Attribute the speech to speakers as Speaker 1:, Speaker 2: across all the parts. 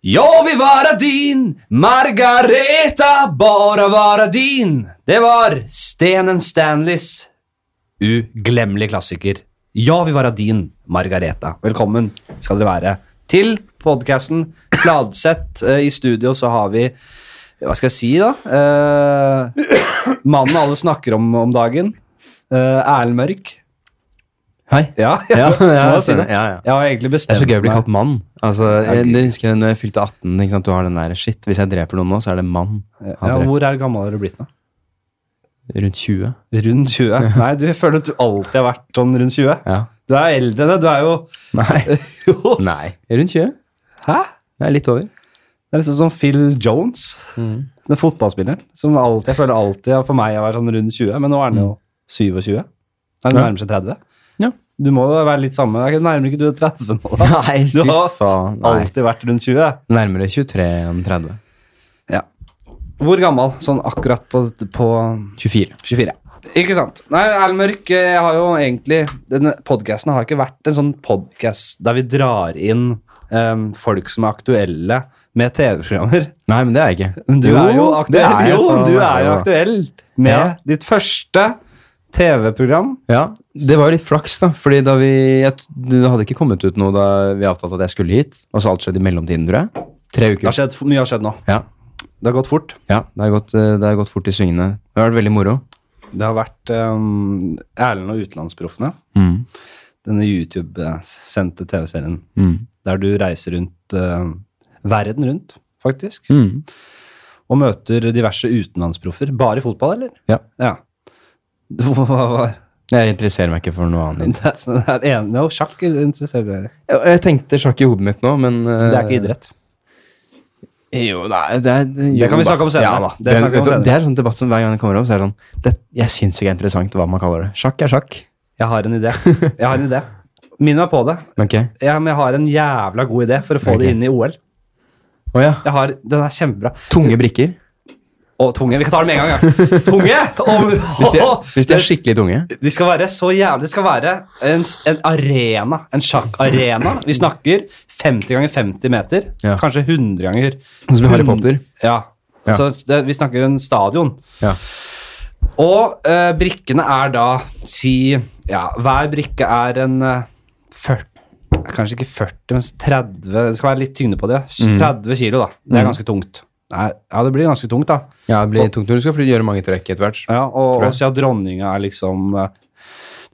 Speaker 1: Jag vill vara din, Margareta, bara vara din. Det var Stenen Stanleys uglemmelige klassiker. Jeg vil være din, Margareta. Velkommen skal dere være til podkasten Fladseth. Eh, I studio så har vi Hva skal jeg si, da? Eh, mannen alle snakker om om dagen. Eh, Erlend Mørk.
Speaker 2: Hei.
Speaker 1: Ja,
Speaker 2: Ja,
Speaker 1: må
Speaker 2: ja,
Speaker 1: jeg si det.
Speaker 2: ja, ja.
Speaker 1: Jeg har egentlig
Speaker 2: Det er
Speaker 1: bestemt
Speaker 2: så gøy å bli
Speaker 1: meg.
Speaker 2: kalt mann. Altså,
Speaker 1: Ja,
Speaker 2: jeg,
Speaker 1: gud.
Speaker 2: det husker jeg når jeg fylte 18. Ikke sant? Du har den der shit. Hvis jeg dreper noen nå, så er det mann. Han
Speaker 1: Ja,
Speaker 2: drept.
Speaker 1: hvor er gammel har du blitt nå?
Speaker 2: Rundt 20.
Speaker 1: Rundt 20? Nei, du jeg føler at du alltid har vært sånn rundt 20.
Speaker 2: Ja.
Speaker 1: Du er eldre enn det. Du er jo
Speaker 2: Nei.
Speaker 1: Jo.
Speaker 2: Nei. Rundt 20.
Speaker 1: Hæ?
Speaker 2: Det er litt over.
Speaker 1: Det er liksom som Phil Jones, den fotballspilleren, som alltid, jeg føler alltid har for meg har vært sånn rundt 20, men nå er han jo 27. Nei, han
Speaker 2: Mm. Ja.
Speaker 1: nærmer seg 30.
Speaker 2: Ja.
Speaker 1: Du må jo være litt samme. Er ikke- Nærmer ikke du 30 nå, da?
Speaker 2: Nei,
Speaker 1: Du
Speaker 2: fy
Speaker 1: har
Speaker 2: faen. Nei.
Speaker 1: Alltid vært rundt 20.
Speaker 2: Nærmere 23 enn 30.
Speaker 1: Hvor gammel? Sånn akkurat på, på
Speaker 2: 24.
Speaker 1: 24. Ikke sant. Nei, Erlend Mørk, eh, jeg har jo egentlig Denne podkasten har ikke vært en sånn podkast der vi drar inn eh, folk som er aktuelle med TV-programmer.
Speaker 2: Nei, men det er jeg ikke.
Speaker 1: Men du er jo aktuell.
Speaker 2: det er jeg,
Speaker 1: jo,
Speaker 2: faen,
Speaker 1: du
Speaker 2: det
Speaker 1: er jo
Speaker 2: jeg.
Speaker 1: aktuell med
Speaker 2: Ja.
Speaker 1: ditt første TV-program.
Speaker 2: Ja, det var jo litt flaks, da. Fordi da vi jeg, t- Det hadde ikke kommet ut noe da vi avtalte at jeg skulle hit. Og så alt skjedde i mellomtiden, tror jeg. Tre
Speaker 1: Det har
Speaker 2: uker.
Speaker 1: skjedd, mye har skjedd nå.
Speaker 2: Ja,
Speaker 1: Det har gått fort.
Speaker 2: ja det, har gått, eh, det har gått fort i svingene. Det har vært veldig moro.
Speaker 1: Det har vært eh, Erlend og Utenlandsproffene,
Speaker 2: Mm.
Speaker 1: denne YouTube-sendte TV-serien,
Speaker 2: Mm.
Speaker 1: der du reiser rundt eh, verden rundt, faktisk,
Speaker 2: Mm.
Speaker 1: og møter diverse utenlandsproffer. Bare i fotball, eller?
Speaker 2: Ja.
Speaker 1: ja. Hva var
Speaker 2: Jeg interesserer meg ikke for noe
Speaker 1: det?
Speaker 2: annet.
Speaker 1: er en- Jo, sjakk interesserer deg.
Speaker 2: Jeg, jeg tenkte sjakk i hodet mitt nå, men
Speaker 1: Det er
Speaker 2: Eh.
Speaker 1: ikke idrett.
Speaker 2: Jo, nei, det, er,
Speaker 1: Det kan vi snakke om senere.
Speaker 2: Ja, da.
Speaker 1: Det
Speaker 2: det,
Speaker 1: snakker vi om
Speaker 2: vet du,
Speaker 1: senere.
Speaker 2: det er en sånn debatt som hver gang det kommer opp, så er det sånn det, Jeg syns ikke det er interessant hva man kaller det. Sjakk er sjakk.
Speaker 1: Jeg har en idé. Jeg har en idé. Minn meg på det.
Speaker 2: Ok.
Speaker 1: Ja, men jeg har en jævla god idé for å få det
Speaker 2: Ok.
Speaker 1: inn i OL.
Speaker 2: Å ja.
Speaker 1: Jeg har, Den er kjempebra.
Speaker 2: Tunge brikker.
Speaker 1: Og tunge. Vi kan ta det med en gang. Ja. Tunge! Og,
Speaker 2: Hvis de, er- hvis de er skikkelig tunge.
Speaker 1: de skal være så jævlig Det skal være en, s- en arena. En sjakkarena. Vi snakker 50 ganger 50 meter.
Speaker 2: Ja.
Speaker 1: Kanskje 100 ganger.
Speaker 2: Sånn som i Harry Potter.
Speaker 1: Ja.
Speaker 2: Ja.
Speaker 1: Så det, vi snakker en stadion.
Speaker 2: Ja.
Speaker 1: Og eh, brikkene er da Si ja, hver brikke er en eh, 40 Kanskje ikke 40, men 30 Det skal være litt tyngde på det.
Speaker 2: Mm.
Speaker 1: 30 kilo, da. Det er ganske tungt. Nei, ja, det blir ganske tungt, da.
Speaker 2: Ja, det blir tungt når du skal fly- gjøre mange trekk etter hvert.
Speaker 1: Ja, og
Speaker 2: Tror jeg.
Speaker 1: også at dronninga er liksom eh,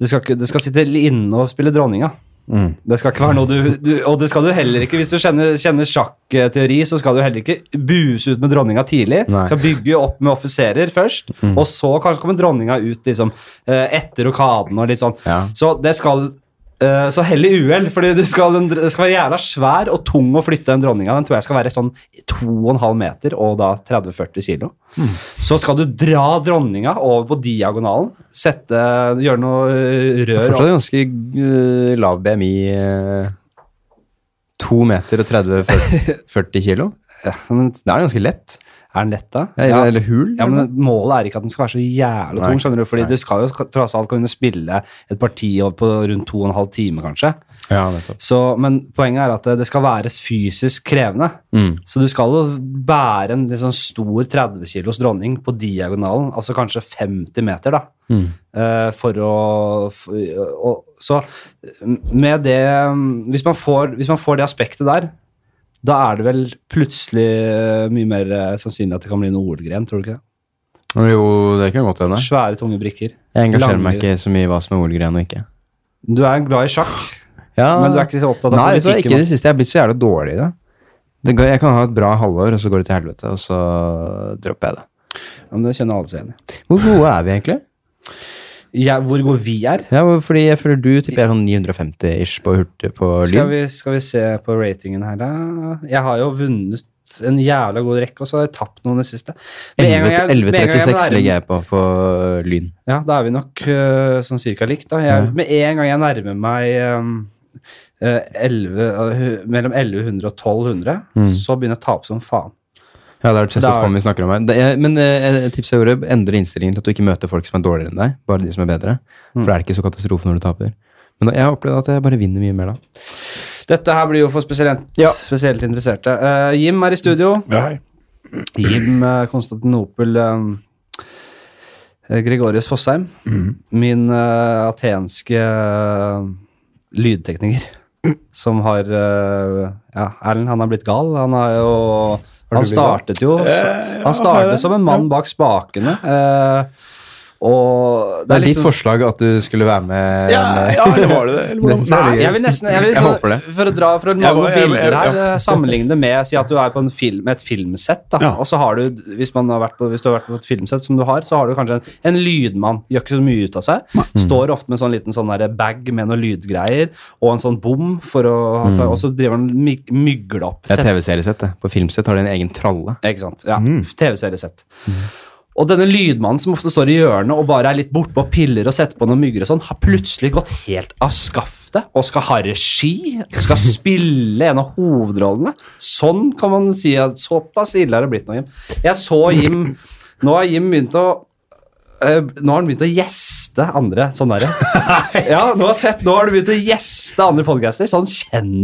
Speaker 1: det skal, ikke, det skal sitte inne og spille dronninga.
Speaker 2: Mm.
Speaker 1: Det skal ikke være noe du, du Og det skal du heller ikke Hvis du kjenner, kjenner sjakkteori, så skal du heller ikke buse ut med dronninga tidlig.
Speaker 2: Nei. Mm.
Speaker 1: Skal bygge opp med offiserer først, og så kanskje kommer dronninga ut liksom eh, etter rokaden og litt sånn.
Speaker 2: Ja.
Speaker 1: Så det skal eh, så hell i uhell, for det skal være jævla svær og tung å flytte den dronninga. Den tror jeg skal være sånn 2,5 meter og da 30-40 kilo. Så skal du dra dronninga over på diagonalen, sette, gjøre noe eh,
Speaker 2: Det er
Speaker 1: rør
Speaker 2: Fortsatt ganske eh, lav BMI. eh, To meter og 30 40, 40 kilo.
Speaker 1: Ja, men
Speaker 2: Det er ganske lett.
Speaker 1: Er den lett, da?
Speaker 2: Ja,
Speaker 1: Ja.
Speaker 2: Eller hul.
Speaker 1: Ja, men Målet er ikke at den skal være så jævlig
Speaker 2: Nei.
Speaker 1: tung, skjønner du, fordi du skal jo sk- tross alt kunne spille et parti over på rundt to og en halv time, kanskje.
Speaker 2: ja nettopp.
Speaker 1: Så, men poenget er at det- det skal være fysisk krevende.
Speaker 2: Mm.
Speaker 1: Så du skal jo bære en litt sånn stor 30 kilos dronning på diagonalen, altså kanskje 50 meter, da.
Speaker 2: Mm.
Speaker 1: eh, For å f- og, Så med det hvis man, får, hvis man får det aspektet der, da er det vel plutselig mye mer eh, sannsynlig at det kan bli noe OL-gren, tror du ikke det?
Speaker 2: Jo, det kan godt hende.
Speaker 1: Svære, tunge brikker.
Speaker 2: Jeg engasjerer
Speaker 1: Lange-
Speaker 2: meg ikke så mye i hva som er OL-gren og ikke.
Speaker 1: Du er glad i sjakk,
Speaker 2: Ja,
Speaker 1: men du er ikke så opptatt av
Speaker 2: Nei, vet du hva,
Speaker 1: politikken.
Speaker 2: ikke det siste. Jeg er blitt så jævlig dårlig i det. det. går- Jeg kan ha et bra halvår, og så går det til helvete, og så dropper jeg det.
Speaker 1: Ja, men det kjenner alle seg igjen i.
Speaker 2: Hvor gode er vi egentlig?
Speaker 1: Jeg- Hvor gode vi er?
Speaker 2: Ja, fordi jeg føler du tipper jeg er sånn 950-ish på hurtig på
Speaker 1: Skal
Speaker 2: lyd.
Speaker 1: vi, skal vi se på ratingen her, da? Jeg har jo vunnet en jævla god rekke, og så har jeg tapt noen i det siste. Med en gang jeg-
Speaker 2: 11
Speaker 1: med en gang jeg
Speaker 2: 11.36
Speaker 1: nærmer-
Speaker 2: ligger jeg på på lyn.
Speaker 1: Ja, da er vi nok øh, sånn cirka likt, da. Jeg, Med en gang jeg nærmer meg eh, øhm, øh, 11, øh, hu- mellom 1100 og 1200,
Speaker 2: Mm.
Speaker 1: så begynner jeg å tape som faen.
Speaker 2: Ja, det er
Speaker 1: Da er-
Speaker 2: Chessus vi snakker om her. Det er, men eh, et tips jeg gjorde, endre innstillingen til at du ikke møter folk som er dårligere enn deg, bare de
Speaker 1: Mm.
Speaker 2: som er bedre. For da er det ikke så katastrofe når du taper. Men da- jeg har opplevd at jeg bare vinner mye mer da.
Speaker 1: Dette her blir jo for spesielt,
Speaker 2: Ja.
Speaker 1: spesielt interesserte. Eh, Jim er i studio.
Speaker 3: Ja, hei.
Speaker 1: Jim eh, Konstantinopel eh, Gregorius Fossheim. Min eh, atenske eh, lydtekniker. Som har eh, Ja, Erlend, han er blitt gal. Han har jo
Speaker 2: Har du
Speaker 1: Han
Speaker 2: blitt gal?
Speaker 1: startet jo
Speaker 3: Eh, ja,
Speaker 1: Han
Speaker 3: har
Speaker 1: startet
Speaker 3: jeg
Speaker 1: som en mann bak spakene. eh, og liksom
Speaker 2: Det er ditt forslag at du skulle være med
Speaker 3: Ja, ja, eller var det det? Eller hvordan?
Speaker 2: Det synes jeg er
Speaker 1: Nei, jeg vil nesten jeg vil
Speaker 2: Jeg
Speaker 1: liksom,
Speaker 2: håper det.
Speaker 1: For å dra fra
Speaker 3: Jeg
Speaker 1: mange
Speaker 3: var- jeg-
Speaker 1: bilder
Speaker 3: jeg-
Speaker 1: her, eh, sammenligne det med Si at du er på en film, et filmsett, da.
Speaker 3: Ja.
Speaker 1: Og så har du, hvis, man har vært på, hvis du har vært på et filmsett som du har, så har du kanskje en, en lydmann. Gjør ikke så mye ut av seg. Står ofte med en sånn liten sånn der bag med noen lydgreier og en sånn bom, for å
Speaker 3: Mm.
Speaker 1: ta, og så driver han og myg- mygler opp.
Speaker 2: Det er TV-seriesett, det. På filmsett har de en egen tralle.
Speaker 1: Ikke sant? Ja, TV-seriesett. Og denne lydmannen som ofte står i hjørnet og bare er litt bortpå og piller og setter på noen mygger og sånn, har plutselig gått helt av skaftet og skal ha regi, skal spille en av hovedrollene. Sånn kan man si at såpass ille har det blitt nå, Jim. Jeg så Jim Nå har Jim begynt å eh, nå har han begynt å gjeste andre sånn derre. Ja, nå har, sett, nå har du begynt å gjeste andre podcaster. Sånn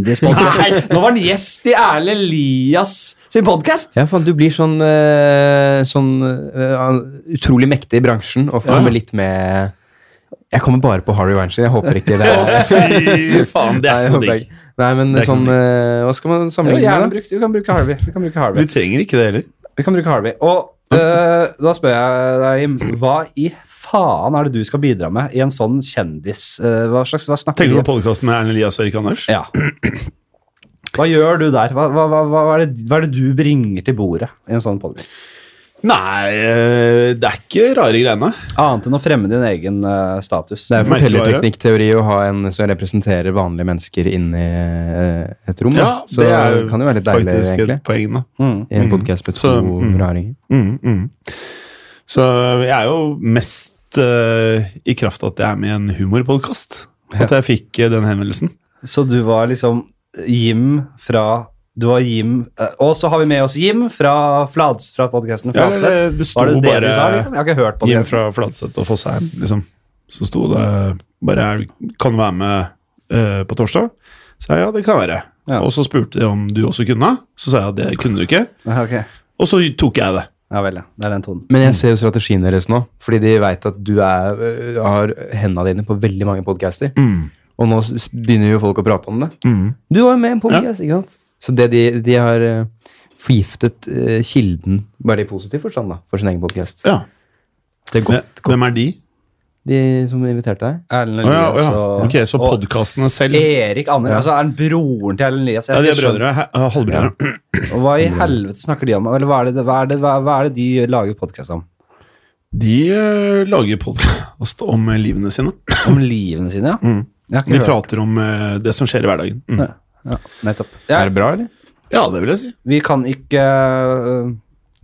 Speaker 1: kjendispodkast. Nå var han gjest i Erle Elias sin podkast.
Speaker 2: Ja, faen, du blir sånn, eh, sånn eh, utrolig mektig i bransjen og får
Speaker 1: Ja.
Speaker 2: med litt med Jeg kommer bare på Harry Weinstein. Jeg håper ikke det er
Speaker 3: Fy faen, det
Speaker 2: Nei,
Speaker 3: er
Speaker 2: jeg
Speaker 3: ikke noe
Speaker 2: håper
Speaker 3: digg.
Speaker 2: ikke. Nei, men
Speaker 3: Det er ikke
Speaker 2: sånn
Speaker 3: noe
Speaker 2: eh, Hva skal man
Speaker 1: Vi
Speaker 2: sammenligne med?
Speaker 1: kan bruke Harvey. Vi kan bruke
Speaker 3: Vi
Speaker 1: Harvey.
Speaker 3: trenger ikke det heller.
Speaker 1: Vi kan bruke Harvey. Og eh, da spør jeg deg, Jim, hva i faen er det du skal bidra med i en sånn kjendis... eh, hva slags hva snakker
Speaker 3: Tenker du
Speaker 1: vi-
Speaker 3: på podkasten med Erlend Elias og Erik Anders?
Speaker 1: Ja. Hva gjør du der? Hva, hva, hva, hva, er det, hva er det du bringer til bordet i en sånn podcast?
Speaker 3: Nei, eh, det er ikke rare greiene.
Speaker 1: Annet enn å fremme din egen eh, status.
Speaker 2: Det er jo
Speaker 3: Merkevare.
Speaker 2: fortellerteknikkteori å ha en som representerer vanlige mennesker inni eh, et rom. da.
Speaker 3: Ja,
Speaker 2: så
Speaker 3: det er jo
Speaker 2: kan jo være litt deilig,
Speaker 3: faktisk
Speaker 2: egentlig.
Speaker 3: et poeng, da.
Speaker 1: Mm.
Speaker 2: I en podkast med to
Speaker 3: Så, mm.
Speaker 2: raringer.
Speaker 3: Mm, mm. Så jeg er jo mest eh, i kraft av at jeg er med i en humorpodkast. At jeg fikk eh, den henvendelsen.
Speaker 1: Så du var liksom Jim fra Du var Jim eh, Og så har vi med oss Jim fra, Flads, fra podkasten
Speaker 3: Ja,
Speaker 1: Fladseth.
Speaker 3: det, det sto
Speaker 1: var det det
Speaker 3: bare
Speaker 1: du sa, liksom? Jeg har ikke hørt på
Speaker 3: hjem
Speaker 1: det.
Speaker 3: fra Fladseth og Fossheim, liksom. Så sto det bare er, Kan du være med eh, på torsdag? Så sa jeg ja, det kan være.
Speaker 1: Ja.
Speaker 3: Og så spurte de om du også kunne. Så sa jeg at det kunne du ikke.
Speaker 1: Ja, Ah, ok.
Speaker 3: Og så tok jeg det.
Speaker 1: ja vel, ja. Det er den tonen.
Speaker 2: Men jeg ser jo strategien deres nå, fordi de veit at du er, øh, har hendene dine på veldig mange podcaster. Og nå s- begynner jo folk å prate om det. Du var jo med i en podcast, ikke sant? Så det de, de har øh, forgiftet øh, kilden, bare i positiv forstand, da, for sin egen podcast.
Speaker 3: Ja.
Speaker 2: Det er godt.
Speaker 3: Hvem er de?
Speaker 2: De som inviterte deg.
Speaker 1: Erlend
Speaker 3: Å ja,
Speaker 1: Elias
Speaker 3: å ja.
Speaker 1: altså- og
Speaker 3: Ok, så podkastene selv Ja,
Speaker 1: Erik Anders, altså er han broren til Erlend Elias? Jeg
Speaker 3: de er
Speaker 1: skjønner-
Speaker 3: brødre. he- eh, Halvbrødre.
Speaker 1: Og Hva i helvete snakker de om? Eller hva er det, hva er det, hva, hva er det de lager podkast om?
Speaker 3: De eh, lager podkast om eh, livene sine.
Speaker 1: Om livene sine, ja? Jeg har ikke
Speaker 3: Mm. Vi
Speaker 1: hørt.
Speaker 3: prater om eh, det som skjer i hverdagen. Mm.
Speaker 1: Ja, nettopp. Ja,
Speaker 2: Er det bra, eller?
Speaker 3: Ja, det vil jeg si.
Speaker 1: vi kan ikke øh,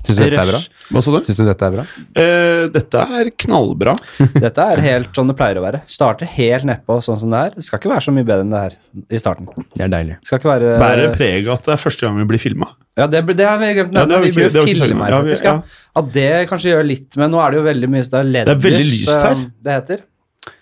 Speaker 2: Syns du dette er bra?
Speaker 1: rush.
Speaker 3: Hva sa du?
Speaker 2: Synes du dette er bra?
Speaker 3: Eh, dette er knallbra.
Speaker 1: Dette er helt sånn det pleier å være. Starter helt nedpå sånn som det er. Det skal ikke være så mye bedre enn det her i starten. Det
Speaker 2: Det er deilig.
Speaker 1: skal ikke være
Speaker 3: Bærer preg av at det er første gang vi blir filma.
Speaker 1: Eh, Ja, det, det har vi glemt.
Speaker 3: Ja, det har
Speaker 1: vi
Speaker 3: vi ikke-
Speaker 1: blir
Speaker 3: det
Speaker 1: jo
Speaker 3: har vi ikke
Speaker 1: filma her,
Speaker 3: sagt. Ja, vi-
Speaker 1: faktisk. Ja, At det kanskje gjør litt, men nå er det jo veldig mye Det er, LED
Speaker 3: Det er veldig lyst her.
Speaker 1: Det heter.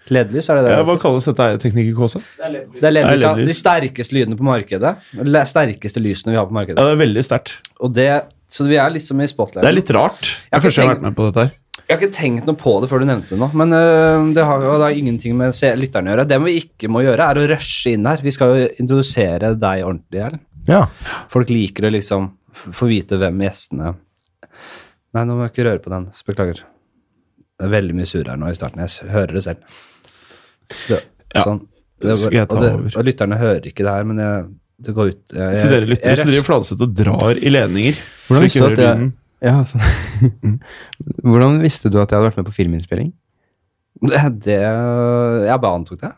Speaker 1: LED-lys, er det det?
Speaker 3: Ja, hva kalles dette her? Tekniker KC?
Speaker 1: det er LED-lys,
Speaker 3: Det
Speaker 1: ja.
Speaker 3: er LED-lys.
Speaker 1: De sterkeste lydene på markedet. Le sterkeste lysene vi har på
Speaker 3: Ja,
Speaker 1: markedet.
Speaker 3: det er veldig sterkt.
Speaker 1: Og det, så vi er liksom i spotlight.
Speaker 3: Det er litt rart. Det
Speaker 1: Jeg har
Speaker 3: er første gang jeg har
Speaker 1: tenkt-
Speaker 3: vært med på dette her.
Speaker 1: Jeg har ikke tenkt noe på det før du nevnte det nå, men øh, det har jo da ingenting med se lytterne å gjøre. Det vi ikke må gjøre, er å rushe inn her. Vi skal jo introdusere deg ordentlig, Erlend.
Speaker 2: Ja.
Speaker 1: Folk liker å liksom f- få vite hvem gjestene Nei, nå må jeg ikke røre på den. Beklager. Det er veldig mye surr her nå i starten. Jeg s- hører det selv. Det,
Speaker 3: Ja.
Speaker 1: Sånn. Det,
Speaker 3: Skal jeg ta
Speaker 1: og, det,
Speaker 3: over?
Speaker 1: og lytterne hører ikke det her, men jeg, det går ut jeg,
Speaker 3: Til dere
Speaker 1: jeg-
Speaker 3: lyttere som
Speaker 1: jeg-
Speaker 3: driver Fladseth og drar i ledninger.
Speaker 2: Hvordan
Speaker 3: Hvordan
Speaker 2: visste
Speaker 3: ikke
Speaker 2: du at
Speaker 3: hører lyden.
Speaker 2: jeg, ja, Hvordan visste du at jeg hadde vært med på filminnspilling?
Speaker 1: Det, det Jeg bare antok det.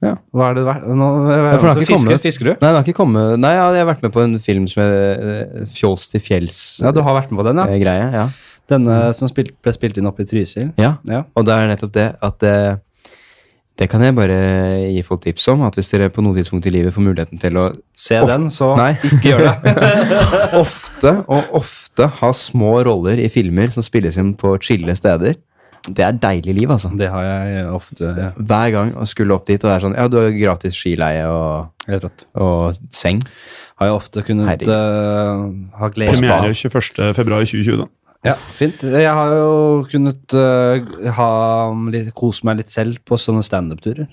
Speaker 2: Ja.
Speaker 1: Hva er det verdt? Nå
Speaker 2: Ja, for det har ikke
Speaker 1: fisker,
Speaker 2: kommet.
Speaker 1: fisker du?
Speaker 2: Nei, det har ikke kommet Nei, ja, jeg har vært med på en film som er øh, Fjols til
Speaker 1: Ja,
Speaker 2: fjells-greie.
Speaker 1: du har vært med på den, ja.
Speaker 2: ja.
Speaker 1: Denne som spilt, ble spilt inn oppe i Trysil.
Speaker 2: ja.
Speaker 1: Ja.
Speaker 2: Og det er nettopp det at eh, Det kan jeg bare gi folk tips om. At hvis dere på noe tidspunkt i livet får muligheten til å
Speaker 1: Se
Speaker 2: Off.
Speaker 1: den, så
Speaker 2: Nei.
Speaker 1: ikke gjør det.
Speaker 2: ofte og ofte ha små roller i filmer som spilles inn på chille steder, Det er deilig liv, altså.
Speaker 1: Det har jeg ofte. Ja.
Speaker 2: Hver gang jeg skulle opp dit, og det er sånn Ja, du har gratis skileie og,
Speaker 1: Helt rått.
Speaker 2: og seng.
Speaker 1: Har jeg ofte kunnet eh, ha glede
Speaker 3: Premiere 21. februar 2020, da.
Speaker 1: Ja, fint. Jeg har jo kunnet eh, ha litt, kose meg litt selv på sånne standup-turer.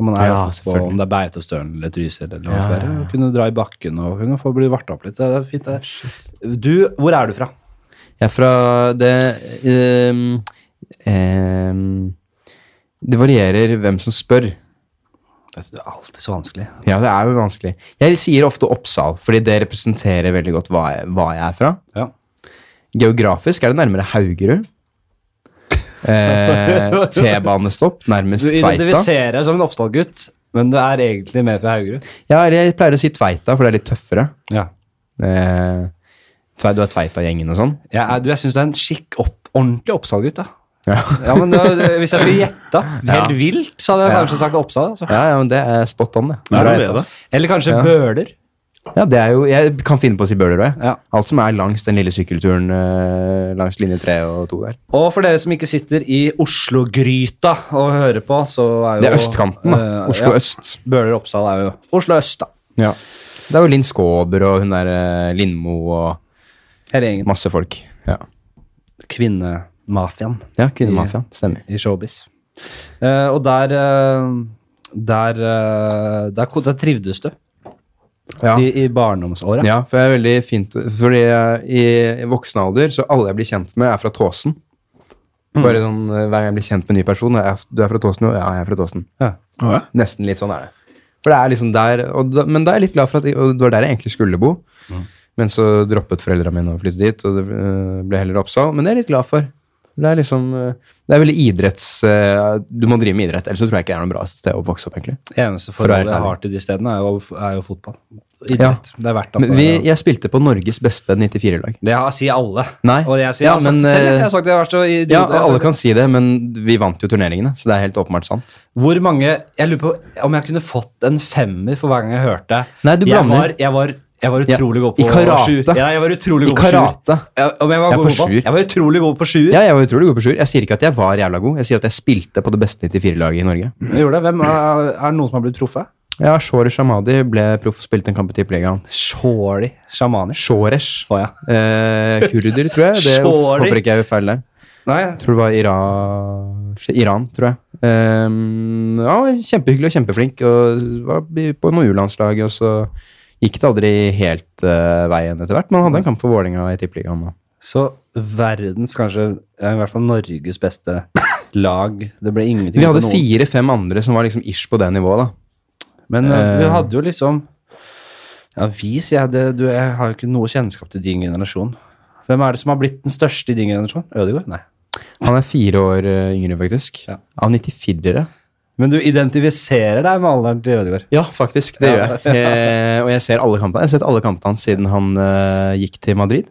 Speaker 1: Når man er
Speaker 2: Ja,
Speaker 1: oppe på
Speaker 2: selvfølgelig.
Speaker 1: om det er Beitostølen eller Trysil eller hva det skal
Speaker 2: Ja,
Speaker 1: være. og Kunne dra i bakken og kunne få bli varta opp litt. Det er fint, det. Du, hvor er du fra?
Speaker 2: Jeg er fra det ehm, ehm, Det varierer hvem som spør.
Speaker 1: Det er alltid så vanskelig.
Speaker 2: Ja, det er jo vanskelig. Jeg sier ofte Oppsal, fordi det representerer veldig godt hva jeg, hva jeg er fra.
Speaker 1: Ja.
Speaker 2: Geografisk er det nærmere Haugerud. Eh, T-banestopp nærmest
Speaker 1: Du
Speaker 2: Tveita.
Speaker 1: identifiserer deg som en Oppdal-gutt, men du er egentlig mer fra Haugerud.
Speaker 2: Ja, eller jeg pleier å si Tveita, for det er litt tøffere.
Speaker 1: Ja.
Speaker 2: Eh, Tvei- du er Tveita-gjengen og sånn.
Speaker 1: Jeg, er- du, jeg syns du er en skikk opp, ordentlig Oppsal-gutt. da.
Speaker 2: Ja.
Speaker 1: Ja, men da, Hvis jeg skulle gjette helt
Speaker 2: Ja.
Speaker 1: vilt, så hadde jeg kanskje sagt Oppsal. Altså.
Speaker 2: Ja, ja, men det er spot on, det.
Speaker 3: Nei,
Speaker 2: Bra
Speaker 3: det er
Speaker 2: gjetta.
Speaker 3: det.
Speaker 1: Eller kanskje
Speaker 2: Ja.
Speaker 1: Bøler.
Speaker 2: Ja, det er jo, jeg kan finne på å si Bøhler òg, jeg.
Speaker 1: Ja.
Speaker 2: Alt som er langs den lille sykkelturen eh, langs linje 3 og 2 der.
Speaker 1: Og for dere som ikke sitter i Oslo-gryta og hører på, så er jo
Speaker 2: Det er østkanten, da.
Speaker 1: Eh,
Speaker 2: Oslo
Speaker 1: ja.
Speaker 2: øst.
Speaker 1: Bøler og Oppsal er jo Oslo øst, da.
Speaker 2: Ja. Det er jo Linn Skåber og hun der eh, Lindmo og
Speaker 1: Hele gjengen.
Speaker 2: masse folk. Ja,
Speaker 1: Kvinnemafiaen
Speaker 2: ja Kvinnemafiaen. Stemmer.
Speaker 1: i showbiz. Eh, og der eh, der, eh, der, ko- der trivdes du
Speaker 2: Ja.
Speaker 1: i, i barndomsåret.
Speaker 2: ja, for det er veldig fint Fordi jeg, i, i voksen alder så alle jeg blir kjent med, er fra Tåsen. Bare sånn eh, hver gang jeg blir kjent med en ny person, er jeg, du er fra Tåsen, jo, ja, jeg er fra Tåsen.
Speaker 1: Ja.
Speaker 3: Å, ja.
Speaker 2: Nesten litt sånn er det. For det er liksom der, og da, Men da er jeg litt glad for at jeg, og det var der jeg egentlig skulle bo.
Speaker 1: Mm.
Speaker 2: Men så droppet foreldrene mine å flytte dit, og det øh, ble heller Oppsal. Men det er jeg litt glad for. Det er liksom, øh, det er veldig idretts... øh, du må drive med idrett, ellers så tror jeg ikke det er noe bra sted å vokse opp. egentlig.
Speaker 1: Eneste
Speaker 2: å være
Speaker 1: forholdet jeg
Speaker 2: ærlig.
Speaker 1: har til de stedene, er jo, er jo fotball. Idrett. Det er hvert
Speaker 2: Men vi, jeg spilte på Norges beste 94-lag.
Speaker 1: Det har- sier alle.
Speaker 2: Nei.
Speaker 1: Og jeg sier, jeg har
Speaker 2: Ja,
Speaker 1: sagt
Speaker 2: men,
Speaker 1: det selv. Jeg
Speaker 2: eh,
Speaker 1: har sagt det, jeg har vært så idiot.
Speaker 2: Ja,
Speaker 1: Jeg har sagt
Speaker 2: alle
Speaker 1: det.
Speaker 2: kan si det, men vi vant jo turneringene, så det er helt åpenbart sant.
Speaker 1: Hvor mange Jeg lurer på om jeg kunne fått en femmer for hver gang jeg hørte
Speaker 2: Nei, du
Speaker 1: jeg
Speaker 2: blander.
Speaker 1: var, jeg var, jeg var utrolig
Speaker 2: Ja,
Speaker 1: god på
Speaker 2: i karate.
Speaker 1: sju. Ja, jeg var utrolig
Speaker 2: I
Speaker 1: god på sjuer.
Speaker 2: karate.
Speaker 1: Ja, om jeg var
Speaker 2: Jeg er
Speaker 1: god
Speaker 2: på
Speaker 1: på
Speaker 2: sjuer.
Speaker 1: Jeg var utrolig god på sjuer.
Speaker 2: Ja, jeg var utrolig god på sjuer. Jeg sier ikke at jeg var jævla god, jeg sier at jeg spilte på det beste 94-laget i Norge.
Speaker 1: Jeg gjorde det. Hvem er, er det noen som har blitt proffe?
Speaker 2: Ja, Shoresh Shamadi ble proff, spilte en kamp i Tippeligaen.
Speaker 1: Shorty sjamaner.
Speaker 2: Shoresh.
Speaker 1: Å ja.
Speaker 2: Eh, kurder, tror jeg. Det
Speaker 1: Shorey.
Speaker 2: håper ikke jeg gjør feil der.
Speaker 1: Nei,
Speaker 2: Tror det var Iran, Iran tror jeg. Ehm, ja, kjempehyggelig og kjempeflink. Og var på noe U-landslag, og så gikk det aldri helt eh, veien etter hvert. Men han hadde en kamp for Vålinga i Tippeligaen. da.
Speaker 1: så verdens kanskje ja, I hvert fall Norges beste lag. Det ble ingenting
Speaker 2: Vi
Speaker 1: ut av
Speaker 2: hadde
Speaker 1: noen.
Speaker 2: fire-fem andre som var liksom ish på det nivået, da.
Speaker 1: Men eh, vi
Speaker 2: Eh.
Speaker 1: hadde jo liksom Ja, vi, sier jeg. Det, du, jeg har jo ikke noe kjennskap til din generasjon. Hvem er det som har blitt den største i din generasjon? Ødegaard? Nei.
Speaker 2: Han er fire år eh, yngre, faktisk.
Speaker 1: Ja.
Speaker 2: Av 94-ere.
Speaker 1: Men du identifiserer deg med alderen til Ødegaard.
Speaker 2: Ja, faktisk. Det gjør jeg. Eh, og jeg ser alle kampene. Jeg har sett alle kampene hans siden han eh, gikk til Madrid.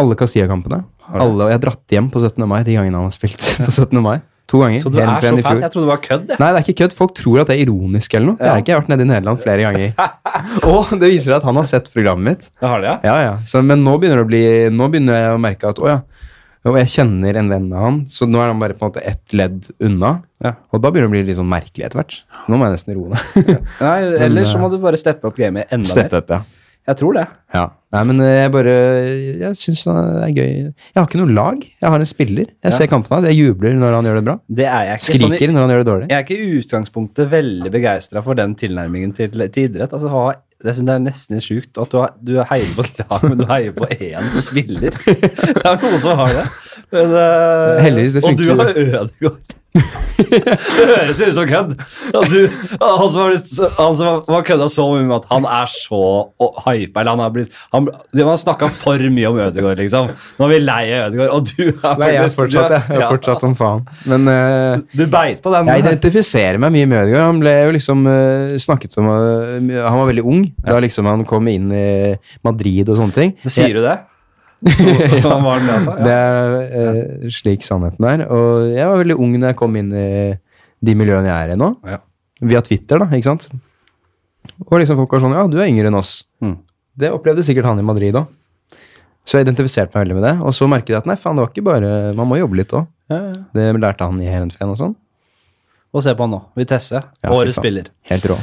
Speaker 2: Alle Castilla-kampene.
Speaker 1: du?
Speaker 2: Alle, og jeg har dratt hjem på 17. mai de gangene han har spilt på 17. mai. To ganger.
Speaker 1: Så du
Speaker 2: Helt
Speaker 1: er
Speaker 2: fra
Speaker 1: så
Speaker 2: igjen i
Speaker 1: fæl.
Speaker 2: fjor.
Speaker 1: Jeg trodde det var kødd. jeg.
Speaker 2: Nei, det er ikke kødd. Folk tror at det er ironisk eller noe. Jeg
Speaker 1: Ja.
Speaker 2: har ikke jeg har vært nede i Nederland flere ganger. og det viser at han har sett programmet mitt.
Speaker 1: Jeg har det, ja.
Speaker 2: Ja, ja. Så, men nå begynner, det å bli, nå begynner jeg å merke at å ja, og jeg kjenner en venn av han, så nå er han bare på en måte ett ledd unna.
Speaker 1: Ja.
Speaker 2: Og da begynner det å bli litt sånn merkelig etter hvert. Nå må jeg nesten roe ned.
Speaker 1: Nei, Eller så
Speaker 2: eh,
Speaker 1: må du bare steppe opp gamet enda
Speaker 2: Steppe opp, ja.
Speaker 1: mer. Jeg tror det.
Speaker 2: Ja. Nei, men eh, jeg bare Jeg syns det er gøy. Jeg har ikke noe lag. Jeg har en spiller. Jeg ser kampene hans. Jeg jubler når han gjør det bra.
Speaker 1: Det er jeg ikke.
Speaker 2: Skriker
Speaker 1: Sånn, i-
Speaker 2: når han gjør det dårlig.
Speaker 1: jeg er ikke i utgangspunktet veldig begeistra for den tilnærmingen til, til idrett. Altså, ha, jeg synes Det er nesten litt sjukt at du, har, du heier på et lag, men du heier på én spiller. Det er noen som har det. Men, eh,
Speaker 2: Heldigvis, det
Speaker 1: og du
Speaker 2: funker.
Speaker 1: har Ødegaard. Det høres ut som kødd. At du- Han som har, han som har- har kødda så mye med at han er så å- hypa. Eller han har blitt Han, de har snakka for mye om Ødegaard, liksom. Nå er vi lei av Ødegaard, og du er
Speaker 2: Nei, jeg er
Speaker 1: faktisk- du
Speaker 2: fortsatt, jeg. jeg er
Speaker 1: ja.
Speaker 2: fortsatt som faen. Men eh,
Speaker 1: Du beit på den.
Speaker 2: Jeg identifiserer meg mye med Ødegaard. Han ble jo liksom eh, snakket om eh, mye- Han var veldig ung da liksom han kom inn i Madrid og sånne ting.
Speaker 1: Så sier du det? Hva var det, altså?
Speaker 2: Det er eh, slik sannheten er. Og jeg var veldig ung da jeg kom inn i de miljøene jeg er i nå.
Speaker 1: Ja.
Speaker 2: Via Twitter, da, ikke sant. Og liksom folk var sånn Ja, du er yngre enn oss.
Speaker 1: Mm.
Speaker 2: Det opplevde sikkert han i Madrid òg. Så jeg identifiserte meg veldig med det. Og så merket jeg at nei, faen, det var ikke bare Man må jobbe litt òg.
Speaker 1: Ja, ja.
Speaker 2: Det lærte han i Heerenveen og sånn.
Speaker 1: Og se på han nå. Vitesse.
Speaker 2: Ja, fy
Speaker 1: Årets
Speaker 2: faen.
Speaker 1: spiller.
Speaker 2: Helt rå.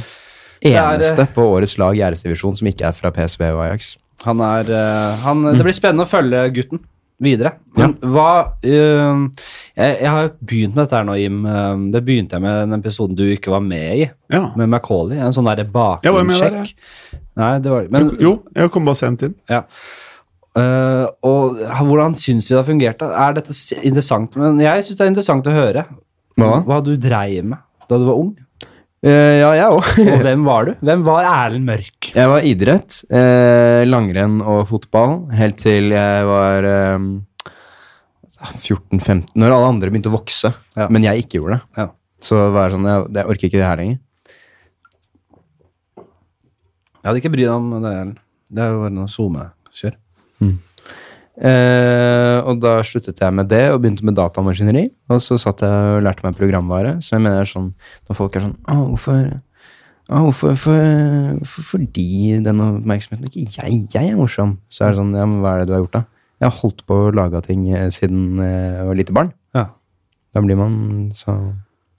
Speaker 1: er, eh,
Speaker 2: Eneste på årets lag i æresdivisjon som ikke er fra PSV og Ajax.
Speaker 1: Han er eh, han, Det blir spennende å følge gutten videre. Men hva eh, jeg, jeg har jo begynt med dette her nå, Jim. eh, Det begynte jeg med den episoden du ikke var med i,
Speaker 3: Ja.
Speaker 1: med Macauley. En sånn derre
Speaker 3: Jeg var med der,
Speaker 1: bakgrunnssjekk. Nei, det var Men
Speaker 3: Jo, jeg kom bare sent inn.
Speaker 1: Ja. Eh, og ha- hvordan syns vi det har fungert? da? Er dette s- interessant? Men jeg syns det er interessant å høre
Speaker 2: Hva da?
Speaker 1: hva du dreiv med da du var ung.
Speaker 2: Eh, ja, jeg òg.
Speaker 1: Og hvem var du? Hvem var Erlend Mørk?
Speaker 2: Jeg var idrett, eh, langrenn og fotball, helt til jeg var eh, 14-15, når alle andre begynte å vokse,
Speaker 1: Ja.
Speaker 2: men jeg ikke gjorde det.
Speaker 1: Ja.
Speaker 2: Så var det sånn, jeg, jeg orker ikke det her lenger.
Speaker 1: Jeg hadde ikke brydd meg om det. Erlend. Det var noe SoMe-kjør.
Speaker 2: Eh, og da sluttet jeg med det og begynte med datamaskineri. Og så satt jeg og lærte meg programvare. Så jeg mener sånn, når folk er sånn «Å, hvorfor, å, hvorfor, hvorfor, hvorfor får de den oppmerksomheten? Ikke jeg, jeg er morsom. Så er det sånn, ja, men hva er det du har gjort da? Jeg har holdt på å lage ting eh, siden eh, jeg var lite barn.
Speaker 1: Ja.
Speaker 2: Da blir man så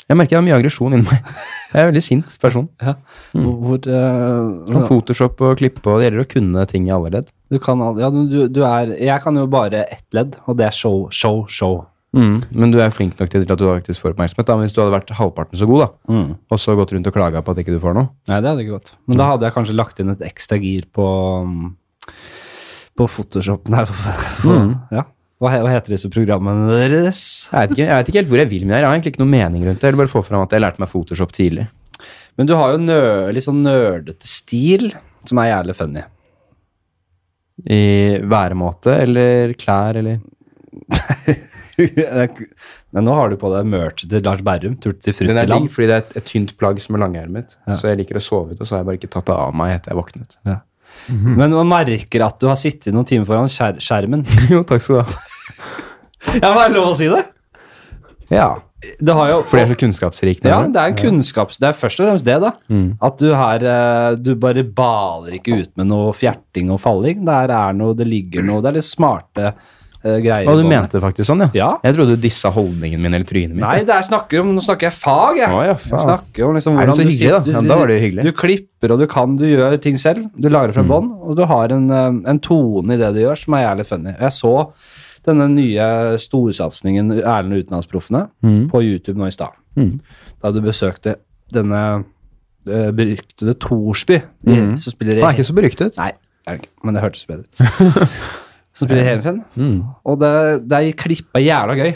Speaker 2: Jeg merker jeg har mye aggresjon inni meg. Jeg er en veldig sint person.
Speaker 1: Ja. Hvor, eh,
Speaker 2: Kan Photoshop og klippe, og det gjelder å kunne ting i alle ledd.
Speaker 1: du kan aldri ja, du, du er Jeg kan jo bare ett ledd, og det er show, show, show.
Speaker 2: Mm, men du er flink nok til at du faktisk får oppmerksomhet. Da. Men hvis du hadde vært halvparten så god, da,
Speaker 1: Mm.
Speaker 2: og så gått rundt og klaga på at ikke du får noe
Speaker 1: Nei, det hadde ikke gått. Men da hadde jeg kanskje lagt inn et ekstra gir på um, på Photoshop. Nei, ja. hva, he- hva heter disse programmene deres?
Speaker 2: jeg vet, ikke, jeg vet ikke helt hvor jeg vil med det. her. Jeg har egentlig ikke noen mening rundt det. Jeg vil bare få fram at jeg lærte meg Photoshop tidlig.
Speaker 1: Men du har jo nø, litt sånn nerdete stil, som er jævlig funny.
Speaker 2: I væremåte eller klær eller
Speaker 1: Nei, nå har du på deg merch til Lars Berrum, tur til
Speaker 2: Den er
Speaker 1: Fruttiland.
Speaker 2: digg fordi det er et, et tynt plagg som er langermet. Så jeg liker å sove ut, og så har jeg bare ikke tatt det av meg etter jeg våknet.
Speaker 1: Ja. Men man merker at du har sittet noen timer foran skjer skjermen.
Speaker 2: jo, takk skal du ha.
Speaker 1: Ja, hva er det lov å si det?
Speaker 2: Ja.
Speaker 1: Det har jo
Speaker 2: For det er så kunnskapsrikt.
Speaker 1: Ja, Mm. det er en kunnskaps... Det er først og fremst det, da. At du her eh, Du bare baler ikke ut med noe fjerting og falling. Det her er noe, det ligger noe Det er litt smarte eh, greier.
Speaker 2: Og du
Speaker 1: i bånn.
Speaker 2: mente faktisk sånn, ja?
Speaker 1: Ja.
Speaker 2: Jeg trodde du dissa holdningen min eller trynet mitt.
Speaker 1: Nei, det er snakker om, nå snakker jeg fag, jeg.
Speaker 2: Å, ja, faen.
Speaker 1: jeg snakker om liksom
Speaker 2: Er det
Speaker 1: hvordan
Speaker 2: så
Speaker 1: du
Speaker 2: hyggelig, da? Ja, da var det jo hyggelig. Mm.
Speaker 1: Du klipper og du kan, du gjør ting selv. Du lager fra bånn, og du har en, eh, en tone i det du gjør som er jævlig funny. Jeg så denne nye storsatsingen Erlend og utenlandsproffene
Speaker 2: Mm.
Speaker 1: på YouTube nå i stad. Da du besøkte denne eh, beryktede Thorsby,
Speaker 2: Mm.
Speaker 1: i- som spiller i
Speaker 2: Han er ikke så beryktet.
Speaker 1: Nei, det er det ikke, men det hørtes bedre ut. Som spiller Heerenveen. Og det, det er klippa jævla gøy.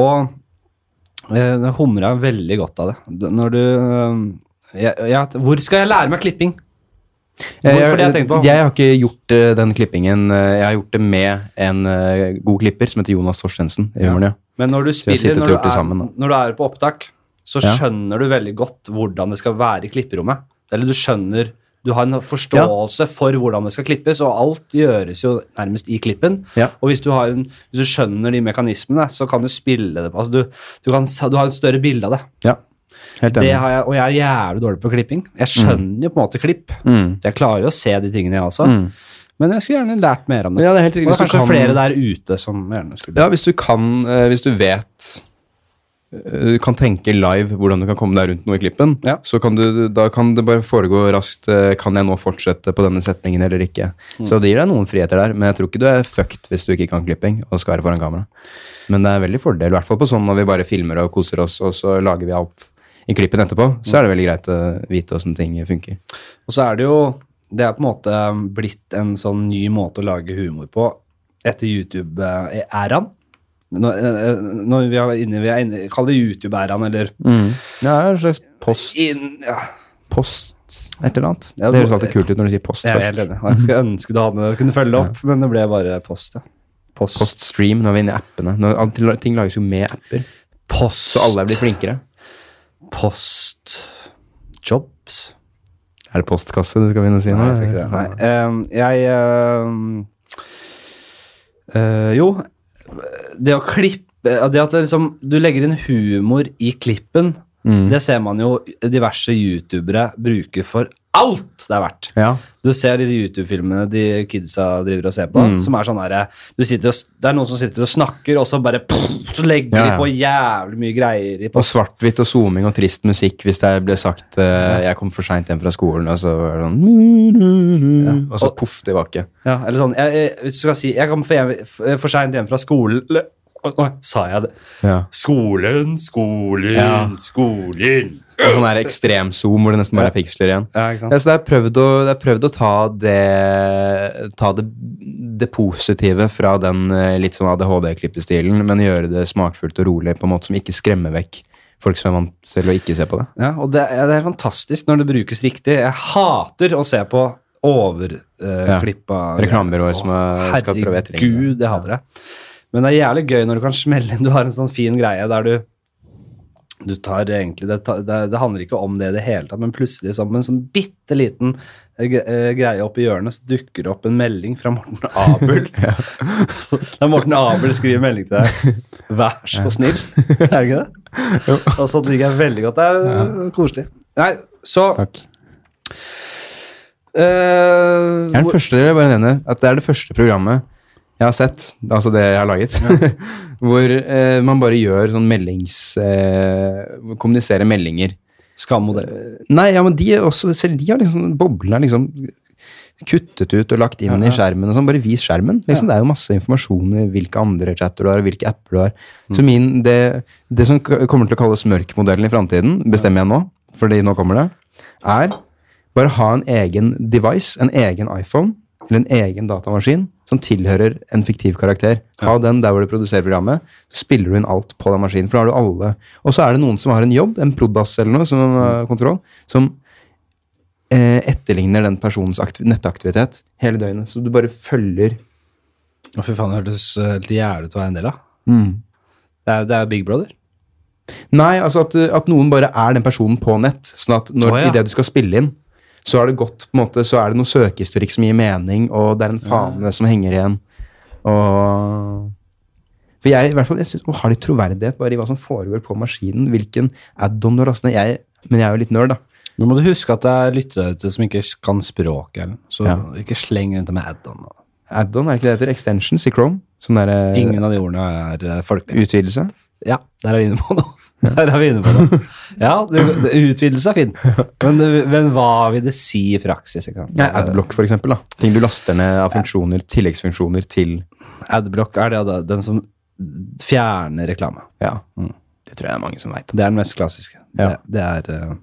Speaker 1: Og eh, det humra veldig godt av det. D- Når du eh, jeg, jeg, Hvor skal jeg lære meg klipping? Hvorfor det jeg tenkte på?
Speaker 2: har ikke gjort eh, den klippingen. eh, Jeg har gjort det med en eh, god klipper som heter Jonas Torstensen. i Humorn, ja.
Speaker 1: Men når du
Speaker 2: vi har
Speaker 1: spiller,
Speaker 2: sittet og
Speaker 1: når du,
Speaker 2: gjort det
Speaker 1: er,
Speaker 2: sammen, da.
Speaker 1: når du er på opptak, så
Speaker 2: Ja.
Speaker 1: skjønner du veldig godt hvordan det skal være i klipperommet. Eller du skjønner Du har en forståelse for hvordan det skal klippes, og alt gjøres jo nærmest i klippen.
Speaker 2: Ja.
Speaker 1: Og hvis du, har en, hvis du skjønner de mekanismene, så kan du spille det på altså du, du, kan, du har et større bilde av det.
Speaker 2: ja. Helt
Speaker 1: det
Speaker 2: enig.
Speaker 1: har jeg, og jeg er jævlig dårlig på klipping. Jeg skjønner jo på en måte klipp.
Speaker 2: Mm.
Speaker 1: Jeg klarer jo å se de tingene, jeg også. Men jeg skulle gjerne lært mer om det.
Speaker 2: Ja, det er helt riktig.
Speaker 1: og det
Speaker 2: Hvis
Speaker 1: er
Speaker 2: du
Speaker 1: kanskje
Speaker 2: kan-
Speaker 1: flere der ute som gjerne skulle
Speaker 2: Ja, hvis du kan eh, Hvis du vet eh, kan tenke live hvordan du kan komme deg rundt noe i klippen.
Speaker 1: Ja.
Speaker 2: Så kan du, da kan det bare foregå raskt. eh, Kan jeg nå fortsette på denne setningen eller ikke? Så det gir deg noen friheter der, men jeg tror ikke du er fucked hvis du ikke kan klipping og skal være foran kamera. Men det er veldig fordel, i hvert fall på sånn når vi bare filmer og koser oss, og så lager vi alt i klippen etterpå. Så er det veldig greit å vite åssen ting funker.
Speaker 1: Og så er det jo Det er på en måte blitt en sånn ny måte å lage humor på etter YouTube-æraen. Når, eh, når vi er inne, vi er inne Kall det YouTube-æraen, eller
Speaker 2: Ja, det er en slags post,
Speaker 1: inn, ja,
Speaker 2: post et eller annet.
Speaker 1: Ja,
Speaker 2: det
Speaker 1: det-
Speaker 2: høres alltid kult ut når du sier post
Speaker 1: Jeg er helt
Speaker 2: først.
Speaker 1: enig. Og Jeg skulle ønske du hadde kunne følge det opp, men det ble bare post. Ja. Post.
Speaker 2: Poststream, når vi er inne i appene. Når, alt- ting lages jo med apper.
Speaker 1: post.
Speaker 2: Så alle er blitt flinkere.
Speaker 1: Post. Jobs.
Speaker 2: Er det postkasse du skal begynne å si nå?
Speaker 1: Nei, jeg skal ikke det. Nei. Ehm, jeg ehm, eh, Jo, det å klippe Det at det liksom, du legger inn humor i klippen, det ser man jo diverse youtubere bruke for alt det er verdt.
Speaker 2: Ja.
Speaker 1: Du ser de YouTube-filmene de kidsa driver og ser på, som er sånn herre du sitter og s- Det er noen som sitter og snakker, og så bare pff, Så legger
Speaker 2: Ja, ja.
Speaker 1: de på jævlig mye greier i
Speaker 2: Og
Speaker 1: post.
Speaker 2: svart-hvitt og zooming og trist musikk hvis det ble sagt eh, 'jeg kom for seint hjem fra skolen', og så var det sånn Og så
Speaker 1: Og-
Speaker 2: poff tilbake.
Speaker 1: Ja, eller sånn jeg, jeg, Hvis du skal si 'Jeg kom for, hjem, for seint hjem fra skolen' eller- Oi, oi, Sa jeg det?
Speaker 2: Ja.
Speaker 1: Skolen, skolen,
Speaker 2: Ja.
Speaker 1: skolen.
Speaker 2: Og sånn der ekstremzoom hvor det nesten bare er piksler igjen.
Speaker 1: Ja, ikke sant?
Speaker 2: Ja, så det er prøvd å, det er prøvd å ta, det, ta det, det positive fra den eh, litt sånn ADHD-klippestilen, men gjøre det smakfullt og rolig på en måte som ikke skremmer vekk folk som er vant til å ikke se på det.
Speaker 1: Ja, og det er, det er fantastisk når det brukes riktig. Jeg hater å se på eh,
Speaker 2: Ja.
Speaker 1: overklippa
Speaker 2: Reklamebyråer som er- skal prøve å etterligne det.
Speaker 1: Herregud, jeg hater det. Men det er jævlig gøy når du kan smelle inn Du har en sånn fin greie der du du tar egentlig, det, ta- det, det handler ikke om det i det hele tatt, men plutselig som en sånn bitte liten eh, greie opp i hjørnet, så dukker det opp en melding fra Morten Abel. Så, det er Morten Abel skriver melding til deg. Vær så snill. Er det ikke det? Og sånt liker jeg veldig godt. Det er øh, koselig. Nei, så
Speaker 2: Takk.
Speaker 1: øh,
Speaker 2: Jeg er den
Speaker 1: hvor-
Speaker 2: første, jeg vil bare nevne, at det er det første programmet jeg har sett, altså det jeg har laget, hvor eh, man bare gjør sånn meldings... Eh, kommuniserer meldinger.
Speaker 1: Skammodell.
Speaker 2: Nei, ja, men de er også, selv de har liksom, boblene er liksom kuttet ut og lagt inn i skjermen og sånn, bare vis skjermen. Liksom, Det er jo masse informasjon i hvilke andre chatter du har, og hvilke apper du har. Så min, det, det som k- kommer til å kalles mørkmodellen i fremtiden, bestemmer jeg nå, fordi nå kommer det, er bare ha en egen device, en egen iPhone, eller en egen datamaskin, som tilhører en fiktiv karakter. Ha den der hvor du produserer programmet, så spiller du inn alt på den maskinen, for da har du alle. Og så er det noen som har en jobb, en prodass eller noe, som eh, kontroll, som eh, etterligner den personens aktiv nettaktivitet hele døgnet. Så du bare følger
Speaker 1: Å, fy faen, det hørtes øh, helt jævlig ut å være en del av. Det er, det er Big Brother.
Speaker 2: Nei, altså at, at noen bare er den personen på nett. Sånn at når,
Speaker 1: Å, ja.
Speaker 2: i det du skal spille inn, så er det godt på en måte, så er det noe søkehistorikk som gir mening, og det er en fane som henger igjen. Og For jeg i hvert fall, jeg synes, å, har litt troverdighet bare i hva som foregår på maskinen. Hvilken add-on du har lastet ned. Jeg, men jeg er jo litt nerd, da.
Speaker 1: Nå må du huske at det er lyttere der ute som ikke kan språket, eller? så
Speaker 2: Ja.
Speaker 1: ikke sleng rundt det med add-on. og-
Speaker 2: Add-on, er ikke det det heter? Extensions i Chrome? Sånn der eh,
Speaker 1: Ingen av de ordene er eh, folkelige.
Speaker 2: utvidelse?
Speaker 1: Ja, der er vi inne på noe. Der er vi inne på noe. Ja, det, det, utvidelse er fint, men, det- men hva vil det si i praksis? Ikke sant?
Speaker 2: Ja, Adblock, for eksempel. Da. Ting du laster ned av funksjoner, tilleggsfunksjoner til
Speaker 1: Adblock er det, da, den som fjerner reklame.
Speaker 2: Ja. Mm. Det tror jeg er mange som veit.
Speaker 1: Det er den mest klassiske.
Speaker 2: Ja.
Speaker 1: Det, det er, eh,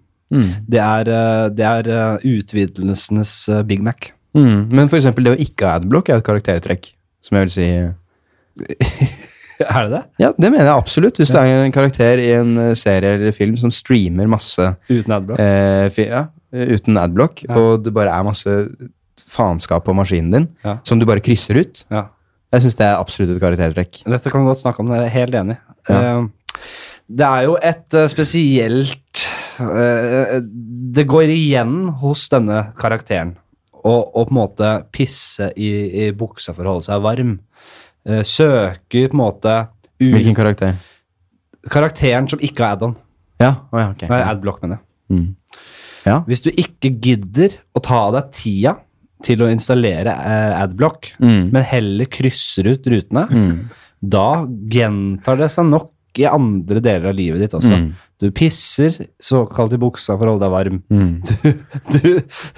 Speaker 1: det er, eh, det er eh, utvidelsenes eh, Big Mac.
Speaker 2: Mm. Men for eksempel det å ikke ha adblock er et karaktertrekk. Som jeg vil si eh.
Speaker 1: Er det det?
Speaker 2: Ja, det mener jeg absolutt. Hvis det er en karakter i en eh, serie eller film som streamer masse
Speaker 1: Uten adblock?
Speaker 2: eh, fi- ja, uten adblock, og det bare er masse faenskap på maskinen din
Speaker 1: Ja.
Speaker 2: som du bare krysser ut
Speaker 1: Ja.
Speaker 2: Jeg syns det er absolutt et karaktertrekk.
Speaker 1: Dette kan vi godt snakke om, jeg er helt enig. Eh, Det er jo et eh, spesielt eh, Det går igjen hos denne karakteren å å på en måte pisse i, i buksa for å holde seg varm. Eh, Søker på en måte ut
Speaker 2: Hvilken karakter?
Speaker 1: Karakteren som ikke har add-on.
Speaker 2: Ja, å ja ok.
Speaker 1: Nei, adblock, mener jeg.
Speaker 2: Ja.
Speaker 1: Hvis du ikke gidder å ta av deg tida til å installere eh, adblock, men heller krysser ut rutene, da gjentar det seg nok i andre deler av livet ditt også. Du pisser såkalt i buksa for å holde deg varm. Mm. Du,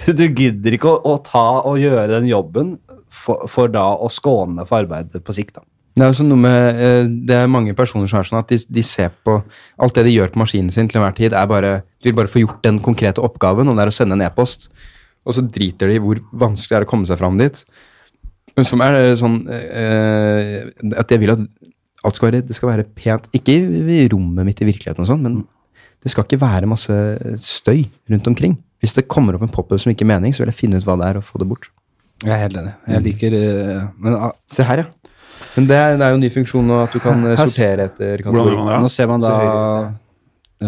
Speaker 1: du, du gidder ikke å, å ta og gjøre den jobben for, for da å skåne deg for arbeidet på sikt. Da.
Speaker 2: Det er jo sånn noe med, eh, det er mange personer som er sånn at de, de ser på alt det de gjør på maskinen sin til enhver tid, er bare, de vil bare få gjort den konkrete oppgaven, og det er å sende en e-post. Og så driter de i hvor vanskelig det er å komme seg fram dit. Men som er eh, sånn eh, at jeg vil at alt skal være, det skal være pent, ikke i i rommet mitt i virkeligheten og sånn, men det skal ikke være masse støy rundt omkring. Hvis det kommer opp en pop-up som ikke er mening, så vil jeg finne ut hva det er og få det bort.
Speaker 1: Jeg er helt enig. Jeg liker eh, Men ah,
Speaker 2: Se her, ja. Men det er, det er jo en ny funksjon nå, at du kan eh,
Speaker 1: Her s-
Speaker 2: sortere etter
Speaker 3: Hvordan gjør man det?
Speaker 1: Nå
Speaker 3: da?
Speaker 1: ser man da
Speaker 2: Så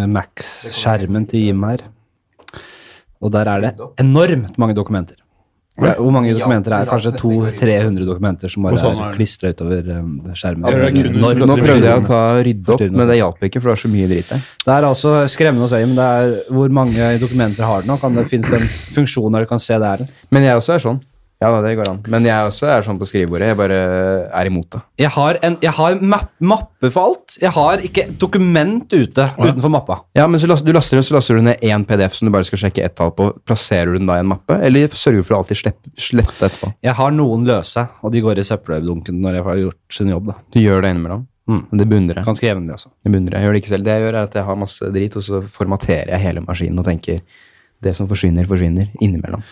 Speaker 1: eh, Max-skjermen til Jim her. Og der er det enormt mange dokumenter. Ja, Hvor mange dokumenter er det?
Speaker 2: Ja,
Speaker 1: Kanskje
Speaker 2: nesten
Speaker 1: 200-300 dokumenter som
Speaker 3: Og
Speaker 1: bare
Speaker 3: sånn er
Speaker 1: er
Speaker 3: det.
Speaker 1: klistra utover um, skjermen.
Speaker 3: Ja, det er kun
Speaker 1: Enormt.
Speaker 3: som
Speaker 2: Mm. Nå prøvde jeg å ta rydde opp,
Speaker 1: Forstyrrende.
Speaker 2: men det hjalp ikke, for det var så mye dritt der.
Speaker 1: Det er altså skremmende å si, men det er hvor mange dokumenter har det nå? Kan det finnes det en funksjon der du kan se det er en?
Speaker 2: Men jeg også er sånn. Ja, da, det går an. Men jeg også er sånn på skrivebordet. Jeg bare er imot det.
Speaker 1: Jeg har, en, jeg har map, mappe for alt. Jeg har ikke et dokument ute utenfor mappa.
Speaker 2: Ja, men så las- du laster, så laster du ned én PDF som du bare skal sjekke ett tall på. Plasserer du den da i en mappe, eller sørger du for å alltid slepp- slette etterpå?
Speaker 1: Jeg har noen løse, og de går i søppeldunken når jeg har gjort sin jobb. da.
Speaker 2: Du gjør det innimellom.
Speaker 1: Mm.
Speaker 2: Og Det beundrer jeg.
Speaker 1: Ganske jevnlig altså. også.
Speaker 2: det beundrer jeg. Jeg gjør det ikke selv. Det jeg gjør, er at jeg har masse drit, og så formaterer jeg hele maskinen og tenker det som forsvinner, forsvinner innimellom.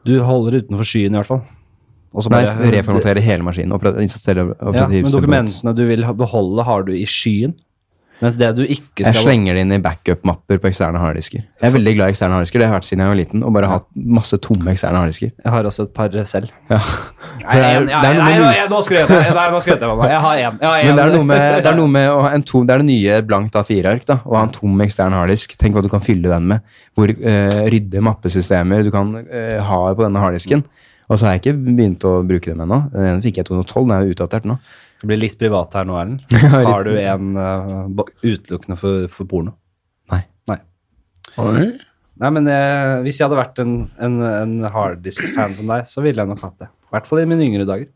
Speaker 1: Du holder det utenfor skyen i hvert fall. Og så
Speaker 2: Nei,
Speaker 1: bare-
Speaker 2: reformaterer hele maskinen. Opera, installere
Speaker 1: Ja, men
Speaker 2: operativsystem.
Speaker 1: dokumentene du vil ha- beholde, har du i skyen. Mens det du ikke
Speaker 2: Jeg
Speaker 1: skal
Speaker 2: slenger det inn i backup-mapper på eksterne harddisker. Jeg er veldig glad i eksterne harddisker. Det har jeg vært siden jeg var liten, og bare hatt masse tomme eksterne harddisker.
Speaker 1: Jeg har også et par selv.
Speaker 2: Ja.
Speaker 1: Nei,
Speaker 2: det er-
Speaker 1: en- ja,
Speaker 2: det er noe
Speaker 1: nei,
Speaker 2: med-
Speaker 1: nei, nå skrøt jeg. Nei, nå skrøt jeg mamma. Jeg har én.
Speaker 2: Men det er noe med, det er noe med å ha en tom Det er det nye blankt A4-ark, da. Å ha en tom ekstern harddisk. Tenk hva du kan fylle den med. Hvor eh, rydde mappesystemer du kan eh, ha på denne harddisken. Og så har jeg ikke begynt å bruke dem ennå. Den ene fikk jeg i 2012, den er jo utdatert nå.
Speaker 1: Det blir litt privat her nå, Erlend.
Speaker 2: litt.
Speaker 1: Har du en eh, ba- utelukkende for, for porno?
Speaker 2: Nei.
Speaker 1: Nei.
Speaker 3: Oi.
Speaker 1: Nei, men eh, Hvis jeg hadde vært en, en, en harddisk-fan som deg, så ville jeg nok hatt det. I hvert fall i mine yngre dager.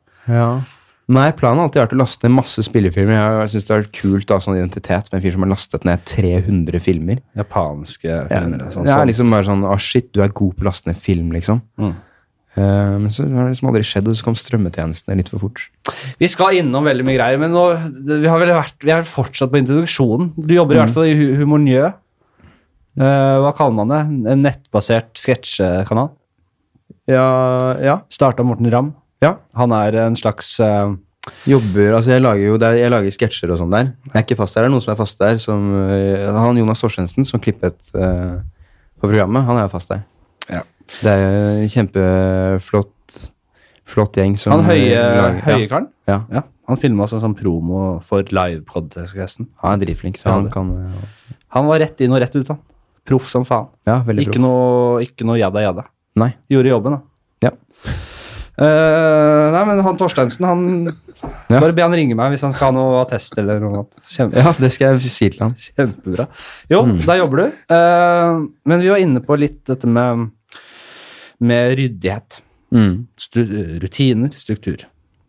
Speaker 2: Nei, planen har alltid vært å laste ned masse spillefilmer. Jeg har- Jeg synes det har vært kult å ha sånn identitet med en fyr som har lastet ned 300 filmer.
Speaker 1: Japanske
Speaker 2: Ja,
Speaker 1: filmer. og sånn,
Speaker 2: det er
Speaker 1: sånn.
Speaker 2: liksom bare sånn Å, shit, du er god på å laste ned film, liksom.
Speaker 1: Mm.
Speaker 2: Eh, men så har det liksom aldri skjedd, og så kom strømmetjenestene litt for fort.
Speaker 1: Vi skal innom veldig mye greier, men nå, det- vi, har vel vært, vi er fortsatt på introduksjonen. Du jobber i
Speaker 2: Mm.
Speaker 1: hvert fall i hu- Humor Njø. Eh, hva kaller man det? En nettbasert sketsjekanal?
Speaker 2: Ja, ja.
Speaker 1: Starta Morten Ramm.
Speaker 2: Ja.
Speaker 1: Han er en slags eh,
Speaker 2: Jobber, altså Jeg lager jo det er- jeg lager sketsjer og sånn der. Jeg er ikke fast der. Det er noen som er fast der. Som, øh, han Jonas Torstensen som klippet øh, på programmet, han er jo fast der.
Speaker 1: Ja.
Speaker 2: Det er jo en kjempeflott flott gjeng som
Speaker 1: Han høye,
Speaker 2: øh, lager-
Speaker 1: høye
Speaker 2: ja.
Speaker 1: karen?
Speaker 2: Ja.
Speaker 1: Ja, han filma også en sånn promo for livepodcasten.
Speaker 2: Han er dritflink, så
Speaker 1: Ja,
Speaker 2: han
Speaker 1: det.
Speaker 2: kan øh,
Speaker 1: Han var rett inn og rett ut, han. Proff som faen.
Speaker 2: Ja, veldig
Speaker 1: Ikke
Speaker 2: proff.
Speaker 1: noe, ikke noe jadda jadda.
Speaker 2: Nei.
Speaker 1: Gjorde jobben, da.
Speaker 2: Ja.
Speaker 1: Eh, nei, men han Torsteinsen, han
Speaker 2: Ja.
Speaker 1: Bare be han ringe meg hvis han skal ha noe attest eller noe annet. Kjempe,
Speaker 2: Ja, det skal jeg si til han.
Speaker 1: Kjempebra. Jo,
Speaker 2: Mm.
Speaker 1: der jobber du. Eh, men vi var inne på litt dette med, med ryddighet.
Speaker 2: Mm.
Speaker 1: Stru, rutiner, struktur.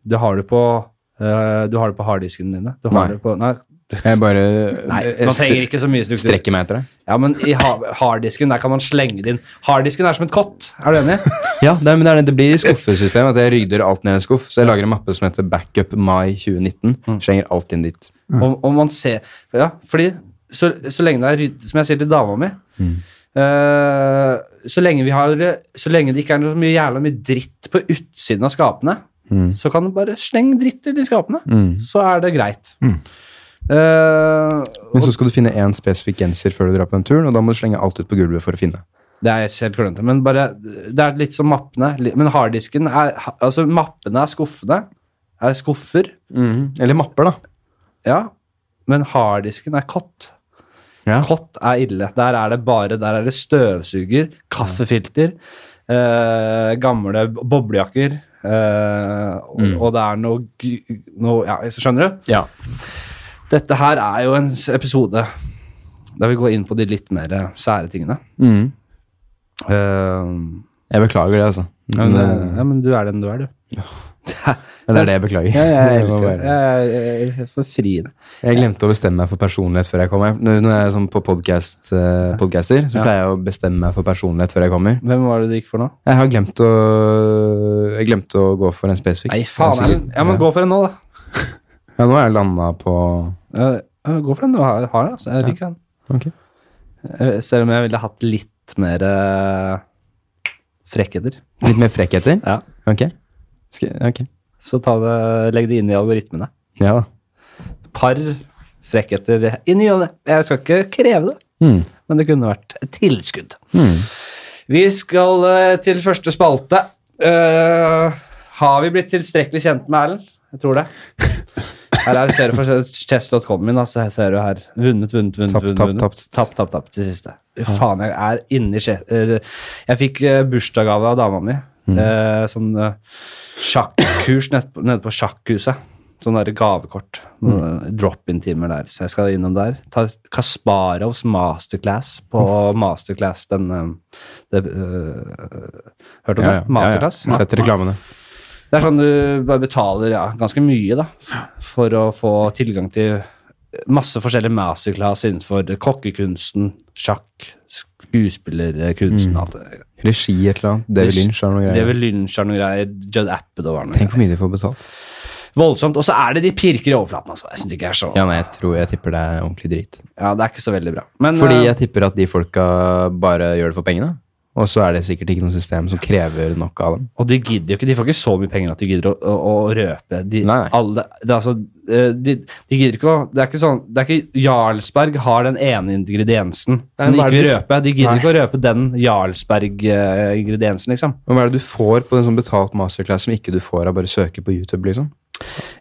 Speaker 1: Det har du på eh, Du har det på harddisken dine. Du har
Speaker 2: Nei.
Speaker 1: Det på, nei,
Speaker 2: Jeg bare
Speaker 1: nei,
Speaker 2: jeg
Speaker 1: man trenger ikke så mye struktur.
Speaker 2: strekker meg etter det.
Speaker 1: Ja, men i ha- harddisken, der kan man slenge det inn. Harddisken er som et kott, er du enig?
Speaker 2: Ja, det, er- men det, er, det- det blir i skuffesystemet at jeg rydder alt ned i en skuff. Så jeg lager en mappe som heter Backup Mai 2019. Slenger alt inn dit.
Speaker 1: Om, om man ser Ja, fordi så, så lenge det er ryddig, som jeg sier til dama mi eh, så, lenge vi har, så lenge det ikke er noe mye jævla mye dritt på utsiden av skapene, så kan du bare slenge dritt i de skapene. Så er det greit. Eh,
Speaker 2: Men så skal du finne én spesifikk genser før du drar på den turen, og da må du slenge alt ut på gulvet for å finne.
Speaker 1: det er helt klønete, men bare Det er litt som mappene. li- Men harddisken er ha- Altså, mappene er skuffene. Er skuffer.
Speaker 2: Eller mapper, da.
Speaker 1: Ja. Men harddisken er kott.
Speaker 2: Ja.
Speaker 1: Kott er ille. Der er det bare Der er det støvsuger, kaffefilter, eh, gamle b- boblejakker eh, og, og det er noe, gy- noe Ja, skjønner du?
Speaker 2: Ja.
Speaker 1: Dette her er jo en s- episode der vi går inn på de litt mer eh, sære tingene.
Speaker 2: Mhm.
Speaker 1: Eh,
Speaker 2: Jeg beklager det, altså.
Speaker 1: ja,
Speaker 2: Men,
Speaker 1: men,
Speaker 2: eh,
Speaker 1: ja, men du er den du er, du.
Speaker 2: men det er det jeg beklager.
Speaker 1: Ja, jeg
Speaker 2: Det
Speaker 1: elsker
Speaker 2: var
Speaker 1: det. Jeg
Speaker 2: bare-
Speaker 1: er- Jeg er forfriende.
Speaker 2: Jeg glemte å bestemme meg for personlighet før jeg kom. Jeg- Når når jeg er sånn på podcast, eh, podcaster, så
Speaker 1: Ja.
Speaker 2: pleier jeg å bestemme meg for personlighet før jeg kommer.
Speaker 1: Hvem var det du gikk for nå?
Speaker 2: Jeg har glemt å, jeg glemte å gå for en spesifikk.
Speaker 1: Nei, faen.
Speaker 2: Jeg er
Speaker 1: Erlend.
Speaker 2: sikker-
Speaker 1: Ja, men gå for den nå, da.
Speaker 2: Ja, nå har jeg landa på
Speaker 1: Eh, eh, Gå for den du har, har den, altså. Jeg liker den.
Speaker 2: Ok.
Speaker 1: Eh, Selv om jeg ville hatt litt mer eh, frekkheter.
Speaker 2: Litt mer frekkheter?
Speaker 1: Ja.
Speaker 2: Ok. Skal, ok.
Speaker 1: Så ta det, legg det inn i algoritmene.
Speaker 2: Ja da.
Speaker 1: Par frekkheter i ny og ne. Jeg skal ikke kreve det,
Speaker 2: Mm.
Speaker 1: men det kunne vært et tilskudd.
Speaker 2: Mm.
Speaker 1: Vi skal eh, til første spalte. Eh, har vi blitt tilstrekkelig kjent med Erlend? Jeg tror det. Her er ser du for chess.com min, altså her ser du her. Vunnet, vunnet, vunnet.
Speaker 2: Tapt,
Speaker 1: vunnet,
Speaker 2: tapt,
Speaker 1: vunnet.
Speaker 2: tapt.
Speaker 1: Tapt, tapt, tapt til siste. Fy Faen, jeg er inni chess... eh, jeg fikk eh, bursdagsgave av dama mi
Speaker 2: Mm.
Speaker 1: Eh, sånn eh, sjakkurs nede på, nede på sjakkhuset. Sånn der gavekort.
Speaker 2: Mm.
Speaker 1: Noen, eh, Drop-in-timer der. Så jeg skal innom der. Ta Kasparovs masterclass på masterclass den eh, det, eh, Hørte du om det? Masterclass?
Speaker 2: Ja, ja. Sett reklamene.
Speaker 1: Det er sånn du bare betaler ja, ganske mye da, for å få tilgang til masse forskjellige masterclass innenfor kokkekunsten, sjakk, skuespillerkunsten
Speaker 2: Mm.
Speaker 1: alt det der.
Speaker 2: Regi et eller annet. David Lynch har noe greier.
Speaker 1: David Lynch har noen greier. Judd Appedow har noen
Speaker 2: Tenk hvor mye de får betalt.
Speaker 1: greier. Voldsomt. Og så er det de pirker i overflaten, altså. Jeg synes det ikke er så
Speaker 2: Ja, nei, jeg tror jeg tipper det er ordentlig drit.
Speaker 1: Ja, det er ikke så veldig bra. Men
Speaker 2: Fordi
Speaker 1: eh,
Speaker 2: jeg tipper at de folka bare gjør det for pengene. Og så er det sikkert ikke noe system som krever nok av dem.
Speaker 1: Og de gidder jo ikke, de får ikke så mye penger at de gidder å, å, å røpe. De,
Speaker 2: Nei, nei.
Speaker 1: Alle, det, er altså, eh, de, de gidder ikke å Det er ikke sånn det er ikke, Jarlsberg har den ene ingrediensen
Speaker 2: Nei,
Speaker 1: som de
Speaker 2: hva er
Speaker 1: ikke vil
Speaker 2: det
Speaker 1: røpe. De gidder
Speaker 2: Nei.
Speaker 1: ikke å røpe den Jarlsberg-ingrediensen, liksom.
Speaker 2: Og hva er det du får på en sånn betalt masterclass som ikke du får av bare å søke på YouTube, liksom?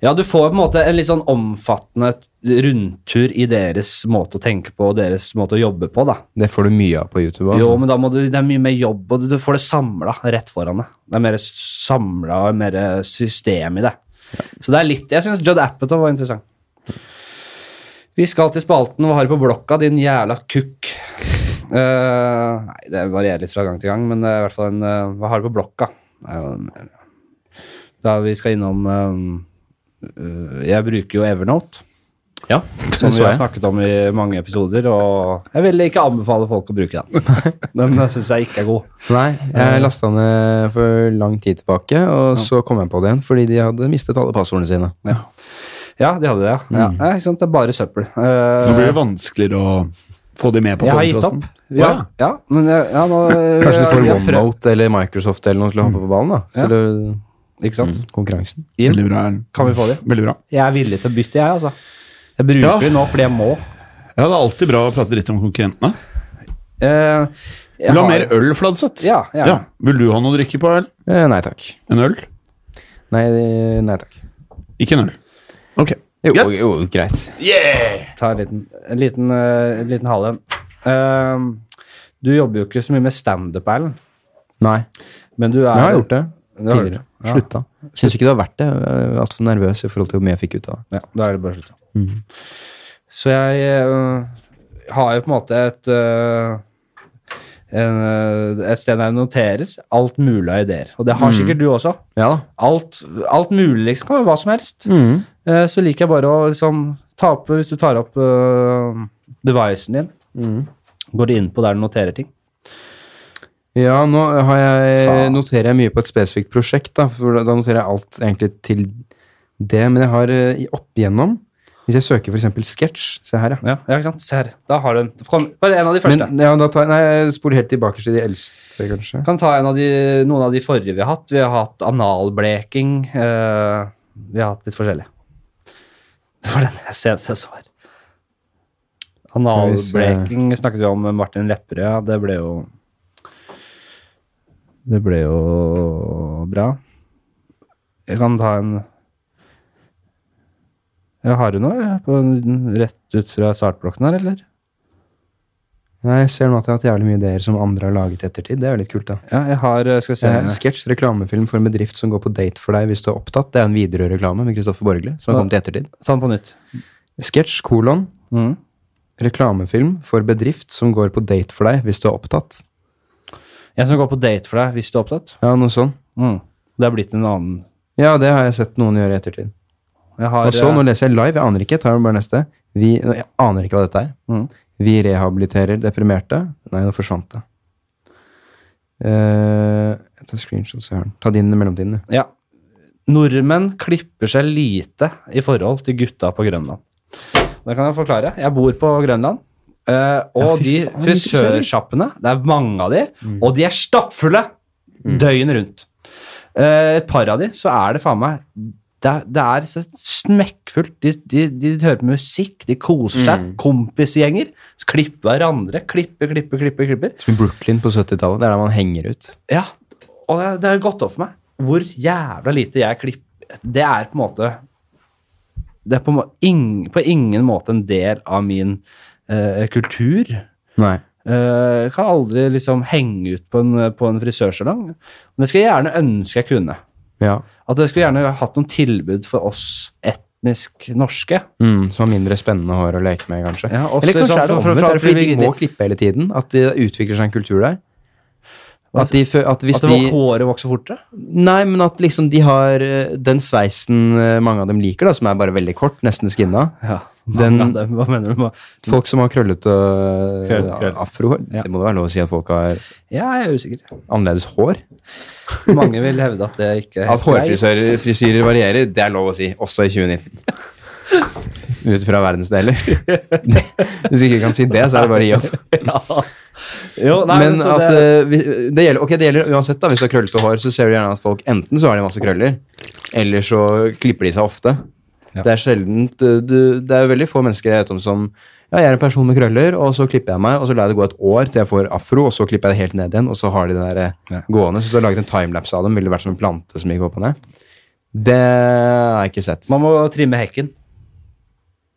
Speaker 1: Ja, du får på en måte en litt sånn omfattende rundtur i deres måte å tenke på og deres måte å jobbe på, da.
Speaker 2: Det får du mye av på YouTube. Altså.
Speaker 1: Jo, men da må du, det er mye mer jobb, og du- du får det samla rett foran deg. Det er mer samla og mer eh, system i det. Så det er litt Jeg syns Judd Apatow var interessant. Vi skal til spalten Hva har du på blokka, din jævla kukk? Eh, nei, det varierer litt fra gang til gang, men det er i hvert fall en eh, Hva har du på blokka? Det er jo en- Da vi skal innom eh, eh, Jeg bruker jo Evernote.
Speaker 2: ja,
Speaker 1: Som
Speaker 2: det
Speaker 1: vi
Speaker 2: så
Speaker 1: har
Speaker 2: jeg.
Speaker 1: snakket om i mange episoder, og jeg vil ikke anbefale folk å bruke den. Den syns jeg ikke er god.
Speaker 2: Nei, jeg lasta ned for lang tid tilbake, og så kom jeg på det igjen fordi de hadde mistet alle passordene sine.
Speaker 1: Ja, de hadde det, ja. ja. ja ikke sant? Det er bare søppel. Eh,
Speaker 3: Nå blir det vanskeligere å få de med på
Speaker 1: jeg har gitt
Speaker 3: podkasten.
Speaker 1: opp. Ja, ja, men jeg, ja, nå
Speaker 2: Kanskje du
Speaker 1: jeg
Speaker 2: får
Speaker 1: har prøvd-
Speaker 2: OneNote eller Microsoft eller noe til å hoppe på ballen, da.
Speaker 1: Ja.
Speaker 2: Så det-
Speaker 1: Ikke sant?
Speaker 2: Mm. konkurransen.
Speaker 1: Jim,
Speaker 3: Veldig bra. Erlend.
Speaker 1: kan vi få det?
Speaker 3: Veldig bra.
Speaker 1: Jeg er villig til å bytte, jeg, altså. Jeg bruker
Speaker 3: Ja.
Speaker 1: det nå fordi jeg må.
Speaker 3: Ja, det er alltid bra å prate dritt om konkurrentene.
Speaker 1: Eh, jeg
Speaker 3: Vil du
Speaker 1: har-
Speaker 3: ha mer øl, Fladseth?
Speaker 1: Ja, gjerne.
Speaker 3: Ja. Vil du ha noe å drikke på, eller?
Speaker 2: Eh, nei takk.
Speaker 3: En øl?
Speaker 2: Nei, nei takk.
Speaker 3: Ikke en øl. Ok.
Speaker 2: Jo,
Speaker 3: Greit.
Speaker 2: jo greit.
Speaker 1: Ta en liten, en liten, eh, en liten hal igjen. Eh, du jobber jo ikke så mye med standup, Erlend,
Speaker 2: Nei.
Speaker 1: men du er
Speaker 2: Men jeg har gjort det
Speaker 1: Du har gjort
Speaker 2: tidligere.
Speaker 1: det, ja.
Speaker 2: Slutta. Syns ikke det var verdt det. Jeg var altfor nervøs i forhold til hvor mye jeg fikk ut av
Speaker 1: Ja,
Speaker 2: det.
Speaker 1: da er det bare å slutte.
Speaker 2: Mm.
Speaker 1: Så jeg øh, har jo på en måte et øh, en, øh, et sted der jeg noterer alt mulig av ideer. Og det har
Speaker 2: Mm.
Speaker 1: sikkert du også.
Speaker 2: Ja da.
Speaker 1: Alt, alt mulig, liksom. Kan være hva som helst.
Speaker 2: Mm.
Speaker 1: Eh, så liker jeg bare å liksom ta opp Hvis du tar opp øh, devicen din,
Speaker 2: Mm.
Speaker 1: går du inn på der du noterer ting.
Speaker 2: Ja, nå har jeg,
Speaker 1: Faen.
Speaker 2: noterer jeg mye på et spesifikt prosjekt, da, for da noterer jeg alt egentlig til det. Men jeg har eh, i- opp igjennom Hvis jeg søker f.eks. sketsj Se her, ja.
Speaker 1: Ja, ja ikke sant? Se her. Da har du en. Kom, bare en av de første.
Speaker 2: Men, ja da tar, jeg- nei, jeg spoler helt tilbake til de eldste, kanskje.
Speaker 1: kan ta en av de, noen av de forrige vi har hatt. Vi har hatt analbleking. eh, vi har hatt litt forskjellig. Det var den jeg senest jeg så her. Analbleking snakket vi om med Martin Lepperød. Det ble jo Det ble jo bra. Jeg kan ta en ja, Har du noe eller? På, rett ut fra startblokken her, eller?
Speaker 2: Nei, Jeg ser nå at jeg har hatt jævlig mye ideer som andre har laget i ettertid. Det er jo litt kult, da.
Speaker 1: Ja, jeg har eh, Skal vi se.
Speaker 2: Eh, Sketsj, reklamefilm for en bedrift som går på date for deg hvis du er opptatt. Det er en Widerøe-reklame med Kristoffer Borgli som har kommet i ettertid.
Speaker 1: Ta den på nytt.
Speaker 2: Sketsj, kolon,
Speaker 1: Mm.
Speaker 2: reklamefilm for bedrift som går på date for deg hvis du er opptatt.
Speaker 1: En som går på date for deg hvis du er opptatt.
Speaker 2: Ja, noe sånn.
Speaker 1: Mm. Det er blitt en annen
Speaker 2: Ja, det har jeg sett noen gjøre i ettertid.
Speaker 1: Jeg har,
Speaker 2: Og så, nå
Speaker 1: eh,
Speaker 2: leser jeg live, jeg aner ikke, jeg tar bare neste. Vi, jeg aner ikke hva dette er.
Speaker 1: Mm.
Speaker 2: Vi rehabiliterer deprimerte. Nei, nå forsvant det. Eh, jeg tar screenshot, Søren. Ta din i mellomtiden, du.
Speaker 1: ja. Nordmenn klipper seg lite i forhold til gutta på Grønland. Det kan jeg forklare. Jeg bor på Grønland. eh, og
Speaker 2: Ja, fy
Speaker 1: de
Speaker 2: faen, Mm.
Speaker 1: frisørsjappene, det er mange av de, og de er stappfulle døgnet rundt. Eh, et par av de, så er det faen meg det, er- det er så smekkfullt. De, de, de hører på musikk, de koser seg.
Speaker 2: Mm.
Speaker 1: Kompisgjenger. Klipper hverandre. Klipper, klipper, klipper. klipper.
Speaker 2: Som i Brooklyn på 70-tallet. Det er der man henger ut.
Speaker 1: Ja, og det, det har gått opp for meg hvor jævla lite jeg klipper. Det er på en måte Det er på, en må- ing, på ingen måte en del av min eh, kultur.
Speaker 2: Nei.
Speaker 1: Eh, kan aldri liksom henge ut på en, på en frisørsalong. Men det skulle jeg gjerne ønske jeg kunne.
Speaker 2: Ja.
Speaker 1: At jeg skulle gjerne hatt noen tilbud for oss etnisk norske.
Speaker 2: Mm, som har mindre spennende hår å leke med, kanskje.
Speaker 1: Ja, også
Speaker 2: Eller kanskje
Speaker 1: liksom
Speaker 2: er det
Speaker 1: for- for-
Speaker 2: omvendt,
Speaker 1: for-
Speaker 2: er det fordi de
Speaker 1: fordi vi-
Speaker 2: må klippe hele tiden? At det utvikler seg en kultur der?
Speaker 1: Hva-
Speaker 2: At, de, fø- at hvis
Speaker 1: At det var
Speaker 2: de
Speaker 1: håret vokser fortere.
Speaker 2: Nei, men at liksom de har eh, den sveisen eh, mange av dem liker, da, som er bare veldig kort, nesten skinna.
Speaker 1: Ja,
Speaker 2: Den-
Speaker 1: mange av dem, hva mener du? med-
Speaker 2: Folk som har krøllete eh,
Speaker 1: Krøll, krøll.
Speaker 2: afrohår.
Speaker 1: Ja.
Speaker 2: Det må jo være lov å si at folk har
Speaker 1: Ja, jeg er usikker.
Speaker 2: annerledes hår.
Speaker 1: Mange vil hevde at det ikke er
Speaker 2: At
Speaker 1: helt greit.
Speaker 2: hårfrisyrer frisyrer varierer, det er lov å si, også i 2019. Ut fra verdensdeler. Det- Hvis vi ikke kan si det, så er det bare å gi opp.
Speaker 1: Jo, nei, men,
Speaker 2: men
Speaker 1: så
Speaker 2: at
Speaker 1: det,
Speaker 2: eh, vi, det, gjelder, ok, det gjelder uansett, da. Hvis du har krøllete hår, så ser du gjerne at folk enten så har de masse krøller, eller så klipper de seg ofte.
Speaker 1: Ja.
Speaker 2: Det er sjeldent eh, du, Det er jo veldig få mennesker jeg vet om som ja, jeg er en person med krøller, og så klipper jeg meg, og så lar jeg det gå et år til jeg får afro, og så klipper jeg det helt ned igjen, og så har de det der eh,
Speaker 1: Ja.
Speaker 2: gående. Så hvis du har laget en timelapse av dem, ville det vært som en plante som gikk opp og ned. Det har jeg ikke sett.
Speaker 1: man må trimme hekken.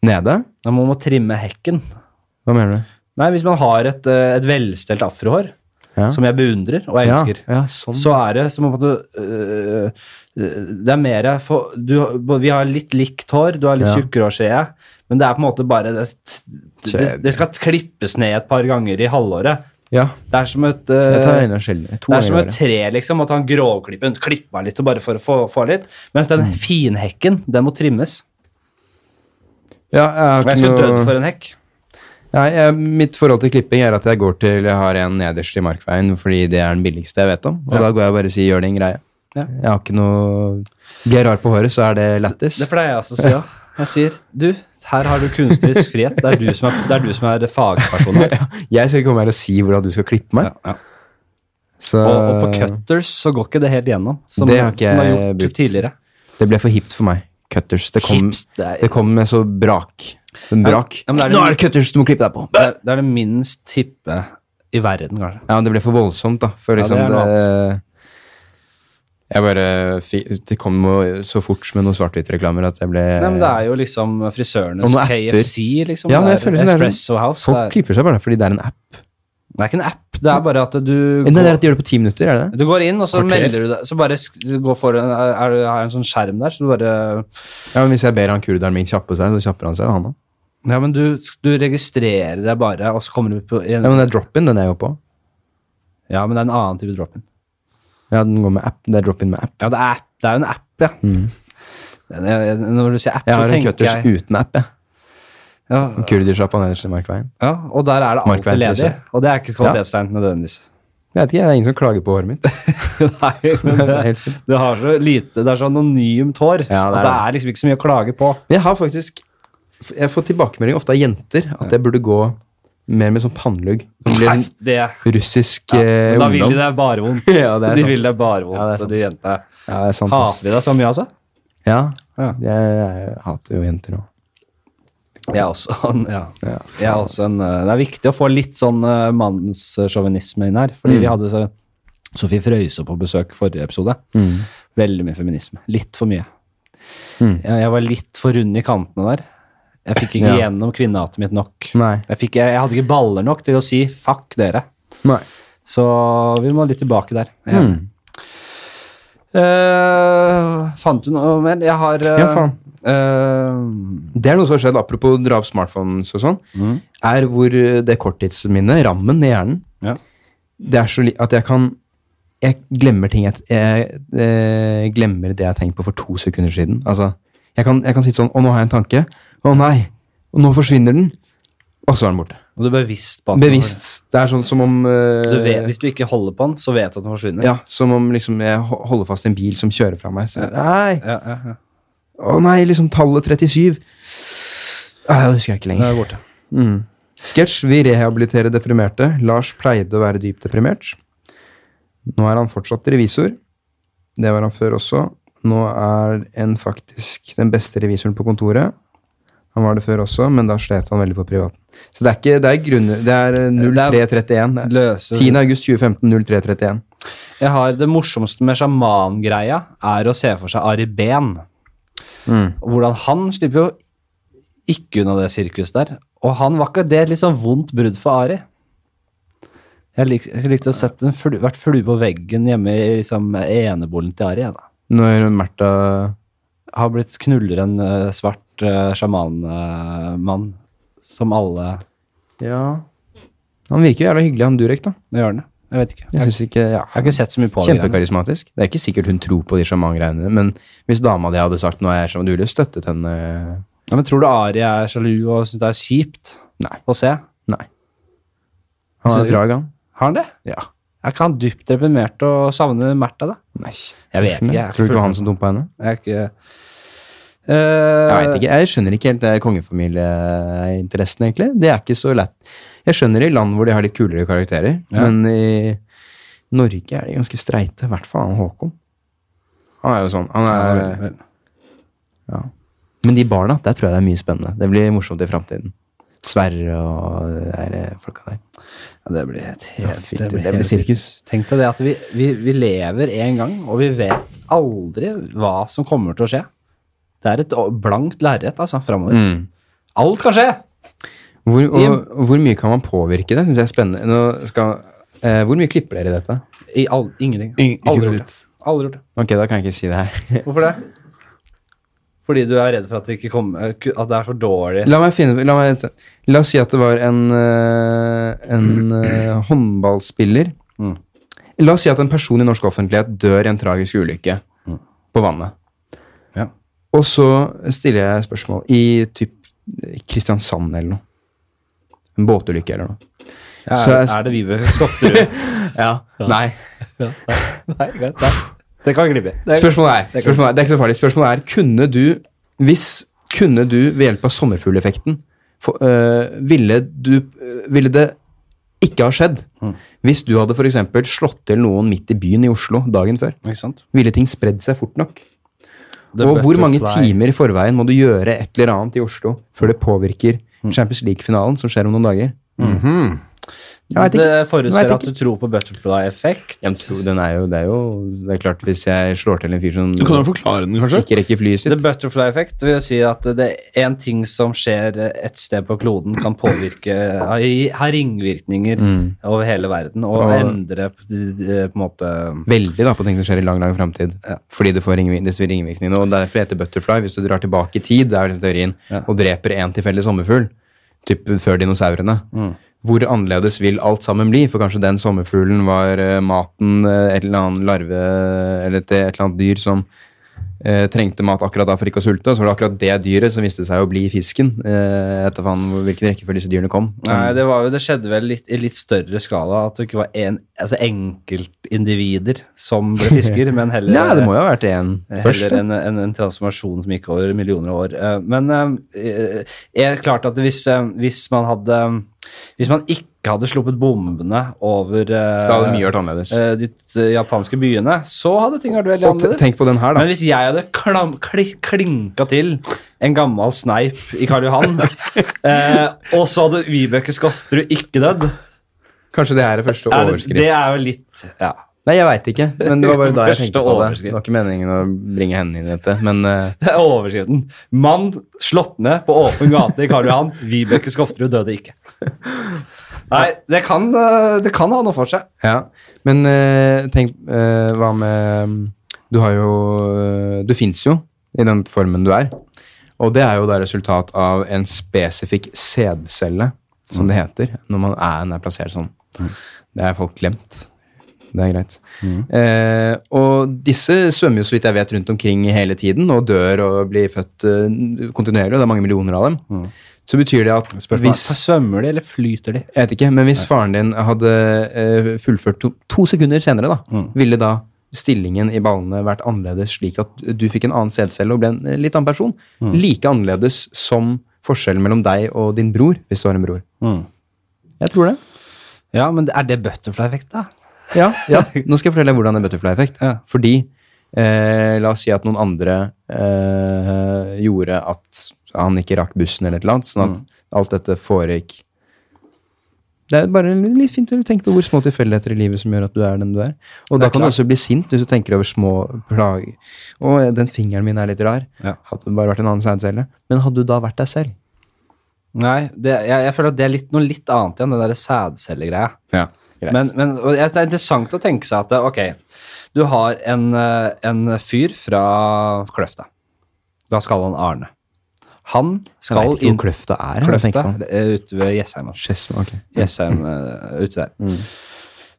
Speaker 2: Nede?
Speaker 1: Ja, Man må trimme hekken.
Speaker 2: Hva mener du?
Speaker 1: Nei, hvis man har et, eh, et velstelt afrohår,
Speaker 2: Ja.
Speaker 1: som jeg beundrer og jeg
Speaker 2: ja,
Speaker 1: elsker,
Speaker 2: ja, sånn.
Speaker 1: så er det som om at du øh, Det er mer for, du, Vi har litt likt hår, du har litt
Speaker 2: Ja.
Speaker 1: tjukkere hårskjede, men det er på en måte bare det, det, det skal klippes ned et par ganger i halvåret.
Speaker 2: Ja.
Speaker 1: Det er som et
Speaker 2: Jeg tar
Speaker 1: øh,
Speaker 2: øynene og skjelver. To
Speaker 1: det er som
Speaker 2: ganger
Speaker 1: et
Speaker 2: i året.
Speaker 1: tre, liksom. At han grovklippen klipper litt bare for å få, få litt. Mens
Speaker 2: Mm.
Speaker 1: den finhekken, den må trimmes.
Speaker 2: Ja, jeg har
Speaker 1: Og jeg
Speaker 2: ikke
Speaker 1: skulle
Speaker 2: noe-
Speaker 1: dødd for en hekk.
Speaker 2: Nei, jeg, mitt forhold til klipping er at jeg går til Jeg har en nederst i markveien fordi det er den billigste jeg vet om. Og
Speaker 1: Ja.
Speaker 2: da går jeg og bare og sier 'gjør din greie'.
Speaker 1: Ja.
Speaker 2: Jeg har ikke noe Blir jeg rar på håret, så er det lættis.
Speaker 1: Det pleier jeg også å si, ja. Jeg sier du, her har du kunstnerisk frihet. Det er du som er, det er, du som er fagperson her.
Speaker 2: Jeg skal ikke komme her og si hvordan du skal klippe meg.
Speaker 1: Ja, ja.
Speaker 2: Så
Speaker 1: Og, og på cutters så går ikke det helt gjennom, som
Speaker 2: Det har ikke
Speaker 1: som har
Speaker 2: jeg
Speaker 1: gjort
Speaker 2: brukt.
Speaker 1: tidligere.
Speaker 2: det ble for hipt for meg. Cutters. Det kom,
Speaker 1: Hips, det er-
Speaker 2: det kom med så brak. En brak.
Speaker 1: ja, men det er det-
Speaker 2: Nå er det cutters du må klippe deg på!
Speaker 1: Det er det, er det minst hippe i verden, kanskje.
Speaker 2: Ja, men det ble for voldsomt, da. For
Speaker 1: Ja, det
Speaker 2: liksom
Speaker 1: er noe
Speaker 2: det Jeg bare fi- Det kom jo så fort med noen svart-hvitt-reklamer at jeg ble
Speaker 1: Nei, men det er jo liksom frisørenes
Speaker 2: Eh. Og noen apper.
Speaker 1: KFC, liksom.
Speaker 2: Ja, men
Speaker 1: det
Speaker 2: jeg føler
Speaker 1: er
Speaker 2: som det er sånn-
Speaker 1: Espresso House.
Speaker 2: Folk
Speaker 1: det, er,
Speaker 2: klipper seg bare fordi det er en app.
Speaker 1: det er ikke en app, det er bare at du
Speaker 2: Nei,
Speaker 1: går,
Speaker 2: det er at de gjør det på ti minutter, er det det?
Speaker 1: du går inn, og så
Speaker 2: Kvarter.
Speaker 1: melder du deg. Så bare sk- går foran er, er, det en sånn skjerm der, så du bare
Speaker 2: Ja, men Hvis jeg ber han kurderen min kjappe seg, så kjapper han seg. Han, da.
Speaker 1: Ja, men du, du registrerer deg bare, og så kommer du på
Speaker 2: ja,
Speaker 1: en,
Speaker 2: men det er drop-in, den jeg går på.
Speaker 1: Ja, men det er en annen type drop-in.
Speaker 2: Ja, den går med app. Det er drop-in med app.
Speaker 1: Ja, det er, det er jo en app, ja. Jeg- jeg- Når du sier app,
Speaker 2: Jeg
Speaker 1: så
Speaker 2: har en
Speaker 1: tenker
Speaker 2: cutters
Speaker 1: jeg
Speaker 2: uten app, Mm. jeg.
Speaker 1: ja,
Speaker 2: Kurdersjappa nederst i Markveien.
Speaker 1: Ja, og der er det alltid
Speaker 2: Markveien,
Speaker 1: ledig.
Speaker 2: kanskje.
Speaker 1: Og det er ikke kvalitetstegn nødvendigvis.
Speaker 2: Jeg vet ikke, det er ingen som klager på håret mitt.
Speaker 1: Nei, men
Speaker 2: Det er
Speaker 1: det,
Speaker 2: helt fint.
Speaker 1: det har så lite Det er så anonymt hår
Speaker 2: Ja, det
Speaker 1: at
Speaker 2: er
Speaker 1: det er liksom ikke så mye å klage på.
Speaker 2: Men jeg har faktisk Jeg får tilbakemelding ofte av jenter at jeg burde gå mer med sånn pannelugg. Det blir
Speaker 1: Nei,
Speaker 2: en
Speaker 1: det,
Speaker 2: russisk eh,
Speaker 1: men da vil
Speaker 2: ungdom.
Speaker 1: de deg bare vondt.
Speaker 2: Ja, det er
Speaker 1: De
Speaker 2: sant.
Speaker 1: vil deg bare vondt,
Speaker 2: Ja, det er
Speaker 1: og de jentene.
Speaker 2: Ja, det er sant. ass.
Speaker 1: Hater de deg så mye, altså?
Speaker 2: Ja,
Speaker 1: Ja.
Speaker 2: jeg, jeg hater jo jenter òg.
Speaker 1: Jeg er også en, ja. Jeg er også en eh, Det er viktig å få litt sånn eh, mannssjåvinisme inn her. Fordi
Speaker 2: Mm.
Speaker 1: vi hadde så, Sofie Frøysaa på besøk forrige episode.
Speaker 2: Mm.
Speaker 1: Veldig mye feminisme. Litt for mye.
Speaker 2: Mm.
Speaker 1: Jeg, jeg var litt for rund i kantene der. Jeg fikk ikke
Speaker 2: Ja.
Speaker 1: gjennom kvinnehatet mitt nok.
Speaker 2: Nei.
Speaker 1: Jeg, fikk, jeg, jeg hadde ikke baller nok til å si 'fuck dere'.
Speaker 2: Nei.
Speaker 1: Så vi må litt tilbake der. Jeg er enig.
Speaker 2: Mm.
Speaker 1: Eh, fant du noe mer? Jeg har eh,
Speaker 2: Ja, faen.
Speaker 1: eh,
Speaker 2: Det er noe som har skjedd, apropos dra opp smartphones og sånn,
Speaker 1: Mm.
Speaker 2: er hvor eh, det korttidsminnet, rammen i hjernen,
Speaker 1: Ja.
Speaker 2: det er så li at jeg kan Jeg glemmer ting jeg, jeg, eh, glemmer det jeg har tenkt på for to sekunder siden. Altså, jeg kan, jeg kan sitte sånn Å, nå har jeg en tanke. Å nei! Og nå forsvinner den. Og så er den borte.
Speaker 1: Og du er bevisst på at du har-
Speaker 2: Bevisst. Det er sånn som om eh,
Speaker 1: Du vet, hvis du ikke holder på den, så vet du at den forsvinner.
Speaker 2: Ja, som om liksom jeg ho- holder fast i en bil som kjører fra meg. Så, nei!
Speaker 1: Ja, ja, ja.
Speaker 2: Å nei, liksom tallet 37. Ah, det husker jeg ikke lenger.
Speaker 1: Den er borte.
Speaker 2: Mm. Sketsj Vi rehabiliterer deprimerte. Lars pleide å være dypt deprimert. Nå er han fortsatt revisor. Det var han før også. Nå er en faktisk den beste revisoren på kontoret. Han var det før også, men da slet han veldig på privaten. Så det er ikke Det er, grunner, det er eh, 0331. Det er
Speaker 1: Løse
Speaker 2: 10. august 2015 0331.
Speaker 1: Jeg har Det morsomste med sjamangreia er å se for seg Ari Behn.
Speaker 2: Mm.
Speaker 1: Og Hvordan han slipper jo ikke unna det sirkuset der. Og han var ikke det litt sånn vondt brudd for Ari? Jeg, lik, jeg likte å sette en flu, vært flue på veggen hjemme i liksom, eneboligen til Ari. jeg, da.
Speaker 2: Når Märtha
Speaker 1: Har blitt knuller en eh, svart uh, sjamanmann eh, som alle
Speaker 2: Ja. Han virker jo jævla hyggelig, han Durek, da.
Speaker 1: gjør det. Jeg vet ikke. Jeg,
Speaker 2: Jeg synes ikke, ja.
Speaker 1: har ikke sett så mye på det. greiene.
Speaker 2: Kjempekarismatisk. Det er ikke sikkert hun tror på de sjamangreiene, men hvis dama di hadde sagt 'nå er jeg sjaman', du ville jo støttet henne
Speaker 1: Ja, men tror du Ari er sjalu og syns det er kjipt
Speaker 2: Nei.
Speaker 1: å se?
Speaker 2: Nei. Han har
Speaker 1: Så-
Speaker 2: et drag, han.
Speaker 1: Har han det?
Speaker 2: Ja.
Speaker 1: Er ikke han dypt deprimert og savner Märtha, da?
Speaker 2: Nei.
Speaker 1: Jeg vet ikke. Jeg er ikke
Speaker 2: Tror du ikke det var han
Speaker 1: full-
Speaker 2: som dumpa henne?
Speaker 1: Jeg er ikke eh,
Speaker 2: Jeg vet ikke. Jeg skjønner ikke helt det kongefamilieinteressen, egentlig. Det er ikke så lett. Jeg skjønner i land hvor de har litt kulere karakterer,
Speaker 1: Ja.
Speaker 2: men i Norge er de ganske streite. I hvert fall han Håkon. Han er jo sånn. Han
Speaker 1: eh,
Speaker 2: er, Ja. Men de barna, der tror jeg det er mye spennende. Det blir morsomt i framtiden. Sverre og de der eh, folka der.
Speaker 1: Ja, det blir et helt
Speaker 2: Ja, fint.
Speaker 1: det blir
Speaker 2: Det blir
Speaker 1: helt
Speaker 2: sirkus.
Speaker 1: Tenk deg det at vi, vi, vi lever én gang, og vi vet aldri hva som kommer til å skje. Det er et å- blankt lerret altså,
Speaker 2: Mm.
Speaker 1: framover. Alt kan skje!
Speaker 2: Hvor, og, hvor mye kan man påvirke det? Syns jeg er spennende. Nå skal, eh, hvor mye klipper dere i dette?
Speaker 1: I all, ingenting.
Speaker 3: Ing- ikke
Speaker 1: Aldri gjort
Speaker 3: litt.
Speaker 1: det. Aldri gjort det.
Speaker 2: Ok, da kan jeg ikke si det her.
Speaker 1: Hvorfor det? Fordi du er redd for at det, ikke kommer, at det er for dårlig
Speaker 2: La meg finne La, meg, la oss si at det var en, eh, en eh, håndballspiller.
Speaker 1: Mm.
Speaker 2: La oss si at en person i norsk offentlighet dør i en tragisk ulykke på vannet.
Speaker 1: Mm. Ja.
Speaker 2: Og så stiller jeg spørsmål i typ Kristiansand eller noe. En båtulykke eller noe.
Speaker 1: Ja,
Speaker 2: Så
Speaker 1: er,
Speaker 2: jeg-
Speaker 1: er det Vibe Skofterud?
Speaker 2: Ja. Nei.
Speaker 1: Nei, greit. nei. Det kan glippe. Det-
Speaker 2: Spørsmålet er, spørsmålet er Det er ikke så farlig. Spørsmålet er kunne du, hvis kunne du ved hjelp av sommerfugleffekten få- øh, ville, du, øh, ville det ikke ha skjedd hvis du hadde f.eks. slått til noen midt i byen i Oslo dagen før?
Speaker 1: Ikke sant?
Speaker 2: Ville ting spredd seg fort nok?
Speaker 1: The
Speaker 2: og hvor mange
Speaker 1: butterfly.
Speaker 2: timer i forveien må du gjøre et eller annet i Oslo før det påvirker Champions League-finalen, som skjer om noen dager?
Speaker 1: Mhm.
Speaker 2: Jeg vet ikke.
Speaker 1: Det
Speaker 2: Jeg
Speaker 1: forutser
Speaker 2: vet
Speaker 1: at du tror på butterfly-effekt.
Speaker 2: Jeg tror Den er jo, det er jo Det er klart, hvis jeg slår til en fyr som
Speaker 3: Du kan jo forklare den, kanskje?
Speaker 2: ikke rekker flyet
Speaker 1: The
Speaker 2: sitt
Speaker 1: butterfly-effekt vil si at det er en ting som skjer et sted på kloden, kan påvirke Har ringvirkninger over hele verden og
Speaker 2: Mm. Og-
Speaker 1: endre på på en måte
Speaker 2: veldig da på ting som skjer i lang lang framtid.
Speaker 1: Ja.
Speaker 2: Fordi det får ringvir- det får ringvirkninger. Og derfor heter det butterfly. Hvis du drar tilbake i tid, det er jo den teorien,
Speaker 1: Ja.
Speaker 2: og dreper én tilfeldig sommerfugl, typ før dinosaurene,
Speaker 1: Mm.
Speaker 2: hvor annerledes vil alt sammen bli? For kanskje den sommerfuglen var eh, maten, eh, et eller annet larve eller et, et eller annet dyr som eh, trengte mat akkurat da for ikke å sulte, og så var det akkurat det dyret som viste seg å bli fisken. Eh, etter faen hvor- hvilken rekkefølge disse dyrene kom.
Speaker 1: Nei, det, var jo, det skjedde vel litt, i litt større skala at det ikke var en, altså enkeltindivider som ble fisker, men heller
Speaker 2: Nei, det må jo ha vært én først.
Speaker 1: Heller
Speaker 2: da.
Speaker 1: enn en, en transformasjon som gikk over millioner av år. Eh, Men eh, er det klart at hvis, eh, hvis man hadde Hvis man ikke hadde sluppet bombene over eh,
Speaker 2: Da hadde mye vært annerledes.
Speaker 1: eh, de t- japanske byene, så hadde ting vært veldig
Speaker 2: Og te-
Speaker 1: annerledes.
Speaker 2: tenk på den her, da.
Speaker 1: Men hvis jeg hadde klam, kli, klinka til en gammel sneip i Karl Johan, eh, og så hadde Vibeke Skofterud ikke dødd
Speaker 2: Kanskje det her er første
Speaker 1: er det,
Speaker 2: overskrift.
Speaker 1: det er jo litt ja.
Speaker 2: Nei, jeg veit ikke, men det var bare da jeg
Speaker 1: Første
Speaker 2: tenkte på det.
Speaker 1: overskrift.
Speaker 2: Det var ikke meningen å bringe henne inn i dette, men eh,
Speaker 1: Det er overskriften. Mann slått ned på åpen gate i Karl Johan. Vibeke Skofterud døde ikke. Nei, det kan, eh, det kan ha noe for seg.
Speaker 2: ja. Men eh, tenk, eh, hva med Du har jo eh, Du fins jo i den formen du er. Og det er jo da resultat av en spesifikk sædcelle, som det heter, når man er, den er plassert sånn. Det er folk glemt. Det er greit. Eh, og disse svømmer jo så vidt jeg vet rundt omkring hele tiden og dør og blir født eh, kontinuerlig, og det er mange millioner av dem. Så betyr det at hvis
Speaker 1: Svømmer de, eller flyter de?
Speaker 2: Jeg vet ikke, men hvis faren din hadde eh, fullført to, to sekunder senere, da, ville da stillingen i ballene vært annerledes, slik at du fikk en annen sædcelle og ble en eh, litt annen person? Like annerledes som forskjellen mellom deg og din bror, hvis du har en bror. Jeg tror det.
Speaker 1: Mm. Ja, men er det butterfly-effekt, da?
Speaker 2: Ja, ja. Nå skal jeg fortelle deg hvordan det er butterfly-effekt.
Speaker 1: Ja.
Speaker 2: Fordi eh, la oss si at noen andre eh, gjorde at han ikke rakk bussen eller et eller annet, sånn
Speaker 1: Mm.
Speaker 2: at alt dette foregikk det er bare litt fint å tenke på hvor små tilfeldigheter i livet som gjør at du er den du er. Og da kan du også bli sint hvis du tenker over små plager. Å, den fingeren min er litt rar.
Speaker 1: Ja.
Speaker 2: Hadde det bare vært en annen sædcelle. Men hadde du da vært deg selv?
Speaker 1: Nei, det, jeg, jeg føler at det er litt, noe litt annet igjen, den der sædcellegreia.
Speaker 2: Greit.
Speaker 1: Men, men og jeg- det er interessant å tenke seg at ok, du har en, eh, en fyr fra Kløfta. La oss kalle han Arne. Han
Speaker 2: Jeg
Speaker 1: skal
Speaker 2: vet ikke
Speaker 1: inn
Speaker 2: hvor Kløfta er. jeg tenker på Mm.
Speaker 1: Kløfta
Speaker 2: det.
Speaker 1: eh, ute ved Jessheim. altså.
Speaker 2: Skedsmo, ok.
Speaker 1: Jessheim eh, ute der.
Speaker 2: Mm.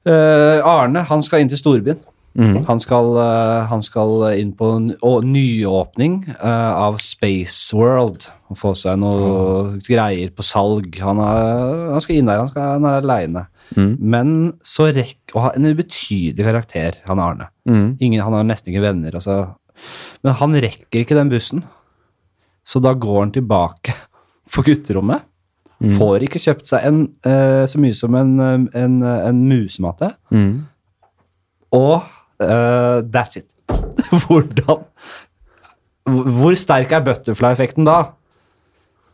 Speaker 1: Eh, Arne han skal inn til storbyen.
Speaker 2: Mm.
Speaker 1: Han, skal, eh, han skal inn på en å- nyåpning eh, av Space World og få seg
Speaker 2: Ah.
Speaker 1: noe greier på salg. Han, er, han skal inn der, han, skal, han er aleine.
Speaker 2: Mm.
Speaker 1: Men så rekk Og ha- en ubetydelig karakter, han Arne.
Speaker 2: Mm.
Speaker 1: Ingen, han har nesten ikke venner. Altså. Men han rekker ikke den bussen, så da går han tilbake på gutterommet.
Speaker 2: Mm.
Speaker 1: Får ikke kjøpt seg en, eh, så mye som en, eh, en, eh, en musematte.
Speaker 2: Mm.
Speaker 1: Og eh, that's it. Hvordan Hvor hvor sterk er butterfly-effekten da?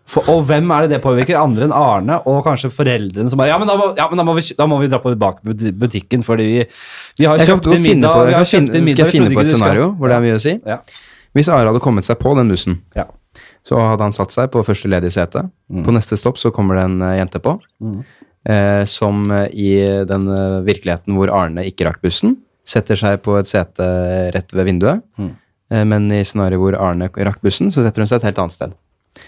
Speaker 1: For, og hvem er det det påvirker? Andre enn Arne og kanskje foreldrene som bare Ja, men da må, ja, men da må, vi, kjø- da må vi dra på bak buti- butikken, fordi vi, vi har
Speaker 2: Jeg kan
Speaker 1: kjøpt
Speaker 2: godt
Speaker 1: en
Speaker 2: finne på
Speaker 1: middag.
Speaker 2: det.
Speaker 1: Vi
Speaker 2: Jeg
Speaker 1: har
Speaker 2: kan
Speaker 1: kjøpt en
Speaker 2: finne,
Speaker 1: middag
Speaker 2: skal jeg
Speaker 1: vi
Speaker 2: finne
Speaker 1: trodde
Speaker 2: på et
Speaker 1: ikke du
Speaker 2: scenario hvor det er mye å si?
Speaker 1: Ja.
Speaker 2: Hvis Are hadde kommet seg på den bussen,
Speaker 1: ja.
Speaker 2: så hadde han satt seg på første ledige sete. På neste stopp så kommer det en eh, jente på, eh, som eh, i den eh, virkeligheten hvor Arne ikke rakk bussen, setter seg på et sete rett ved vinduet. Eh, men i scenarioet hvor Arne rakk bussen, så setter hun seg et helt annet sted.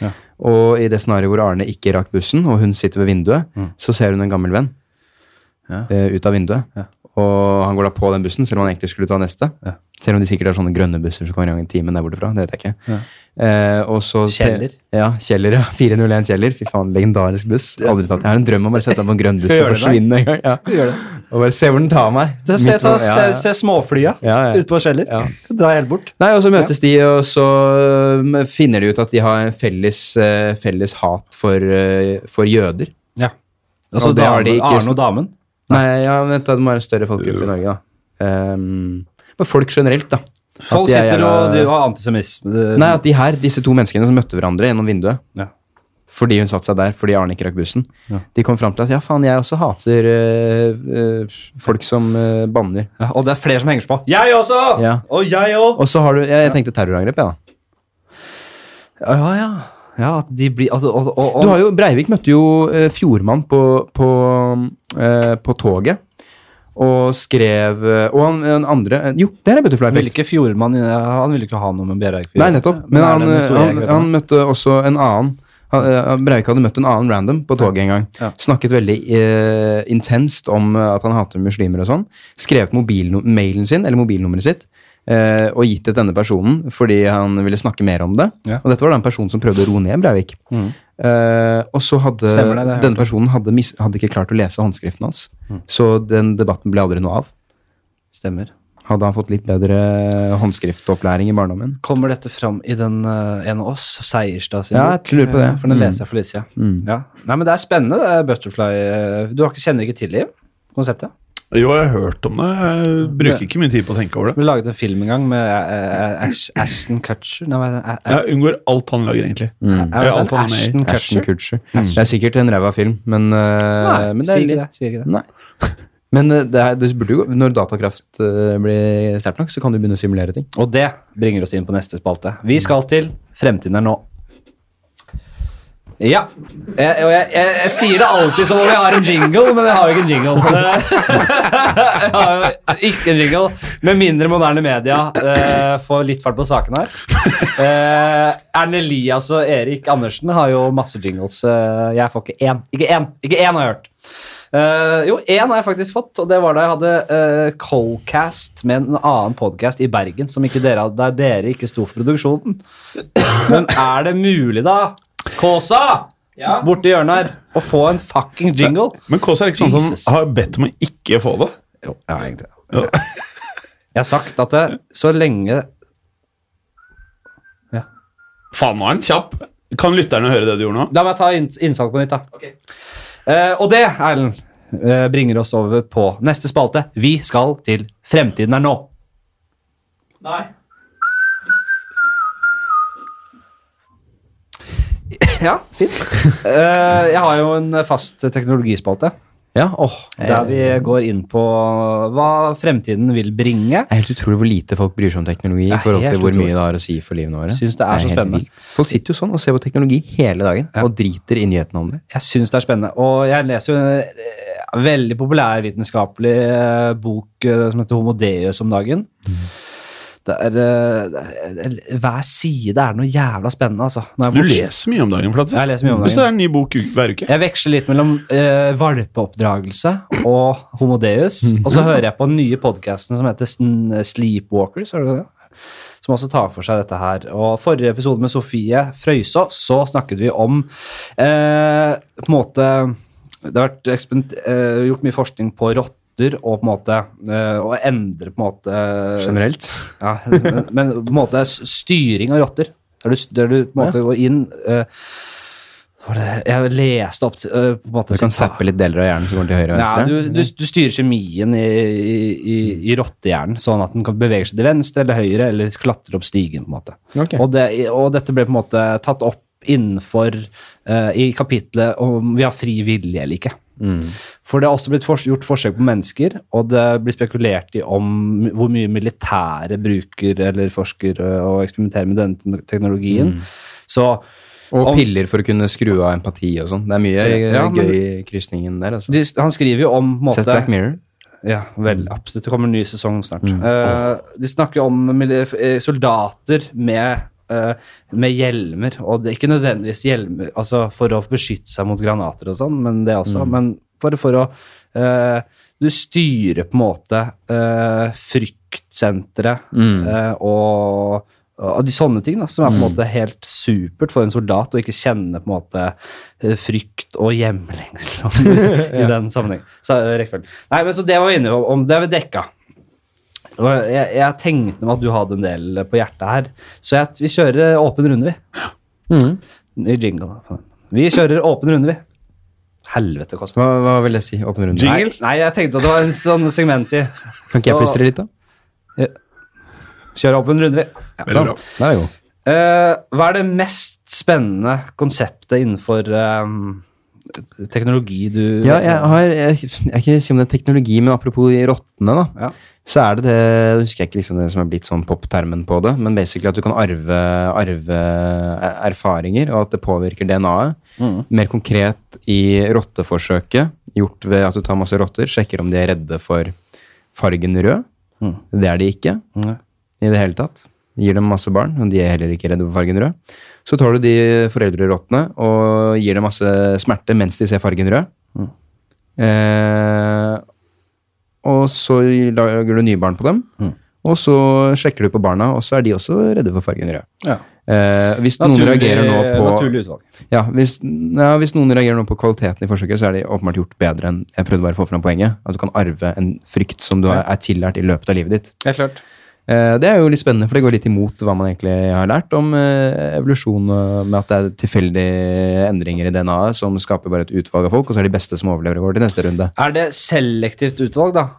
Speaker 1: Ja.
Speaker 2: Og i det scenarioet hvor Arne ikke rakk bussen, og hun sitter ved vinduet, så ser hun en gammel venn
Speaker 1: Mm. Ja.
Speaker 2: eh, ut av vinduet. Og han går da på den bussen, selv om han egentlig skulle ta neste.
Speaker 1: Ja.
Speaker 2: Selv om de sikkert har sånne grønne busser som kommer en gang i timen der borte fra. Det vet jeg ikke. Eh, og så
Speaker 1: Kjeller.
Speaker 2: Ja, Kjeller, ja. 401 Kjeller. Fy faen, legendarisk buss. Aldri tatt. Jeg har en drøm om å bare sette meg på en grønn buss
Speaker 1: Skal
Speaker 2: og
Speaker 1: gjøre det,
Speaker 2: forsvinne en gang. Ja. Og bare se hvor den tar meg.
Speaker 1: Se, se,
Speaker 2: Midt
Speaker 1: ta,
Speaker 2: på- ja, ja.
Speaker 1: se, se småflya
Speaker 2: Ja, ja.
Speaker 1: ute på Kjeller.
Speaker 2: Ja.
Speaker 1: Dra helt bort.
Speaker 2: Nei, og så møtes de, og så øhm, finner de ut at de har en felles, eh, felles hat for, eh, for jøder.
Speaker 1: Ja. Altså,
Speaker 2: Og det har de
Speaker 1: damen-
Speaker 2: ikke-
Speaker 1: Arne og damen.
Speaker 2: Nei, ja, vent da, det må være en større folkegruppe i Norge, da. Ehm, men folk generelt, da.
Speaker 1: Folk
Speaker 2: de er
Speaker 1: sitter og
Speaker 2: jævla-
Speaker 1: de har eh, antisemisme. Det-
Speaker 2: Nei, at de her, disse to menneskene som møtte hverandre gjennom vinduet,
Speaker 1: Ja.
Speaker 2: fordi hun satte seg der, fordi Arne ikke rakk bussen,
Speaker 1: Ja.
Speaker 2: de kom fram til at ja, faen, jeg også hater eh, eh, folk som eh, banner.
Speaker 1: Ja, og det er flere som henger seg på. Jeg også!
Speaker 2: Ja.
Speaker 1: Og jeg òg!
Speaker 2: Og så har du Jeg, jeg tenkte terrorangrep, jeg, da.
Speaker 1: Ja, ja. Ja, at de blir altså, og, og, og,
Speaker 2: Du har jo, Breivik møtte jo eh, Fjordmann på, på, eh, på toget. Og skrev eh, Og han, han andre eh, Jo, det er Butterfly
Speaker 1: Han ville
Speaker 2: Effect.
Speaker 1: ikke Fjordmann inn- Han ville ikke ha noe med Bjerreik
Speaker 2: Nei, nettopp. Men han, eh, han, han
Speaker 1: han,
Speaker 2: møtte også en annen han, eh, Breivik hadde møtt en annen random på toget en gang.
Speaker 1: Ja.
Speaker 2: Snakket veldig eh, intenst om eh, at han hater muslimer og sånn. Skrevet mobilnu- mailen sin, eller mobilnummeret sitt, eh, og gitt det til denne personen fordi han ville snakke mer om det.
Speaker 1: Ja. Mm.
Speaker 2: Og dette var da en person som prøvde å roe ned Breivik. Eh, og så hadde
Speaker 1: Stemmer det, det har jeg
Speaker 2: denne personen hadde, mis, hadde ikke klart å lese håndskriften hans.
Speaker 1: Mm.
Speaker 2: Så den debatten ble aldri noe av.
Speaker 1: Stemmer.
Speaker 2: Hadde han fått litt bedre eh, håndskriftopplæring i barndommen?
Speaker 1: Kommer dette fram i den eh, en av oss, Seierstad sin
Speaker 2: Ja, jeg lurer på det.
Speaker 1: Eh, For den
Speaker 2: Mm.
Speaker 1: leser jeg for litt siden. Ja. Nei, men det er spennende, det er Butterfly. eh, Du har ikke, kjenner ikke til det, konseptet?
Speaker 3: Jo, jeg har hørt om det. Jeg bruker ikke mye tid på å tenke over det.
Speaker 1: Vi laget en film en gang med eh, eh, Ash, Ashton Kutcher Nei, men, eh, eh,
Speaker 3: Jeg unngår alt han lager, egentlig.
Speaker 1: er det
Speaker 3: Ja, alt
Speaker 1: den?
Speaker 3: han er med i.
Speaker 1: Ashton
Speaker 2: Ashton
Speaker 1: Kutcher?
Speaker 2: Kutcher. Det er sikkert en ræva film, men, eh,
Speaker 1: Nei,
Speaker 2: men
Speaker 1: sier ikke
Speaker 2: litt-
Speaker 1: det. Sier ikke det.
Speaker 2: Nei. Men eh, det, er, det burde jo gå. Når datakraft eh, blir sterkt nok, så kan du begynne å simulere ting.
Speaker 1: Og det bringer oss inn på neste spalte. Vi skal til Fremtiden er nå. Ja. Jeg, og jeg, jeg, jeg sier det alltid som om jeg har en jingle, men jeg har jo ikke en jingle. Jeg har jo ikke en jingle. Med mindre moderne media eh, får litt fart på saken her. Eh, Erne Elias og Erik Andersen har jo masse jingles. Eh, jeg får ikke én. Ikke én Ikke én har jeg hørt. Eh, jo, én har jeg faktisk fått, og det var da jeg hadde eh, Colcast med en annen podkast i Bergen som ikke dere, hadde- der dere ikke sto for produksjonen. Men er det mulig, da, Kåsa, borti hjørnet her, å få en fucking jingle?
Speaker 3: Men Kås er ikke sånn at
Speaker 1: Jesus.
Speaker 3: han har bedt om å ikke få det.
Speaker 1: Jo, ja, egentlig. Jeg har sagt at det, så lenge
Speaker 3: Faen, nå er han kjapp! Kan lytterne høre det du gjorde nå?
Speaker 1: La meg ta inns- innsalg på nytt, da. Eh, og det, Erlend, eh, bringer oss over på neste spalte. Vi skal til Fremtiden er nå. Nei. ja, fint. Eh, jeg har jo en fast teknologispalte
Speaker 2: Ja, åh. Det
Speaker 1: der
Speaker 2: er,
Speaker 3: Eh.
Speaker 1: vi går inn på hva fremtiden vil bringe.
Speaker 2: helt utrolig hvor lite folk bryr seg om teknologi i
Speaker 1: er
Speaker 2: forhold til
Speaker 1: helt
Speaker 2: hvor
Speaker 1: utrolig.
Speaker 2: mye det har å si for livene våre.
Speaker 1: Syns det er så
Speaker 2: helt
Speaker 1: spennende.
Speaker 2: vilt. Folk sitter jo sånn og ser på teknologi hele dagen og driter i nyhetene om det.
Speaker 1: Jeg syns det er spennende. Og jeg leser jo eh, ja, veldig populærvitenskapelig eh, bok eh, som heter Homo Deus om dagen.
Speaker 3: Mhm.
Speaker 1: Det er, eh, det er, hver side er noe jævla spennende, altså. Når
Speaker 3: Du
Speaker 1: jeg, bort-
Speaker 3: leser mye om dagen, Flatseth.
Speaker 1: Jeg leser mye om dagen.
Speaker 3: Og så er det en ny bok u- hver uke.
Speaker 1: jeg veksler litt mellom eh, valpeoppdragelse og Homo Deus. Og så hører jeg på den nye podkasten som heter Sn- Sleepwalkers, er det det? som også tar for seg dette her. Og forrige episode med Sofie Frøysaa, så snakket vi om eh, på en måte Det har vært eksperiment- eh, gjort mye forskning på rotter og på en måte eh, å endre på en måte eh,
Speaker 2: Generelt.
Speaker 1: ja, men- men på en måte s- styring av rotter. Der du, der du på en måte går inn eh, hva var det, Jeg leste opp til- eh, på en måte
Speaker 2: Du kan
Speaker 1: sitat-
Speaker 2: zappe litt deler av hjernen som går til høyre og
Speaker 1: ja,
Speaker 2: venstre.
Speaker 1: du, du, du styrer kjemien i, i- i, i rottehjernen, sånn at den kan bevege seg til venstre eller høyre, eller klatre opp stigen. på en måte.
Speaker 2: Ok.
Speaker 1: Og, det, og dette ble på en måte tatt opp innenfor eh, i kapitlet om vi har fri vilje eller ikke. For det har også blitt fors gjort forsøk på mennesker, og det blir spekulert i om hvor mye militære bruker eller forsker eh, og eksperimenterer med denne te- teknologien. Så
Speaker 2: Og
Speaker 1: om-
Speaker 2: piller for å kunne skru av empati og sånn. Det er mye eh,
Speaker 1: Ja, men-
Speaker 2: gøy i krysningen der. Altså.
Speaker 1: de, han skriver jo om på en måte,
Speaker 2: Sett Black Mirror.
Speaker 1: Ja, vel, absolutt. Det kommer en ny sesong snart. Eh, de snakker om mili- eh, soldater med, eh, med hjelmer, og det er ikke nødvendigvis hjelmer altså for å beskytte seg mot granater og sånn, men det også. Men bare for å eh, Du styrer på en måte uh, fryktsenteret eh, og og de sånne ting da, som er på en måte helt supert for en soldat å ikke kjenne på en måte eh, frykt og hjemlengsel i den sammenheng. Så, eh, rekkefølgen. Nei, men så det var vi inne om, det har vi dekka. Og jeg, jeg tenkte meg at du hadde en del på hjertet her, så jeg, vi kjører åpen runde, vi.
Speaker 2: Mm.
Speaker 1: Ny jingle. da, faen. Vi kjører åpen runde, vi. Helvete, koster
Speaker 2: Hva, hva vil jeg si? Åpen runde.
Speaker 3: Jingle?
Speaker 1: Nei, nei, jeg tenkte at det var en sånn segment i.
Speaker 2: Kan ikke jeg
Speaker 1: Så-
Speaker 2: plystre litt, da?
Speaker 1: Kjøre åpen runde, vi. Ja.
Speaker 3: Veldig bra.
Speaker 2: Det er jo.
Speaker 1: Eh, hva er det mest spennende konseptet innenfor eh, teknologi du
Speaker 2: Ja, jeg har Jeg, jeg kan ikke si om det er teknologi, men apropos de rottene, da.
Speaker 1: Ja.
Speaker 2: Så er det det Jeg husker ikke liksom det som er blitt sånn poptermen på det, men basically at du kan arve, arve er- erfaringer, og at det påvirker DNA-et. Mer konkret i rotteforsøket, gjort ved at du tar masse rotter, sjekker om de er redde for fargen rød.
Speaker 1: Mm.
Speaker 2: Det er de ikke
Speaker 1: Nei.
Speaker 2: i det hele tatt. Gir dem masse barn, og de er heller ikke redde for fargen rød. Så tar du de foreldrerottene og gir dem masse smerte mens de ser fargen rød.
Speaker 1: Mm.
Speaker 2: Eh, og så lager du nye barn på dem,
Speaker 1: Mm.
Speaker 2: og så sjekker du på barna, og så er de også redde for fargen rød.
Speaker 1: Ja.
Speaker 2: Eh, hvis noen
Speaker 1: Naturlig-
Speaker 2: reagerer nå på
Speaker 1: Naturlig utvalg.
Speaker 2: ja, hvis, ja, hvis noen reagerer nå på kvaliteten i forsøket, så er det åpenbart gjort bedre enn jeg prøvde bare å få fram poenget. At du kan arve en frykt som du er, er tillært i løpet av livet ditt.
Speaker 1: Helt klart.
Speaker 2: Eh, Det er jo litt spennende, for det går litt imot hva man egentlig har lært om eh, evolusjon, eh, med at det er tilfeldige endringer i DNA-et som skaper bare et utvalg av folk, og så er de beste som overlever og går til neste runde.
Speaker 1: Er det selektivt utvalg, da?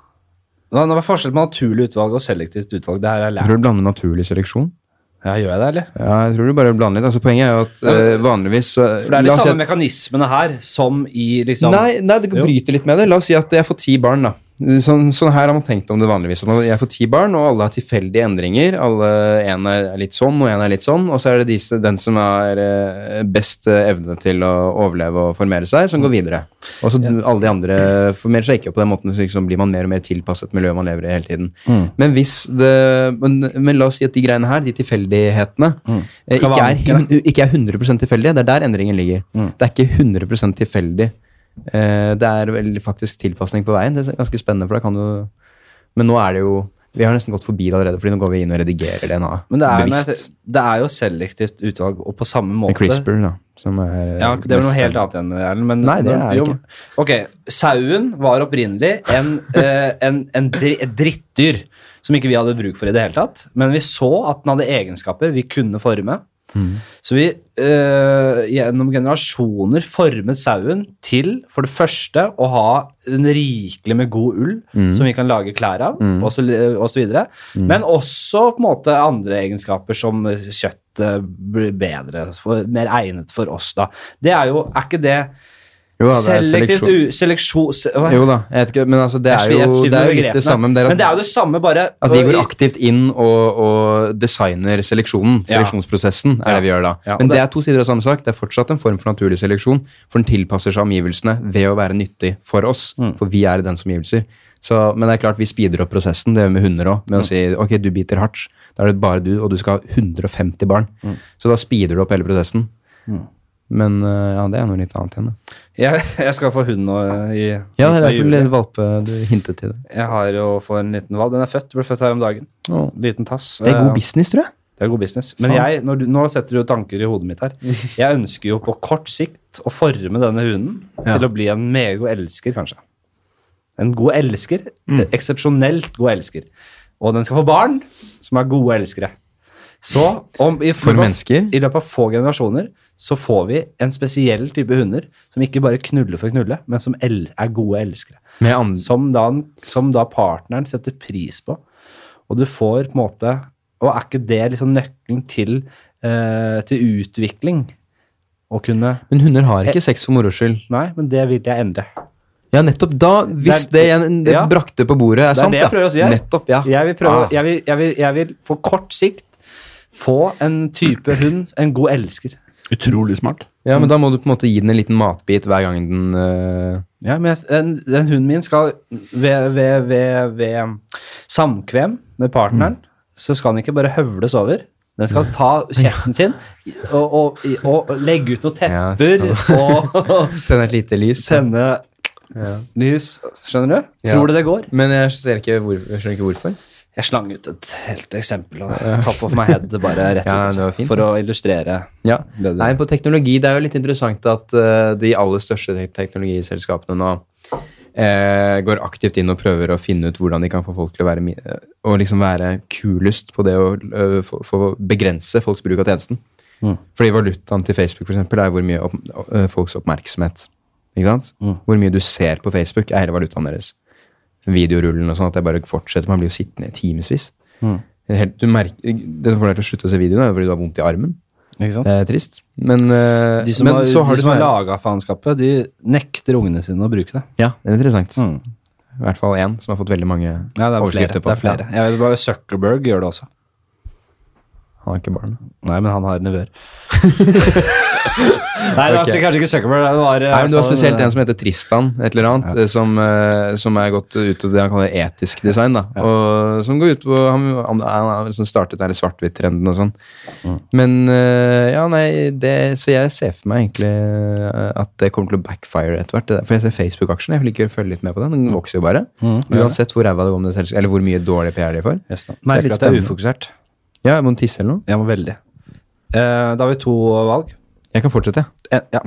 Speaker 1: Hva hva er forskjellen på naturlig utvalg og selektivt utvalg? Det her er
Speaker 2: Jeg
Speaker 1: lært.
Speaker 2: tror du blander naturlig seleksjon.
Speaker 1: Ja, gjør jeg det, eller?
Speaker 2: Ja, jeg tror du bare blander litt. Altså, poenget er jo at eh, vanligvis så
Speaker 1: For det er
Speaker 2: la
Speaker 1: de
Speaker 2: oss si
Speaker 1: samme
Speaker 2: at-
Speaker 1: mekanismene her som i liksom
Speaker 2: Nei, nei, det
Speaker 1: Jo.
Speaker 2: bryter litt med det. La oss si at jeg får ti barn, da. Sånn, sånn her har man tenkt om det vanligvis. Om Jeg får ti barn, og alle har tilfeldige endringer. Alle, En er litt sånn, og en er litt sånn. Og så er det disse, den som har eh, best eh, evne til å overleve og formere seg, som går videre. Og så alle de andre formerer seg ikke, og på den måten så liksom blir man mer og mer tilpasset miljøet man lever i hele tiden.
Speaker 1: Mm.
Speaker 2: Men hvis det men, men la oss si at de greiene her, de tilfeldighetene, eh,
Speaker 1: Mm. Skal
Speaker 2: ikke,
Speaker 1: være
Speaker 2: er, hun- ikke er 100 tilfeldige. Det er der endringen ligger.
Speaker 1: Mm.
Speaker 2: Det er ikke 100 tilfeldig. Eh, det er vel faktisk tilpasning på veien. Det er ganske spennende, for da kan du Men nå er det jo Vi har nesten gått forbi det allerede, fordi nå går vi inn og redigerer DNA
Speaker 1: Men det er, nei,
Speaker 2: bevisst.
Speaker 1: det er jo selektivt utvalg, og på samme
Speaker 2: Med
Speaker 1: måte
Speaker 2: CRISPR, da. Som er eh,
Speaker 1: Ja, det er vel noe helt annet enn Erlend, men
Speaker 2: Nei, det er det
Speaker 1: jo,
Speaker 2: ikke.
Speaker 1: Ok, sauen var opprinnelig en, eh, en, en dri, et drittdyr som ikke vi hadde bruk for i det hele tatt, men vi så at den hadde egenskaper vi kunne forme.
Speaker 2: Mm.
Speaker 1: Så vi eh, gjennom generasjoner formet sauen til for det første å ha en rikelig med god ull
Speaker 2: Mm.
Speaker 1: som vi kan lage klær av, og, så, og så videre. Men også på en måte andre egenskaper som kjøttet blir bedre, for, mer egnet for oss da. Det er jo, er ikke det
Speaker 2: Jo da, det er
Speaker 1: Selektivt
Speaker 2: seleksjon.
Speaker 1: u... Seleksjon... se- hva?
Speaker 2: Jo da, jeg vet ikke, men altså, det
Speaker 1: Jeg
Speaker 2: er
Speaker 1: sli- jeg
Speaker 2: jo,
Speaker 1: sliter
Speaker 2: det er
Speaker 1: med
Speaker 2: jo litt
Speaker 1: begrepene.
Speaker 2: det samme. men Det er
Speaker 1: Men det
Speaker 2: at,
Speaker 1: er jo det samme, bare
Speaker 2: at Altså, vi går aktivt inn og, og designer seleksjonen.
Speaker 1: Ja.
Speaker 2: Seleksjonsprosessen er det vi gjør da.
Speaker 1: Ja, og
Speaker 2: Men
Speaker 1: det-
Speaker 2: det er to sider av samme sak. Det er fortsatt en form for naturlig seleksjon, for den tilpasser seg omgivelsene ved å være nyttig for oss. For vi er i dens omgivelser. Så, men det er klart vi speeder opp prosessen, det gjør vi med hunder òg. Med å si ok, du biter hardt, da er det bare du, og du skal ha 150 barn. Så da speeder du opp hele prosessen. Mm. Men øh, ja, det er noe litt annet igjen. da.
Speaker 1: Jeg, jeg skal få hund nå eh, i
Speaker 2: Ja,
Speaker 1: midten av
Speaker 2: det er derfor
Speaker 1: juli.
Speaker 2: litt valpe du hintet til det.
Speaker 1: Jeg har jo for en liten valp. Den er født. Ble født her om dagen.
Speaker 2: Åh.
Speaker 1: Liten tass.
Speaker 2: Det er
Speaker 1: Eh,
Speaker 2: god business, tror jeg.
Speaker 1: Det er god business. Men jeg, når du, nå setter du tanker i hodet mitt her. Jeg ønsker jo på kort sikt å forme denne hunden til å bli en megagod elsker, kanskje. En god elsker. Eksepsjonelt god elsker. Og den skal få barn som er gode elskere. Så om i, løpet
Speaker 2: For
Speaker 1: av-
Speaker 2: mennesker?
Speaker 1: i løpet av få generasjoner så får vi en spesiell type hunder som ikke bare knuller for å knulle, men som el er gode elskere
Speaker 2: Med andre
Speaker 1: som da, som da partneren setter pris på. Og du får på en måte Og er ikke det liksom nøkkelen til, eh, til utvikling? Å kunne
Speaker 2: Men hunder har ikke sex for moro skyld.
Speaker 1: Nei, men det vil jeg endre.
Speaker 2: Ja, nettopp da, hvis
Speaker 1: Det
Speaker 2: det,
Speaker 1: er-
Speaker 2: jeg- det
Speaker 1: ja.
Speaker 2: brakte på bordet er
Speaker 1: Det er
Speaker 2: sant,
Speaker 1: det jeg prøver å si her.
Speaker 2: Nettopp, ja.
Speaker 1: Jeg vil prøve
Speaker 2: Ah.
Speaker 1: jeg vil, jeg, vil, jeg vil på kort sikt få en type hund, en god elsker.
Speaker 3: Utrolig smart.
Speaker 2: ja, men da må du på en måte gi den en liten matbit hver gang den øh,
Speaker 1: Ja, men jeg, den, den hunden min skal ved, ved, ved, ved samkvem med partneren,
Speaker 2: Mm.
Speaker 1: så skal den ikke bare høvles over. Den skal ta kjeften sin og, og, og legge ut noen
Speaker 2: Ja,
Speaker 1: tepper og
Speaker 2: Tenne et lite lys.
Speaker 1: tenne
Speaker 2: Ja.
Speaker 1: lys. Skjønner du?
Speaker 2: Ja.
Speaker 1: Tror du det går?
Speaker 2: Men jeg, ser ikke hvor, jeg skjønner ikke hvorfor. jeg
Speaker 1: Jeg slang ut et helt eksempel. Og top of my head bare rett
Speaker 2: Ja, det var
Speaker 1: ut
Speaker 2: fint.
Speaker 1: for å illustrere.
Speaker 2: Ja.
Speaker 1: Det- det-
Speaker 2: Nei, på teknologi, det er jo litt interessant at eh, de aller største te- teknologiselskapene nå eh, går aktivt inn og prøver å finne ut hvordan de kan få folk til å være, mi- eh, å liksom være kulest på det å eh, få, få begrense folks bruk av tjenesten.
Speaker 1: Mm.
Speaker 2: Fordi valutaen til Facebook for eksempel, er hvor mye opp, eh, folks oppmerksomhet. Ikke sant?
Speaker 1: Mm.
Speaker 2: Hvor mye du ser på Facebook, er hele valutaen deres. Videorullen og sånn, at det bare fortsetter. Man blir jo sittende i timevis.
Speaker 1: Mm.
Speaker 2: Helt- Du merker, det som får deg til å slutte å se videoen, er jo fordi du har vondt i armen.
Speaker 1: Ikke sant?
Speaker 2: Det er trist. Men, eh,
Speaker 1: De som
Speaker 2: men
Speaker 1: har,
Speaker 2: så
Speaker 1: de
Speaker 2: har du
Speaker 1: som har
Speaker 2: sånn-
Speaker 1: laga faenskapet, de nekter ungene sine å bruke det.
Speaker 2: Ja, det er interessant.
Speaker 1: Mm.
Speaker 2: I hvert fall én som har fått veldig mange
Speaker 1: Ja, det er flere.
Speaker 2: overskrifter på
Speaker 1: Det er flere.
Speaker 2: Ja,
Speaker 1: Jeg vet bare Zuckerberg gjør det også.
Speaker 2: han har ikke barn.
Speaker 1: Nei, men han har nevøer. Nei, det var
Speaker 2: Ok.
Speaker 1: altså kanskje ikke Zuckerberg. Det var,
Speaker 2: Nei, men Det var spesielt en som heter Tristan, et eller annet, eh, som, eh, som er gått ut av det han kaller etisk design. da, og Som går ut på Han, han, han har liksom startet den der svart-hvitt-trenden og sånn.
Speaker 1: Mm.
Speaker 2: Men eh, ja, nei, det, Så jeg ser for meg egentlig eh, at det kommer til å backfire etter hvert. det der. For jeg ser Facebook-aksjen. Jeg liker å følge litt med på den. Den vokser jo bare.
Speaker 1: Mm.
Speaker 2: Uansett hvor ræva det går med det selskapet, eller hvor mye dårlig PR de
Speaker 1: eh,
Speaker 2: får.
Speaker 1: Nei,
Speaker 2: Det er
Speaker 1: litt
Speaker 2: klart
Speaker 1: er
Speaker 2: det er-
Speaker 1: ufokusert.
Speaker 2: Ja, jeg må tisse eller noe.
Speaker 1: Jeg må veldig. Eh, da har vi to valg.
Speaker 2: Jeg kan fortsette, jeg.
Speaker 1: En, ja.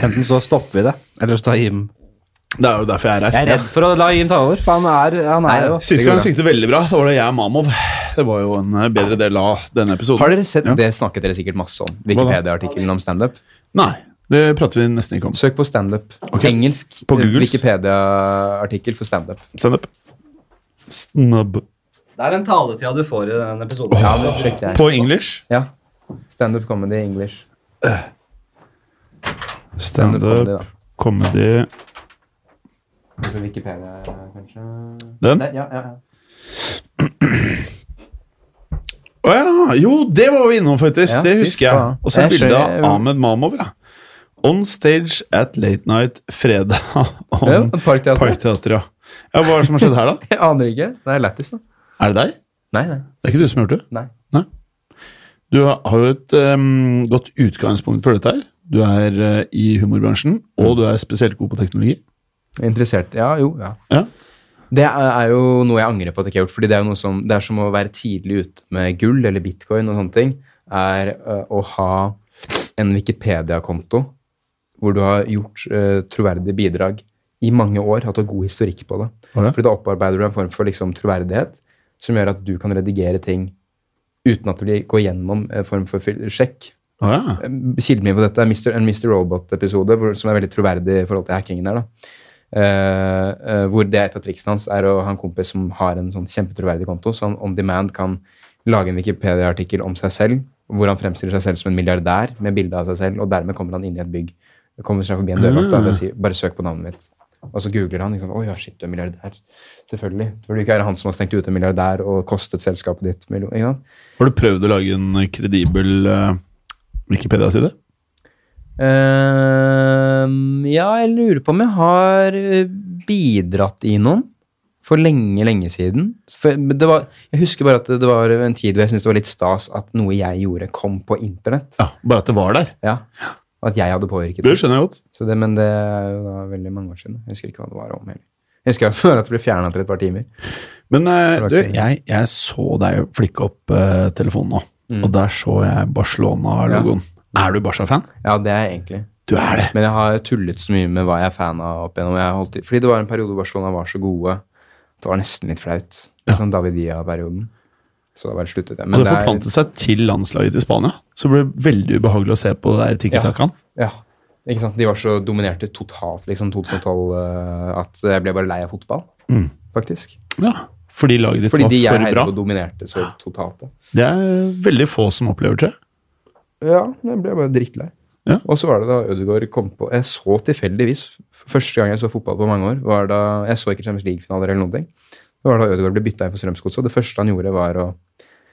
Speaker 1: Enten så stopper vi det, eller så tar Jim
Speaker 3: Det er jo derfor jeg er her.
Speaker 1: Jeg er redd for å la Jim ta over, for han er, han er jo
Speaker 3: Sist gang syntes det veldig bra. Da var det jeg og Mamov. Det var jo en eh, bedre del av denne episoden.
Speaker 2: Har dere sett,
Speaker 3: Ja.
Speaker 2: Det snakket dere sikkert masse om. Wikipedia-artikkelen om standup.
Speaker 3: Nei, det prater vi nesten ikke om.
Speaker 2: Søk på standup.
Speaker 3: Ok.
Speaker 2: Engelsk eh,
Speaker 3: På Googles?
Speaker 2: Wikipedia-artikkel for standup.
Speaker 3: Standup. Snub.
Speaker 1: Det er den taletida du får i denne episoden.
Speaker 2: Ja, det sjekket jeg.
Speaker 3: På engelsk.
Speaker 2: Ja. Standup comedy English. Standup comedy, da.
Speaker 3: Standup comedy
Speaker 2: Altså Wikipedia, kanskje.
Speaker 3: Den?
Speaker 2: Der, ja, ja, ja.
Speaker 3: Å ja! Jo, det var vi innom, faktisk.
Speaker 2: Ja,
Speaker 3: det
Speaker 2: fy
Speaker 3: husker jeg.
Speaker 2: faen.
Speaker 3: Og så er
Speaker 2: Jeg
Speaker 3: bildet
Speaker 2: skjønner-
Speaker 3: av Ahmed Mamov, ja. On stage at late night fredag.
Speaker 2: Det var
Speaker 3: On
Speaker 2: et Parkteater.
Speaker 3: Parkteatret, ja. ja. Hva er det som har skjedd her, da?
Speaker 2: Jeg aner ikke. Det er lættis, da.
Speaker 3: Er det deg?
Speaker 2: Nei, nei.
Speaker 3: Det er ikke du som har gjort det?
Speaker 2: nei.
Speaker 3: Du har jo et ehm, godt utgangspunkt for dette her. Du er eh, i humorbransjen, og du er spesielt god på teknologi.
Speaker 2: Interessert. Ja, jo, ja.
Speaker 3: Ja.
Speaker 2: Det er er jo noe jeg angrer på at jeg ikke har gjort. fordi Det er jo noe som, det er som å være tidlig ute med gull eller bitcoin og sånne ting. Er øh, å ha en Wikipedia-konto hvor du har gjort øh, troverdige bidrag i mange år. Hatt en god historikk på det.
Speaker 3: Å ja.
Speaker 2: Fordi da opparbeider du en form for liksom, troverdighet som gjør at du kan redigere ting uten at det går gjennom en form for fil- sjekk.
Speaker 3: Å ja.
Speaker 2: Kilden min på dette er Mr. en Mr. Robot-episode, hvor- som er veldig troverdig i forhold til hackingen her. da. Eh, eh, hvor det er et av triksene hans er å ha en kompis som har en sånn kjempetroverdig konto, så han on demand kan lage en Wikipedia-artikkel om seg selv, hvor han fremstiller seg selv som en milliardær med bilde av seg selv, og dermed kommer han inn i et bygg Det kommer snart forbi en dørvakt da, og sier 'bare søk på navnet mitt'. Og så googler han. Liksom, 'Å ja, shit, du er milliardær'. Selvfølgelig. For det er ikke er han som har stengt ute en milliardær og kostet selskapet ditt million. Ikke sant?
Speaker 3: Har du prøvd å lage en kredibel eh, Wikipedia-side?
Speaker 2: Ehm, ja, jeg lurer på om jeg har eh, bidratt i noen for lenge, lenge siden. For men det var, jeg husker bare at det var en tid hvor jeg syntes det var litt stas at noe jeg gjorde, kom på internett.
Speaker 3: Ja, bare at det var der.
Speaker 2: Ja, Og at jeg hadde påvirket
Speaker 3: Det skjønner jeg godt.
Speaker 2: Så det, men det er jo da veldig mange år siden. Jeg husker ikke hva det var om heller. Jeg husker altså bare at det ble fjerna etter et par timer.
Speaker 3: Men eh,
Speaker 2: Det
Speaker 3: du,
Speaker 2: var ikke-
Speaker 3: jeg, jeg så deg flikke opp eh, telefonen nå, og der så jeg Barcelona-logoen. Er du Barca-fan?
Speaker 2: Mm. Ja, det er jeg egentlig.
Speaker 3: Du er det.
Speaker 2: Men jeg har tullet så mye med hva jeg er fan av opp igjennom. Jeg har holdt, i- fordi det var en periode hvor Barcelona var så gode. Det var nesten litt flaut. Sånn David Villa-perioden. Så da bare sluttet jeg.
Speaker 3: Og det
Speaker 2: det er-
Speaker 3: forplantet seg til landslaget til Spania, så det ble veldig ubehagelig å se på det der tikki-takaen.
Speaker 2: Ja. Ikke sant? De var så dominerte totalt liksom 2012 eh, at jeg ble bare lei av fotball, faktisk.
Speaker 3: Ja. Fordi laget ditt
Speaker 2: Fordi
Speaker 3: Mm. var
Speaker 2: de jeg
Speaker 3: for
Speaker 2: heide
Speaker 3: bra.
Speaker 2: på, dominerte så totalt. da.
Speaker 3: Det er veldig få som opplever, tror jeg.
Speaker 2: Ja, da ble jeg bare drittlei.
Speaker 3: Ja.
Speaker 2: Og så var det da Ødegaard kom på Jeg så tilfeldigvis f- Første gang jeg så fotball på mange år, var da Jeg så ikke Champions League-finaler eller noen ting. Det var da Ødegaard ble bytta inn for Strømsgodset, og det første han gjorde, var å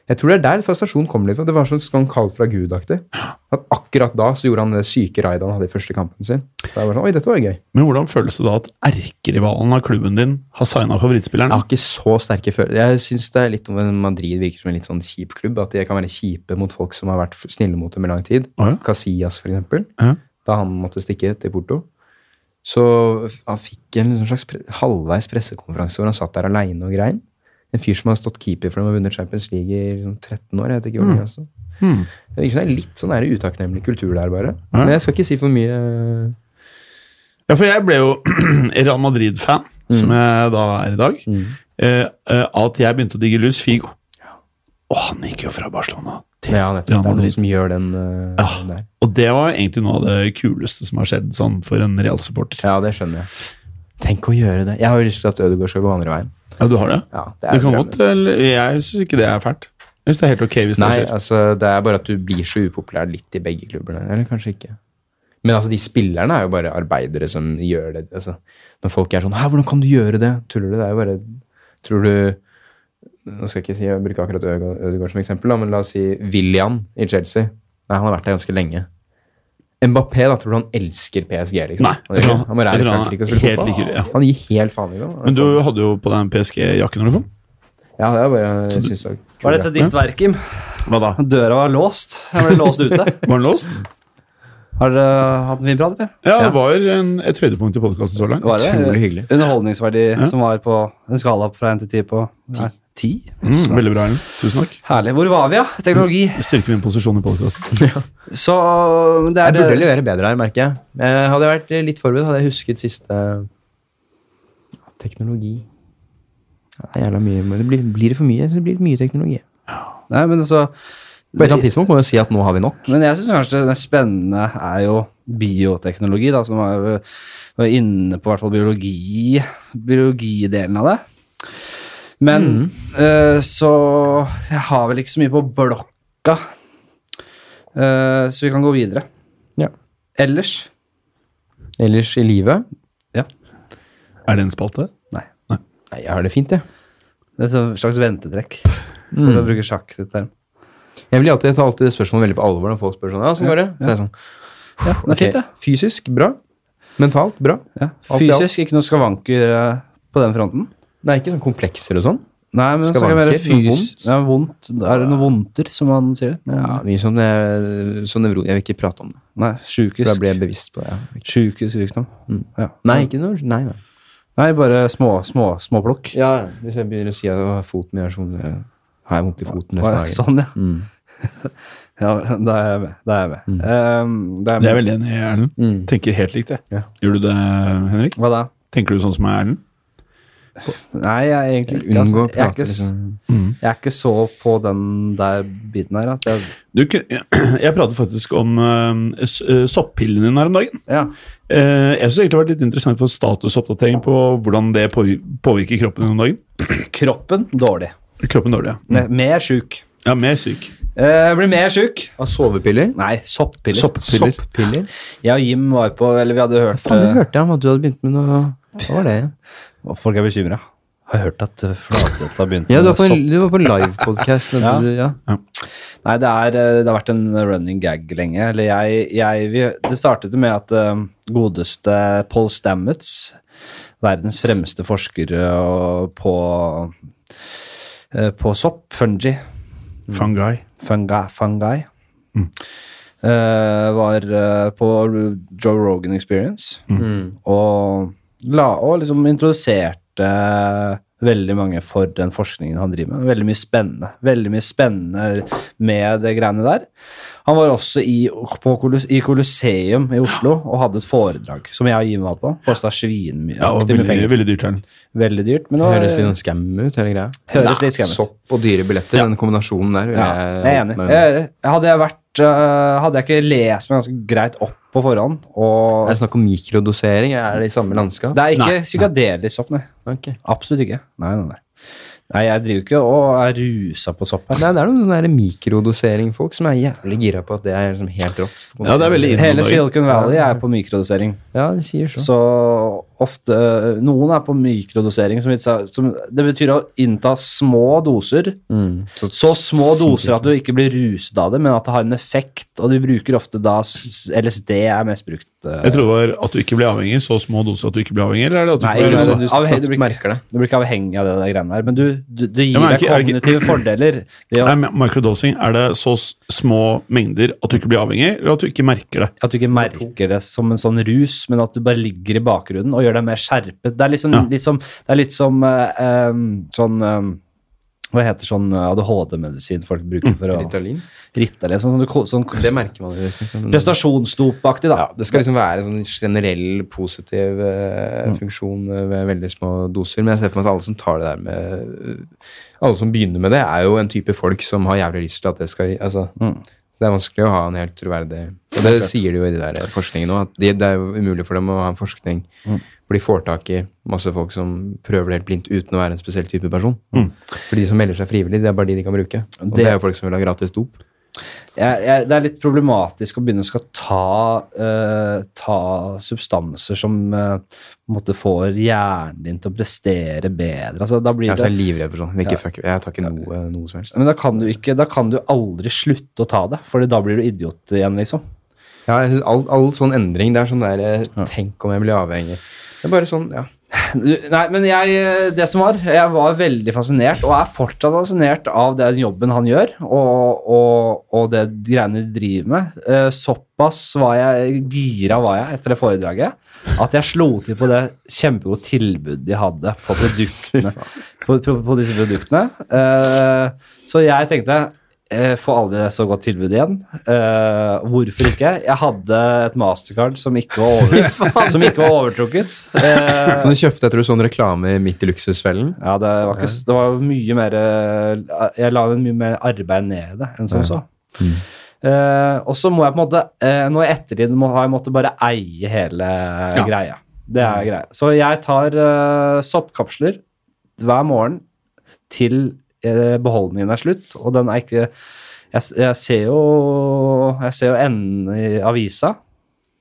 Speaker 2: Jeg tror det er der frustrasjonen kom litt fra. Det var sånn sånn kall fra Gud-aktig. At akkurat da så gjorde han det syke raidet han hadde i første kampen sin. Da var jeg bare sånn, Oi, dette var jo gøy.
Speaker 3: Men hvordan føles det da at erkerivalen av klubben din har signa favorittspilleren?
Speaker 2: Jeg har ikke så sterke følelser. Jeg syns det er litt om Madrid virker som en litt sånn kjip klubb. At de kan være kjipe mot folk som har vært f- snille mot dem i lang tid.
Speaker 3: Å, ja.
Speaker 2: Casillas, for eksempel.
Speaker 3: Ja.
Speaker 2: Da han måtte stikke til Porto. Så f- han fikk en liksom slags pre halvveis pressekonferanse hvor han satt der aleine og grein. En fyr som har stått keeper for dem og vunnet Champions League i liksom 13 år. jeg vet ikke hvor lenge altså.
Speaker 3: Hmm.
Speaker 2: Det virker som det er litt sånn der utakknemlig kultur der, bare.
Speaker 3: Ja.
Speaker 2: Men jeg skal ikke si for mye.
Speaker 3: Ja, for jeg ble jo Real Madrid-fan, som jeg da er i dag, eh, eh, at jeg begynte å digge Luis Figo. Og han gikk jo fra Barcelona til
Speaker 2: Ja, nettopp.
Speaker 3: Real
Speaker 2: Det er noen
Speaker 3: Madrid.
Speaker 2: som gjør den eh,
Speaker 3: Ja.
Speaker 2: der.
Speaker 3: Og det var egentlig noe av det kuleste som har skjedd sånn for en Real-supporter.
Speaker 2: Ja, det skjønner jeg. Tenk å gjøre det. Jeg har jo lyst til at Ødegaard skal gå andre veien.
Speaker 3: Ja, du har det?
Speaker 2: Ja, det
Speaker 3: Du
Speaker 2: jo
Speaker 3: kan
Speaker 2: drømmen.
Speaker 3: godt, eller, jeg syns ikke det er fælt. Jeg syns det er helt ok hvis det
Speaker 2: Nei,
Speaker 3: skjer.
Speaker 2: altså, det er bare at du blir så upopulær litt i begge klubbene. Eller kanskje ikke. Men altså, de spillerne er jo bare arbeidere som gjør det. Altså, når folk er sånn 'Hæ, hvordan kan du gjøre det?' Tuller du? Det er jo bare Tror du Nå skal jeg ikke si, jeg bruker akkurat Ødegaard Ødegaard som eksempel, da, men la oss si William i Chelsea. Nei, han har vært der ganske lenge. Mbappé, da, tror du han elsker PSG? liksom?
Speaker 3: Nei,
Speaker 2: han, gjør
Speaker 3: jeg tror
Speaker 2: ikke. han bare
Speaker 3: jeg
Speaker 2: er i
Speaker 3: tror han
Speaker 2: Frankrike og
Speaker 3: er
Speaker 2: spiller
Speaker 3: helt
Speaker 2: fotball.
Speaker 3: likegyldig, ja.
Speaker 2: Han gir helt faen i det. da.
Speaker 3: Men du hadde jo på deg en PSG-jakke når du kom.
Speaker 2: Ja, det er bare jeg synes det
Speaker 1: Var dette ditt verk, Kim?
Speaker 3: Hva da?
Speaker 1: Døra var låst. Jeg ble låst ute.
Speaker 3: Var den låst?
Speaker 1: Har dere hatt det mye bra, dere?
Speaker 3: Ja, det var en, et høydepunkt i podkasten så langt.
Speaker 1: Var det
Speaker 2: Utrolig hyggelig.
Speaker 1: underholdningsverdi som var på en skala fra 1 til 10 på Nei, 10?
Speaker 3: Mm, veldig bra, Erlend. Tusen takk.
Speaker 1: Herlig. Hvor var vi, ja? Teknologi.
Speaker 3: Det styrker min posisjon i podkasten.
Speaker 1: Så det
Speaker 2: Jeg
Speaker 1: er
Speaker 2: burde levere bedre her, merker jeg. Eh, hadde jeg vært eh, litt forberedt, hadde jeg husket siste Ja, Teknologi ja, Det er jævla mye, men det blir, blir det for mye, så blir det mye teknologi.
Speaker 1: Nei, men altså
Speaker 2: På et eller annet tidspunkt må vi si at nå har vi nok.
Speaker 1: Men jeg syns kanskje det mest spennende er jo bioteknologi, da, som er, var inne på i hvert fall biologi, biologidelen av det. Men
Speaker 2: Mm.
Speaker 1: eh, så Jeg har vel ikke så mye på blokka, Eh, så vi kan gå videre.
Speaker 2: Ja.
Speaker 1: Ellers
Speaker 2: Ellers i livet
Speaker 3: Er det en spalte?
Speaker 1: Nei.
Speaker 2: Nei, jeg har det fint, jeg.
Speaker 1: Det er et slags ventetrekk,
Speaker 2: Mm.
Speaker 1: for å bruke sjakk sitt term.
Speaker 2: Jeg, blir alltid, jeg tar alltid det spørsmålet veldig på alvor når folk spør sånn Ja, åssen går det? Så er jeg sånn
Speaker 1: Ja, det er
Speaker 2: ok,
Speaker 1: fint, det.
Speaker 2: Fysisk bra. Mentalt bra.
Speaker 1: Ja.
Speaker 2: Alt i alt.
Speaker 1: Fysisk ikke noe skavanker eh, på den fronten.
Speaker 2: Nei, ikke sånn komplekser og sånn.
Speaker 1: Nei, men så kan det være
Speaker 2: Skavanker? Noe
Speaker 1: fys...
Speaker 2: vondt?
Speaker 1: Ja, vondt. Er det noen vondter, som man sier?
Speaker 2: Ja, mye sånn, eh, sånn nevro... Jeg vil ikke prate om det,
Speaker 1: Nei,
Speaker 2: for da
Speaker 1: sjukest.
Speaker 2: blir Mm. jeg bevisst på det. Ja.
Speaker 1: Sjuke sykdom. Ja.
Speaker 2: Nei, ikke noe Nei, nei.
Speaker 1: Nei, bare små, små, småplukk.
Speaker 2: Ja, hvis jeg begynner å si at det var foten jeg har sånn eh, Har jeg vondt i foten neste
Speaker 1: Å, ja,
Speaker 2: dag?
Speaker 1: Sånn, ja.
Speaker 2: Mm.
Speaker 1: ja, da er jeg med. Da er jeg med. Ehm, da er jeg
Speaker 3: Det
Speaker 1: med.
Speaker 3: er jeg veldig enig i, Erlend.
Speaker 1: Mm.
Speaker 3: Tenker helt likt, jeg.
Speaker 2: Ja.
Speaker 3: Gjør du det, Henrik?
Speaker 1: Hva da?
Speaker 3: Tenker du sånn som meg, Erlend?
Speaker 1: Nei, jeg er egentlig ikke altså,
Speaker 2: Unngå å
Speaker 1: Jeg er
Speaker 2: prate,
Speaker 1: ikke, s-
Speaker 2: liksom.
Speaker 1: jeg er ikke så på den der biten her. At jeg,
Speaker 3: Du, kun- jeg pratet faktisk om eh, s- eh, soppillene dine her om dagen.
Speaker 1: ja.
Speaker 3: Eh, Jeg syns egentlig det har vært litt interessant for statusoppdatering på hvordan det påvir- påvirker kroppen din om dagen.
Speaker 1: Kroppen dårlig. Mm.
Speaker 2: Mm.
Speaker 3: Kroppen dårlig, ja.
Speaker 1: Ne mer sjuk.
Speaker 3: Ja, mer syk.
Speaker 1: Eh, jeg ble mer sjuk.
Speaker 2: Av sovepiller?
Speaker 1: Nei, soppiller.
Speaker 3: Soppiller.
Speaker 2: Soppiller?
Speaker 1: Jeg og Jim var på Eller vi hadde hørt
Speaker 2: Faen, det
Speaker 1: eh,
Speaker 2: hørte jeg om at du hadde begynt med noe Hva var det?
Speaker 1: og Folk er bekymra. Har hørt at eh, Fladseth har begynt
Speaker 2: Ja, du var
Speaker 1: med
Speaker 2: på, en-
Speaker 1: sopp.
Speaker 2: du var på livepodkast.
Speaker 1: Ja.
Speaker 2: ja.
Speaker 1: Nei, det, er, eh, det har vært en running gag lenge. Eller jeg, jeg vi, Det startet jo med at eh, godeste Paul Stamets, verdens fremste forsker eh, på, eh, på sopp, fungi, Mm.
Speaker 3: Fungi.
Speaker 1: fungi, fungi
Speaker 3: Mm.
Speaker 1: eh, var eh, på Joe Rogan Experience
Speaker 3: Mm.
Speaker 1: og, la, og liksom introduserte eh, veldig mange for den forskningen han driver med. Veldig mye spennende. Veldig mye spennende med det greiene der. Han var også i, på Kolus, i Colosseum i Oslo og hadde et foredrag som jeg og Jim var på. Kosta svinmye.
Speaker 3: Ja, og
Speaker 1: aktivt mye
Speaker 3: veldig,
Speaker 1: penger.
Speaker 3: veldig dyrt. er den.
Speaker 1: veldig dyrt, men det var-
Speaker 2: Høres litt sånn scam ut, hele greia.
Speaker 1: høres litt skremmende ut.
Speaker 2: Sopp og dyre billetter, den kombinasjonen der. vil
Speaker 1: Ja, jeg er
Speaker 2: holdt
Speaker 1: enig.
Speaker 2: meg
Speaker 1: Jeg
Speaker 2: unna.
Speaker 1: er, enig. hadde jeg vært øh, Hadde jeg ikke lest meg ganske greit opp på forhånd
Speaker 2: Er det
Speaker 1: og
Speaker 2: snakk om mikrodosering? Er det i samme landskap?
Speaker 1: Det er ikke
Speaker 3: Nei.
Speaker 1: psykadelisk sopp, nei.
Speaker 2: Ok.
Speaker 1: Absolutt ikke. Nei, nei, nei. Nei, jeg driver ikke og er rusa på sopp altså. her.
Speaker 2: Nei, det er noen sånne der mikrodosering-folk som er jævlig gira på at det er liksom helt rått.
Speaker 3: Ja, det er veldig inn
Speaker 1: Hele
Speaker 3: om dagen.
Speaker 1: Silicon Valley er på mikrodosering.
Speaker 2: Ja, de sier så.
Speaker 1: Så ofte øh, Noen er på mikrodosering, som, vi sa- som Det betyr å innta små doser.
Speaker 2: Mm.
Speaker 1: Så små doser at du ikke blir ruset av det, men at det har en effekt. Og de bruker ofte da s- LSD er mest brukt. øh,
Speaker 3: Jeg trodde det var at du ikke ble avhengig. Så små doser at du ikke ble avhengig, eller er det at du
Speaker 1: Nei,
Speaker 3: ikke ble
Speaker 1: ikke
Speaker 3: ruset?
Speaker 1: det.
Speaker 2: du
Speaker 1: Av- du
Speaker 2: knapt
Speaker 1: blir ikke-
Speaker 2: merker det.
Speaker 1: Du blir ikke avhengig av det der greiene der, men du, du, det gir
Speaker 3: Ja, men er
Speaker 1: deg
Speaker 3: ikke- er ikke-
Speaker 1: kognitive fordeler. Ved å,
Speaker 3: Nei, men Microdosing, er det så s- små mengder at du ikke blir avhengig, eller at du ikke merker det?
Speaker 1: at du ikke merker det som en sånn rus, men at du bare ligger i bakgrunnen og gjør deg mer skjerpet. Det er liksom,
Speaker 3: Ja.
Speaker 1: litt som- det er litt som eh, em, sånn em, Hva heter sånn ADHD-medisin folk bruker
Speaker 3: Mm.
Speaker 1: for å
Speaker 2: Ritalin.
Speaker 1: ritte eller sånn, sånn, ko- sånn
Speaker 2: Det merker man. jo visst ikke, men-
Speaker 1: prestasjonsdopaktig, da.
Speaker 2: Ja, det skal liksom være en sånn generell positiv eh, funksjon eh, ved veldig små doser. Men jeg ser for meg at alle som tar det der med eh, Alle som begynner med det, er jo en type folk som har jævlig lyst til at det skal altså, så Det er vanskelig å ha en helt troverdig Og det sier de jo i de der forskningene òg, at de, det er jo umulig for dem å ha en forskning hvor de får tak i masse folk som prøver det helt blindt uten å være en spesiell type person. For de som melder seg frivillig, det er bare de de kan bruke. Og Mm. det,
Speaker 1: Det-
Speaker 2: er jo folk som vil ha gratis dop.
Speaker 1: jeg, jeg, det er litt problematisk å begynne å skal ta, eh, ta substanser som eh, på en måte får hjernen din til å prestere bedre. Altså, da blir
Speaker 2: Jeg er
Speaker 1: det,
Speaker 2: livredd for sånn. Ikke fuck, jeg tar ikke noe, noe som helst.
Speaker 1: men da kan, du ikke, da kan du aldri slutte å ta det, for da blir du idiot igjen, liksom.
Speaker 2: Ja, jeg synes all, all sånn endring, det er sånn der eh, Tenk om jeg blir avhengig. Det er bare sånn, ja.
Speaker 1: Du- Nei, men jeg, eh, det som var, jeg var veldig fascinert, og er fortsatt fascinert av den jobben han gjør, og, og, og det greiene de driver med. Eh, Såpass var jeg, gira var jeg etter det foredraget, at jeg slo til på det kjempegode tilbudet de hadde på produktene. På, på, på disse produktene. Eh, Så jeg tenkte, eh, får aldri så godt tilbud igjen. Eh, hvorfor ikke? Jeg hadde et mastercard som ikke var, over, som ikke var overtrukket. Eh,
Speaker 2: Som du kjøpte etter du så en reklame midt i luksusfellen.
Speaker 1: ja, det var, ikke, det var mye mer eh, Jeg la en mye mer arbeid ned i det enn som så. Eh, og så må jeg på en måte eh, Nå i ettertid må, har jeg måttet bare eie hele greia. Det er greia. Så jeg tar eh, soppkapsler hver morgen til eh, beholdningen er slutt, og den er ikke Jeg, jeg ser jo Jeg ser jo enden i avisa.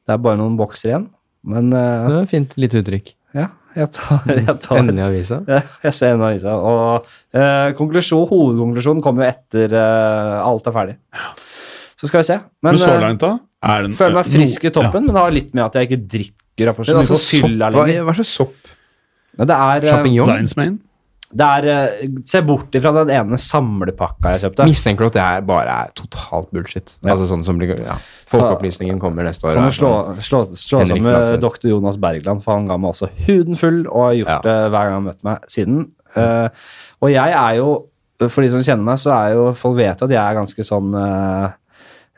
Speaker 1: Det er bare noen bokser igjen. Men eh,
Speaker 2: Det var et fint lite uttrykk.
Speaker 1: ja, jeg tar, jeg tar
Speaker 2: Enden i avisa.
Speaker 1: ja, Jeg ser en avisa. Og eh, konklusjon, hovedkonklusjonen kommer jo etter eh, alt er ferdig. Så skal vi se.
Speaker 3: Men,
Speaker 1: Men,
Speaker 3: så
Speaker 1: eh,
Speaker 3: langt, da? Er den,
Speaker 1: føler meg frisk
Speaker 3: no-
Speaker 1: i toppen, men det har litt med at jeg ikke drikker opp, så
Speaker 2: Men
Speaker 1: mye
Speaker 2: altså,
Speaker 1: på
Speaker 2: sopp,
Speaker 1: fylla
Speaker 2: hva,
Speaker 1: lenger.
Speaker 2: hva slags sopp?
Speaker 1: Men Det er, eh,
Speaker 3: Ja.
Speaker 2: Sjampinjong?
Speaker 3: Lines Mane?
Speaker 1: det er eh, Se bort ifra den ene samlepakka jeg kjøpte.
Speaker 2: Mistenker du at det her bare er totalt bullshit? Altså sånn som blir, ja. Folkeopplysningen kommer neste år.
Speaker 1: Kan
Speaker 2: er
Speaker 1: du slå,
Speaker 2: sånn.
Speaker 1: slå, slå
Speaker 2: Henrik
Speaker 1: sammen med
Speaker 2: Fladseth.
Speaker 1: dr. Jonas Bergland, for han ga meg også huden full, og har gjort
Speaker 2: Ja.
Speaker 1: det hver gang han har møtt meg siden. Eh, og jeg er jo, for de som kjenner meg, så er jo Folk vet jo at jeg er ganske sånn eh,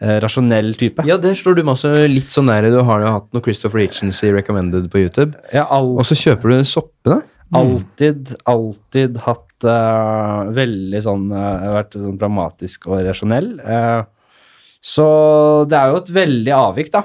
Speaker 1: eh, rasjonell type.
Speaker 2: Ja, det slår du meg også litt sånn nære. Du har jo hatt noe Christopher Hitchens i Recommended på YouTube.
Speaker 1: Jeg har al
Speaker 2: Og så kjøper du soppene.
Speaker 1: alltid, alltid hatt eh, veldig sånn eh, Vært sånn dramatisk og rasjonell. eh, så det er jo et veldig avvik, da.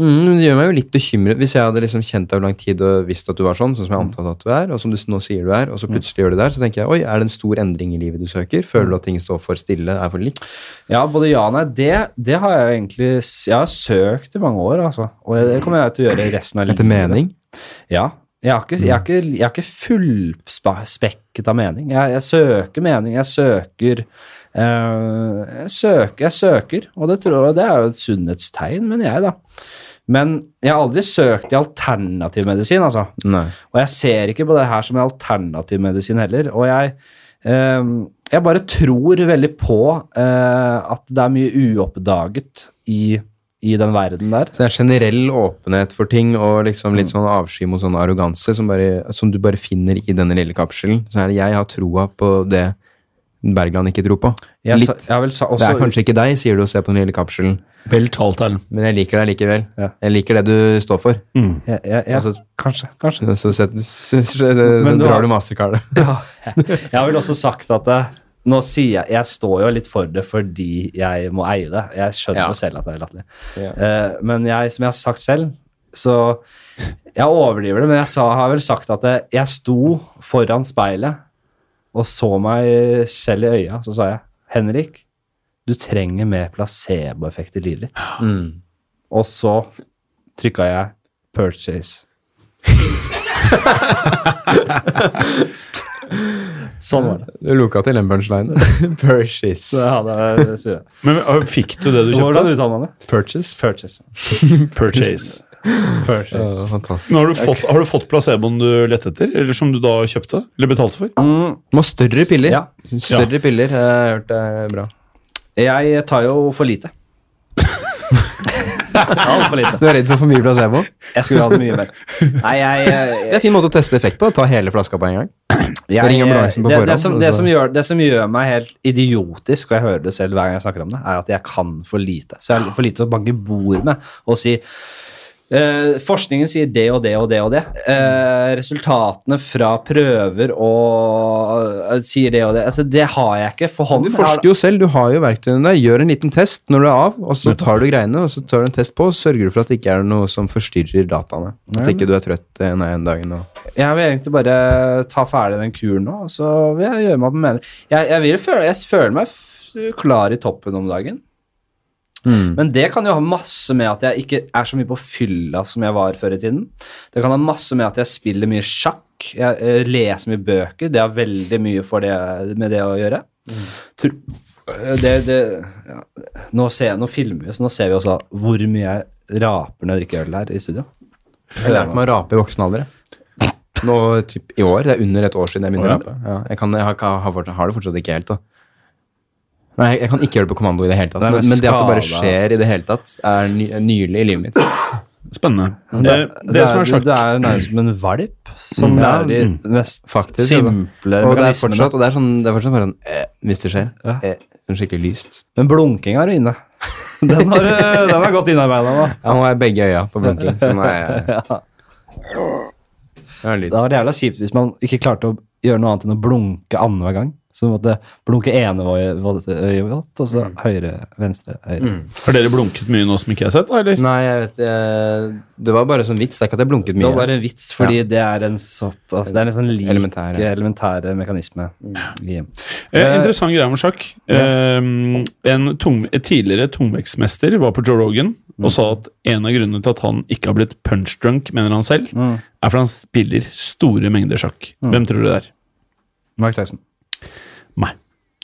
Speaker 2: Mm, men det gjør meg jo litt bekymret hvis jeg hadde liksom kjent deg over lang tid og visst at du var sånn, sånn som jeg antatt at du er, og som du s- nå sier du er, og så plutselig gjør du det der, så tenker jeg oi, er det en stor endring i livet du søker? Føler du at ting står for stille, er for likt?
Speaker 1: Ja, både ja og nei. Det, det har jeg jo egentlig Jeg har søkt i mange år, altså. Og det kommer jeg til å gjøre resten av livet.
Speaker 2: Etter mening?
Speaker 1: Ja. Jeg har ikke, jeg har ikke, jeg har ikke fullspekket av mening. Jeg, jeg søker mening. Jeg søker, eh, jeg søker Jeg søker, og det tror jeg det er jo et sunnhetstegn, mener jeg, da. Men jeg har aldri søkt i alternativ medisin, altså.
Speaker 2: Nei.
Speaker 1: Og jeg ser ikke på det her som en alternativ medisin heller. Og jeg, eh, jeg bare tror veldig på eh, at det er mye uoppdaget i, i den verden der.
Speaker 2: Så det er generell åpenhet for ting og liksom litt sånn avsky mot sånn arroganse som, bare- som du bare finner i denne lille kapselen. Så er det jeg har troa på det Bergland ikke tror på.
Speaker 1: Jeg, sa-
Speaker 2: litt.
Speaker 1: jeg har vel sa,
Speaker 2: det er
Speaker 1: også,
Speaker 2: kanskje ikke deg, sier du og ser på den lille kapselen,
Speaker 3: Vel talt, Erlend.
Speaker 2: men jeg liker deg likevel.
Speaker 1: Ja.
Speaker 2: Jeg liker det du står for.
Speaker 1: jeg, jeg, jeg,
Speaker 2: Altså-
Speaker 1: kanskje, kanskje.
Speaker 2: Så set, s- s- så
Speaker 1: du har-
Speaker 2: drar du mastercardet.
Speaker 1: Ja. Jeg har vel også sagt at eh, nå sier jeg, jeg står jo litt for det fordi jeg må eie det. Jeg skjønner
Speaker 2: Ja.
Speaker 1: jo selv at det er latterlig.
Speaker 2: Ja.
Speaker 1: Eh, men jeg, som jeg har sagt selv, så jeg overdriver det, men jeg sa, har vel sagt at eh, jeg sto foran speilet og så meg selv i øya, så sa jeg, Henrik, du trenger mer placeboeffekt i livet ditt. Og så trykket jeg purchase. sånn var det.
Speaker 2: Du loka til den punchlinen. Purchase.
Speaker 1: Så jeg hadde surret.
Speaker 3: Men ø, fikk du det du
Speaker 1: Hvordan
Speaker 3: kjøpte?
Speaker 1: uttaler man det?
Speaker 2: Purchase.
Speaker 1: Purchase.
Speaker 3: Purchase.
Speaker 2: Ja,
Speaker 1: Purchase.
Speaker 2: fantastisk.
Speaker 3: Men har, du fått, har du fått placeboen du lette etter, eller som du da kjøpte? Eller betalte for?
Speaker 1: Mm.
Speaker 2: Må ha større piller.
Speaker 1: Ja.
Speaker 2: Større piller, jeg har hørt det er bra.
Speaker 1: Jeg tar jo for lite. Altfor lite.
Speaker 2: Du er redd for for mye placebo?
Speaker 1: Jeg skulle hatt mye mer. Nei, jeg, jeg,
Speaker 2: Det er en fin måte å teste effekt på. Ta hele flaska på en gang.
Speaker 1: jeg- eh,
Speaker 2: Ring ambulansen på
Speaker 1: det, det,
Speaker 2: forhånd,
Speaker 1: som,
Speaker 2: og
Speaker 1: det,
Speaker 2: så-
Speaker 1: som gjør, det som gjør meg helt idiotisk, og jeg hører det selv hver gang jeg snakker om det, er at jeg kan for lite. Så jeg har for lite å banke bord med og si eh, forskningen sier det og det og det og det. Eh, resultatene fra prøver og eh, sier det og det. Altså, det har jeg ikke for hånden.
Speaker 2: Du forsker jo selv, du har jo verktøyene der. Gjør en liten test når du er av, og så tar du greiene, og så tar du en test på, og sørger du for at det ikke er noe som forstyrrer dataene. At ikke du er trøtt en en dagen og
Speaker 1: Jeg vil egentlig bare ta ferdig den kuren nå, og så vil jeg gjøre meg opp en mening. Jeg, jeg, vil føle, jeg føler meg f- klar i toppen om dagen. Men det kan jo ha masse med at jeg ikke er så mye på fylla som jeg var før i tiden. Det kan ha masse med at jeg spiller mye sjakk, jeg eh, leser mye bøker. Det har veldig mye for det, med det å gjøre. Tror, det, det, ja. nå, ser, nå filmer vi, så nå ser vi også hvor mye jeg raper når jeg drikker øl her i studio.
Speaker 2: Jeg har lært meg å rape i voksen alder. jeg. Nå typ i år. Det er under et år siden jeg begynte å
Speaker 3: Å, ja.
Speaker 2: rape. Ja, jeg, kan, jeg har, ikke- har, fortsatt, har det fortsatt ikke helt, da. Nei, jeg kan ikke gjøre det på kommando i det hele tatt.
Speaker 1: Nei,
Speaker 2: Men,
Speaker 1: men
Speaker 2: men det at det bare
Speaker 1: skada.
Speaker 2: skjer i det hele tatt, er ny, nylig i livet mitt.
Speaker 3: Spennende.
Speaker 1: Men
Speaker 3: Eh,
Speaker 1: Det,
Speaker 3: det som er
Speaker 1: du,
Speaker 3: sjakk
Speaker 1: du er Mm. jo nærmest som en valp. Som
Speaker 2: Ja,
Speaker 1: er de mest
Speaker 2: faktisk,
Speaker 1: altså. simple
Speaker 2: Og det er
Speaker 1: mekanismene.
Speaker 2: fortsatt, og det er sånn, det er fortsatt bare sånn eh, Hvis det skjer.
Speaker 1: Ja.
Speaker 2: Eh, sånn skikkelig lyst.
Speaker 1: Men blunking er du inne. Den har, du- den er godt innarbeida nå.
Speaker 2: Ja, nå er begge øya på blinking. Så nå er jeg Jeg har lyd.
Speaker 1: Det var jævla kjipt hvis man ikke klarte å gjøre noe annet enn å blunke annenhver gang. Så du måtte blunke ene øye vått, øye vått, og så høyre, venstre, høyre.
Speaker 3: Har dere blunket mye nå som ikke jeg har sett, da, eller?
Speaker 2: Nei, jeg vet eh, Det var bare sånn vits. Det er ikke at jeg blunket
Speaker 1: Det
Speaker 2: mye.
Speaker 1: var bare en vits, fordi det er en sopp altså, Det er en sånn lik
Speaker 2: Elementær,
Speaker 1: elementær,
Speaker 2: ja.
Speaker 1: mekanisme. i-
Speaker 3: Eh, interessant greie med sjakk. Eh, en tung, et tidligere tungvektsmester var på Joe Rogan og sa at en av grunnene til at han ikke har blitt punchdrunk, mener han selv, er fordi han spiller store mengder sjakk. Hvem tror du det er?
Speaker 1: Mark Tyson.
Speaker 3: Nei.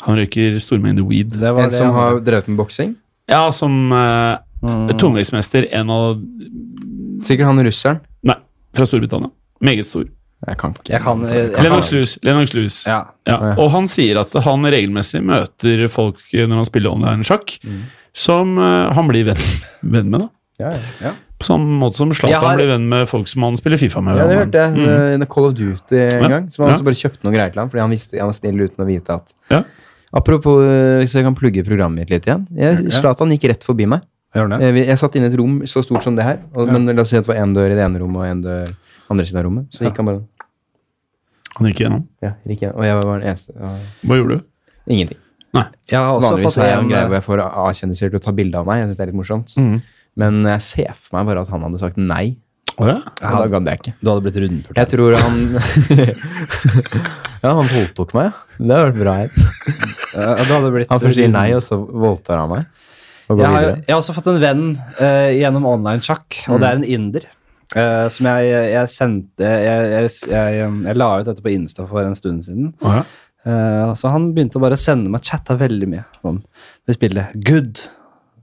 Speaker 3: Han røyker store mengder weed.
Speaker 1: Det var
Speaker 2: En
Speaker 1: det
Speaker 2: som
Speaker 1: han-
Speaker 2: har drevet med boksing.
Speaker 3: Ja, som eh,
Speaker 2: Mm.
Speaker 3: tungvektsmester, en av
Speaker 2: Sikkert han russeren.
Speaker 3: Nei, fra Storbritannia. Meget stor.
Speaker 2: Jeg kan ikke.
Speaker 1: Jeg kan, jeg, jeg
Speaker 3: Lennox
Speaker 1: kan
Speaker 3: Lewis. Lennox Lewis.
Speaker 1: ja.
Speaker 3: Ja, og han sier at han regelmessig møter folk eh, når han spiller online sjakk, som eh, han blir venn, venn med, da.
Speaker 2: Mm. Ja, ja.
Speaker 3: På samme måte som Zlatan
Speaker 1: Jeg har-
Speaker 3: blir venn med folk som han spiller Fifa med.
Speaker 2: Ja, det
Speaker 3: online.
Speaker 2: hørte jeg. eh, In the Call of Duty en
Speaker 3: Mm. Ja.
Speaker 2: gang. Som han
Speaker 3: Ja.
Speaker 2: også bare kjøpte noen greier til ham, fordi han, visste, han var snill uten å vite at
Speaker 3: Ja.
Speaker 2: Apropos, eh, så jeg kan plugge programmet mitt litt igjen. Jeg- Zlatan gikk rett forbi meg.
Speaker 1: Gjør den det?
Speaker 2: Jeg, vi- jeg satt inne i et rom så stort som det her, og, men la oss si at det var én dør i det ene rommet og én dør andre siden av rommet. Så gikk han bare
Speaker 3: Han gikk gjennom.
Speaker 2: Ja, gikk igjen. Og jeg var den eneste. Og,
Speaker 3: Hva gjorde du?
Speaker 2: ingenting.
Speaker 3: Nei.
Speaker 1: Jeg har også
Speaker 2: Vanligvis
Speaker 1: fått
Speaker 2: er jeg en
Speaker 1: en eh,
Speaker 3: Mm.
Speaker 2: greie hvor jeg får A-kjendiser til å ta bilde av meg. Jeg synes det er litt morsomt. Men jeg ser for meg bare at han hadde sagt nei.
Speaker 3: Å ja?
Speaker 2: Og da gadd jeg ikke.
Speaker 1: Du hadde blitt rundpult.
Speaker 2: Jeg tror han Ja, han voldtok meg, ja. Det har vært bra. jeg.
Speaker 1: Eh, du hadde blitt
Speaker 2: Han først sier nei, og så voldtar han meg. Og går
Speaker 1: Jeg har,
Speaker 2: videre.
Speaker 1: jeg har også fått en venn eh, gjennom online-sjakk, og det er en inder. eh, som jeg, jeg sendte jeg, jeg, jeg, jeg la ut dette på Insta for en stund siden.
Speaker 3: Å ja.
Speaker 1: Eh, så han begynte å bare sende meg chatta veldig mye. Sånn, vi spiller good.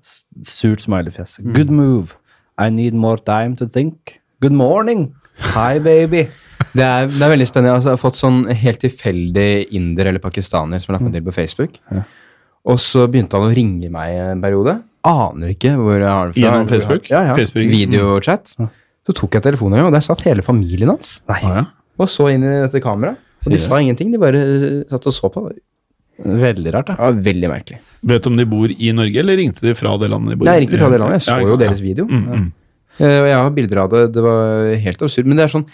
Speaker 1: S- Surt smileyfjes. Good move. I need more time to think. Good morning. Hi, baby.
Speaker 2: Det er, det er veldig spennende. Altså, jeg har fått sånn helt tilfeldig inder eller pakistaner som har lagt meg til på Facebook. Og så begynte han å ringe meg en periode. Aner ikke hvor jeg har den fra.
Speaker 3: Gjennom Facebook?
Speaker 2: Ja, ja.
Speaker 3: Facebook.
Speaker 2: Videochat. Så tok jeg telefonen, og der satt hele familien hans.
Speaker 3: Å Ah, ja.
Speaker 2: Og så inn i dette kameraet. Og de sa ingenting, de bare eh, satt og så på. Det
Speaker 1: Veldig rart, da.
Speaker 2: var veldig merkelig.
Speaker 3: Vet du om de bor i Norge, eller ringte de fra det landet de bor i?
Speaker 2: Nei, jeg ringte fra det landet. Jeg så
Speaker 3: Ja, ikke
Speaker 2: jo
Speaker 3: sant, ja.
Speaker 2: deres video.
Speaker 3: Mm, mm.
Speaker 2: Eh, Og jeg har bilder av det. Det var helt absurd. Men det er sånn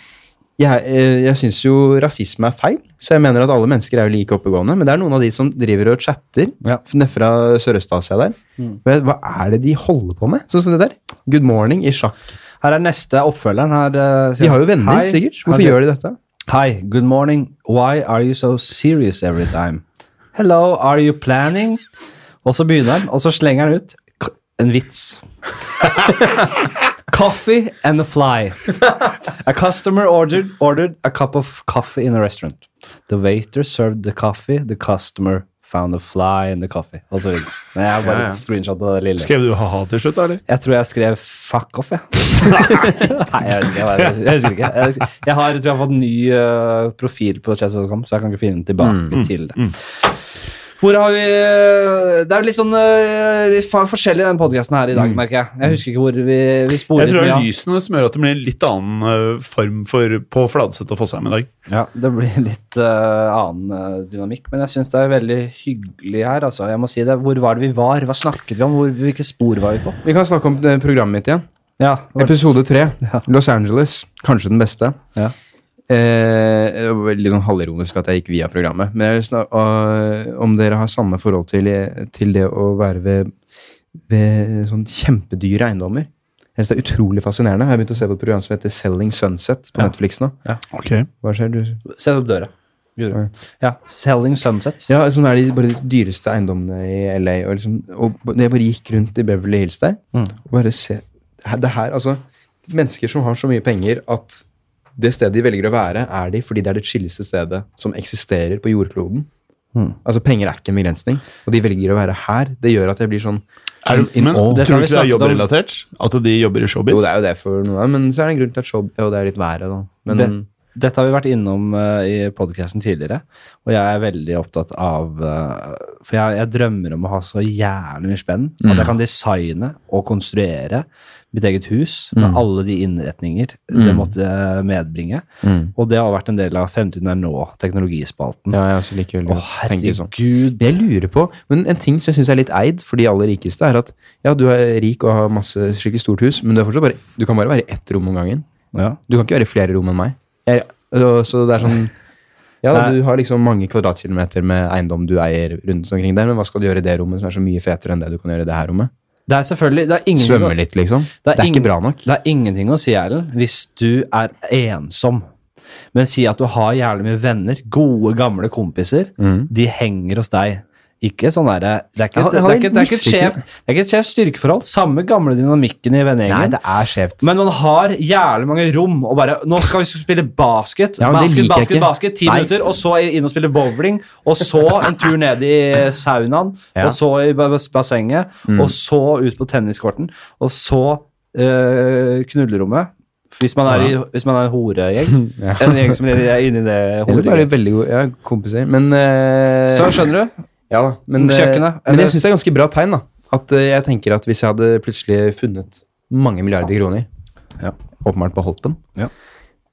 Speaker 2: Jeg, eh, jeg syns jo rasisme er feil, så jeg mener at alle mennesker er jo like oppegående. Men det er noen av de som driver og chatter
Speaker 1: Ja.
Speaker 2: f- ned fra Sørøst-Asia der.
Speaker 3: Mm.
Speaker 2: Men Hva er det de holder på med? Sånn som det der. Good morning i sjakk.
Speaker 1: Her er neste oppfølgeren. Her, eh, sier
Speaker 2: De har jo
Speaker 1: han,
Speaker 2: venner,
Speaker 1: «Hi».
Speaker 2: sikkert.
Speaker 1: Han
Speaker 2: Hvorfor
Speaker 1: sier,
Speaker 2: gjør de dette?
Speaker 1: Hi, good morning. Why are you so serious every time? Hello, are you planning? Og så begynner han, og så slenger han ut k- en vits. coffee and a fly. A customer ordered, ordered a cup of coffee in a restaurant. The waiter served the coffee, the customer found a fly in the coffee. Og så videre. Men jeg har bare
Speaker 3: Ja, ja.
Speaker 1: et screenshot av det lille.
Speaker 3: Skrev du ha-ha til slutt, da, eller?
Speaker 1: Jeg tror jeg skrev 'fuck off', jeg. Nei, jeg, vet ikke, jeg, bare- jeg husker ikke. Jeg, husker- jeg har, tror jeg har fått ny eh, profil på chess.com, så jeg kan ikke finne tilbake
Speaker 3: Mm,
Speaker 1: til det. Hvor har vi eh, Det er litt sånn eh, litt fa- forskjellig i den podkasten her i dag, merker jeg. Jeg husker ikke hvor vi, vi sporer
Speaker 3: Mm. Jeg tror det
Speaker 1: mye
Speaker 3: er
Speaker 1: av.
Speaker 3: lysene som gjør at det blir en litt annen eh, form for på Fladseth og Fossheim i dag.
Speaker 1: Ja, det blir litt eh, annen eh, dynamikk, men jeg syns det er veldig hyggelig her, altså. Jeg må si det. Hvor var det vi var? Hva snakket vi om? Hvor, hvilke spor var vi på?
Speaker 2: Vi kan snakke om det programmet mitt igjen.
Speaker 1: Ja, det var,
Speaker 2: Episode tre. Los Angeles. Kanskje den beste.
Speaker 1: ja.
Speaker 2: Eh, det var litt sånn halvironisk at jeg gikk via programmet. Men jeg vil snak- og, om dere har samme forhold til, til det å være ved, ved sånn kjempedyre eiendommer. Jeg synes det er utrolig fascinerende. Jeg har begynt å se på et program som heter Selling Sunset på Netflix nå.
Speaker 3: Okay.
Speaker 2: Hva skjer? Du?
Speaker 1: Sett opp døra. Videre. Ja. Selling Sunset.
Speaker 2: Ja, sånn er de, bare de dyreste eiendommene i LA. Og, liksom, og når jeg bare gikk rundt i Beverly Hills der,
Speaker 1: Mm.
Speaker 2: og bare se det her- det her, altså, Mennesker som har så mye penger at det stedet de velger å være, er de fordi det er det chilleste stedet som eksisterer på jordkloden. Altså, Penger er ikke en begrensning, og de velger å være her. Det gjør at jeg blir sånn
Speaker 3: Er,
Speaker 2: in
Speaker 3: men
Speaker 2: awe.
Speaker 1: Det tror jeg
Speaker 3: tror du ikke det er
Speaker 1: vi snakket om.
Speaker 3: jobbrelatert? At de jobber i showbiz?
Speaker 2: Jo, det er jo det for noen, men så er det en grunn til at show Jo, det er litt været, da. Men
Speaker 1: Det, dette har vi vært innom eh, i podkasten tidligere, og jeg er veldig opptatt av eh, For jeg, jeg drømmer om å ha så jævlig mye spenn at
Speaker 2: Mm.
Speaker 1: jeg kan designe og konstruere mitt eget hus med
Speaker 2: Mm.
Speaker 1: alle de innretninger det måtte eh, medbringe. Og det har vært en del av Fremtiden er nå-teknologispalten.
Speaker 2: Mm. ja, jeg også liker veldig
Speaker 1: Å,
Speaker 2: godt å tenke sånn.
Speaker 1: herregud!
Speaker 2: Det jeg lurer på, men en ting som jeg syns er litt eid for de aller rikeste, er at ja, du er rik og har masse skikkelig stort hus, men du, er fortsatt bare, du kan bare være i ett rom om gangen.
Speaker 1: Ja.
Speaker 2: Du kan ikke være i flere rom enn meg. Jeg, og så det er sånn Ja,
Speaker 1: Nei.
Speaker 2: du har liksom mange kvadratkilometer med eiendom du eier rundt omkring der, men hva skal du gjøre i det rommet som er så mye fetere enn det du kan gjøre i det her rommet?
Speaker 1: Det er selvfølgelig det er ingen,
Speaker 2: Svømme litt, liksom? Det er,
Speaker 1: ingen-
Speaker 2: ikke bra nok.
Speaker 1: Det er ingenting å si, Erlend, hvis du er ensom. Men si at du har jævlig mye venner, gode, gamle kompiser. De henger hos deg. Ikke sånn derre Det er ikke
Speaker 2: Mm. Jeg
Speaker 1: et- det
Speaker 2: har-
Speaker 1: er ikke-
Speaker 2: jeg
Speaker 1: det er ikke et
Speaker 2: misliker-
Speaker 1: skjevt det er ikke et skjevt styrkeforhold. Samme gamle dynamikken i
Speaker 2: Nei,
Speaker 1: vennegjengen.
Speaker 2: det er skjevt.
Speaker 1: Men man har jævlig mange rom og bare Nå skal vi spille basket,
Speaker 2: Ja, men det
Speaker 1: basket,
Speaker 2: liker jeg
Speaker 1: basket,
Speaker 2: ikke.
Speaker 1: basket, ti
Speaker 2: Nei.
Speaker 1: minutter, og så inn og spille bowling, og så en tur ned i saunaen,
Speaker 2: Ja. Mm.
Speaker 1: og så i ba- bassenget, og så ut på tenniskorten, og så eh, knullerommet. Hvis man er, i, hvis man er en horegjeng. En gjeng som er inni det
Speaker 2: Eller bare
Speaker 1: horegjengen.
Speaker 2: veldig gode ja, kompiser. Men eh,
Speaker 1: Så skjønner du?
Speaker 2: Ja da, men, eh,
Speaker 1: Kjøkkenet,
Speaker 2: men
Speaker 1: eller-
Speaker 2: jeg syns det er ganske bra tegn. da. At eh, jeg tenker at Hvis jeg hadde plutselig funnet mange milliarder kroner,
Speaker 1: Ja.
Speaker 2: åpenbart beholdt dem
Speaker 1: Ja.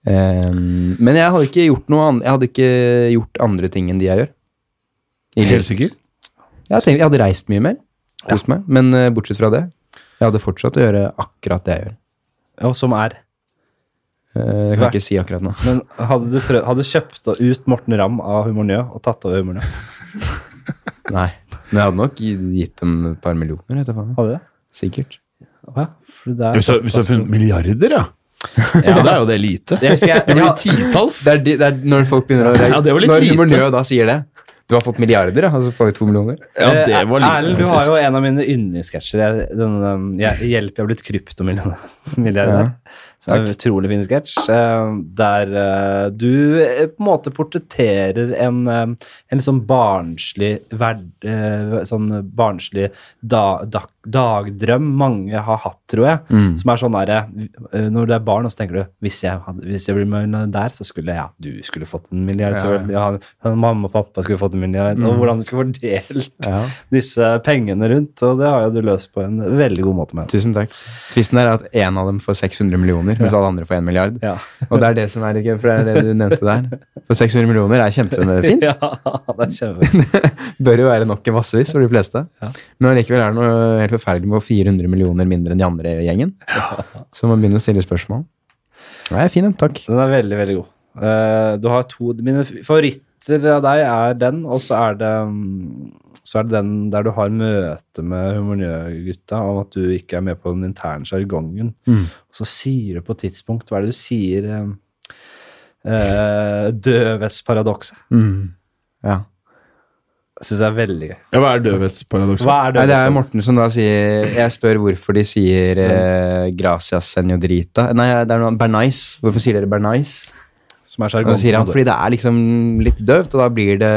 Speaker 2: eh, Men jeg hadde ikke gjort noe annet, jeg hadde ikke gjort andre ting enn de jeg gjør. I livet.
Speaker 3: Helt sikker?
Speaker 2: Jeg, tenkte, jeg hadde reist mye mer, kost meg, men eh, bortsett fra det Jeg hadde fortsatt å gjøre akkurat det jeg gjør.
Speaker 1: Og som er.
Speaker 2: Eh, Det kan jeg ikke si akkurat nå.
Speaker 1: Men hadde du, prøvd, hadde du kjøpt ut Morten Ramm av Humor Njø og tatt over Humor Njø?
Speaker 2: Nei. Men jeg hadde nok gitt dem et par millioner. Vet jeg faen.
Speaker 1: Hadde du det?
Speaker 2: Sikkert.
Speaker 1: Å ja, for det er
Speaker 3: Hvis du hvis du har funnet milliarder, ja. ja. Da er jo det lite.
Speaker 1: Det husker jeg-
Speaker 3: Det blir
Speaker 1: ja.
Speaker 3: titalls.
Speaker 2: Det er, de, det er når folk begynner å
Speaker 3: Ja, det var litt
Speaker 2: Når
Speaker 3: lite.
Speaker 2: miljøet da sier det. Du har fått milliarder, ja, og så får vi to millioner.
Speaker 3: Ja, det var
Speaker 1: Eh, Erlend,
Speaker 3: lite,
Speaker 1: du har jo
Speaker 3: faktisk.
Speaker 1: en av mine yndlingssketsjer. Jeg- den, um, jeg- Hjelp, jeg har blitt kryptomilliardær. Så det er en utrolig fin sketsj. eh, Der eh, du eh, på en måte portretterer en, eh, en sånn barnslig verd, eh, sånn barnslig da, da, dagdrøm mange har hatt, tror jeg. Som er sånn derre eh, Når du er barn, og så tenker du hvis jeg, hadde, hvis jeg blir milliardær, så skulle ja, du skulle fått en milliard.
Speaker 2: Ja,
Speaker 1: så ja, mamma og pappa skulle fått en milliard. Og hvordan du skulle fordelt
Speaker 2: Ja.
Speaker 1: disse pengene rundt, og det har jo du løst på en veldig god måte med.
Speaker 2: Tusen takk. Tvisten er at én av dem får 600 millioner, mens alle andre får 1 milliard.
Speaker 1: Ja.
Speaker 2: Og det er det som er litt gøy, for det er det du nevnte der. For 600 millioner er kjempefint.
Speaker 1: Ja, det er kjempe.
Speaker 2: Bør jo være nok i massevis for de fleste.
Speaker 1: Ja.
Speaker 2: Men allikevel er det noe helt forferdelig med å få 400 millioner mindre enn de andre i gjengen. Så man begynner å stille spørsmål. Nei, fin en. Takk.
Speaker 1: Den er veldig, veldig god. Eh, du har to Mine favoritter av deg er den, og så er det mm, så er det den der du har møte med humornø-gutta om at du ikke er med på den interne sjargongen. Og så sier du på et tidspunkt Hva er det du sier? eh, eh, Døvhetsparadokset.
Speaker 2: Mm. Ja.
Speaker 1: Det syns jeg er veldig gøy.
Speaker 3: Ja, hva er døvhetsparadokset?
Speaker 1: Hva er
Speaker 2: Nei, det er jo
Speaker 1: døvhetsparadokset?
Speaker 2: Morten som da sier Jeg spør hvorfor de sier eh, 'gracias senodrita'. Nei, det er noe Bernais. Hvorfor sier dere Bernais?
Speaker 1: Som er
Speaker 2: Og da
Speaker 1: sjargongen.
Speaker 2: sier han fordi det er liksom litt døvt, og da blir det,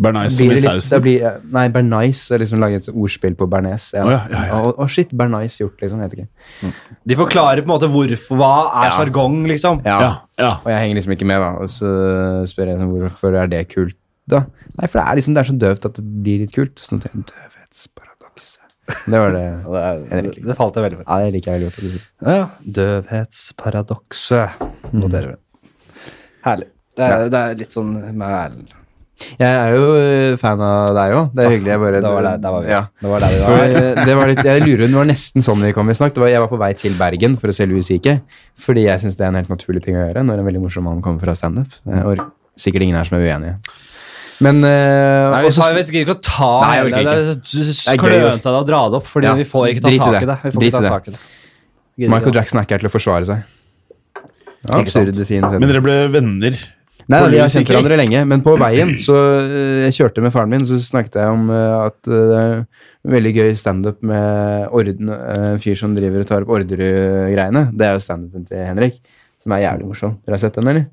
Speaker 3: Bernice
Speaker 2: blir
Speaker 3: som i
Speaker 2: det litt, da
Speaker 3: sausen.
Speaker 2: blir, Nei, Bernais er liksom laget et ordspill på bearnés. Ja.
Speaker 3: Å, ja, ja, ja.
Speaker 2: Å, å, shit, Bernais gjort, liksom. Heter ikke.
Speaker 1: De forklarer på en måte hvorfor, hva er sjargong, liksom.
Speaker 2: Ja.
Speaker 3: Ja, ja.
Speaker 2: Og jeg henger liksom ikke med, da. Og så spør jeg sånn, hvorfor er det kult, da? Nei, for det er liksom det er så døvt at det blir litt kult. Sånn døvhetsparadokset. Det var det.
Speaker 1: Det, er,
Speaker 2: det-
Speaker 1: det falt jeg veldig for.
Speaker 2: Ja, det liker jeg veldig godt. at du sier.
Speaker 1: Ja, Døvhetsparadokset. Noterer vi. Mm. Herlig. Det er, det er litt sånn med Erlend.
Speaker 2: Jeg er jo eh, fan av deg òg. Det er hyggelig. Jeg bare
Speaker 1: Det var der, der var vi.
Speaker 2: Ja.
Speaker 1: Det var der vi
Speaker 2: For,
Speaker 1: var.
Speaker 2: eh, det var litt, jeg lurer, det var nesten sånn vi kom i snakk. Det var, jeg var på vei til Bergen for å se Louis C.K. Fordi jeg syns det er en helt naturlig ting å gjøre når en veldig morsom mann kommer fra standup. Eh, Og sikkert ingen her som er uenige. Men eh,
Speaker 1: Nei, vi,
Speaker 2: også-
Speaker 1: tar, vi gidder ikke å ta
Speaker 2: Nei, jeg orker
Speaker 1: Erlend. Det er så klønete av deg å dra det opp, fordi
Speaker 2: Ja,
Speaker 1: vi får ikke ta
Speaker 2: drit i
Speaker 1: tak
Speaker 2: det.
Speaker 1: i det. Vi får ikke
Speaker 2: Drit i
Speaker 1: ta
Speaker 2: det.
Speaker 1: tak i det. Gidder ikke
Speaker 2: Michael
Speaker 1: da.
Speaker 2: Jackson er ikke her til å forsvare seg. Ja,
Speaker 1: Ikke sant.
Speaker 2: absurd, fin setning.
Speaker 3: Men dere ble venner?
Speaker 2: Nei,
Speaker 3: På
Speaker 2: vi har
Speaker 3: Louis
Speaker 2: kjent
Speaker 3: CK.
Speaker 2: hverandre lenge, men på veien så eh, Jeg kjørte med faren min, så snakket jeg om eh, at eh, det er veldig gøy standup med orden, eh, en fyr som driver og tar opp Orderud-greiene. Det er jo standupen til Henrik, som er jævlig morsom. Dere har sett den, eller?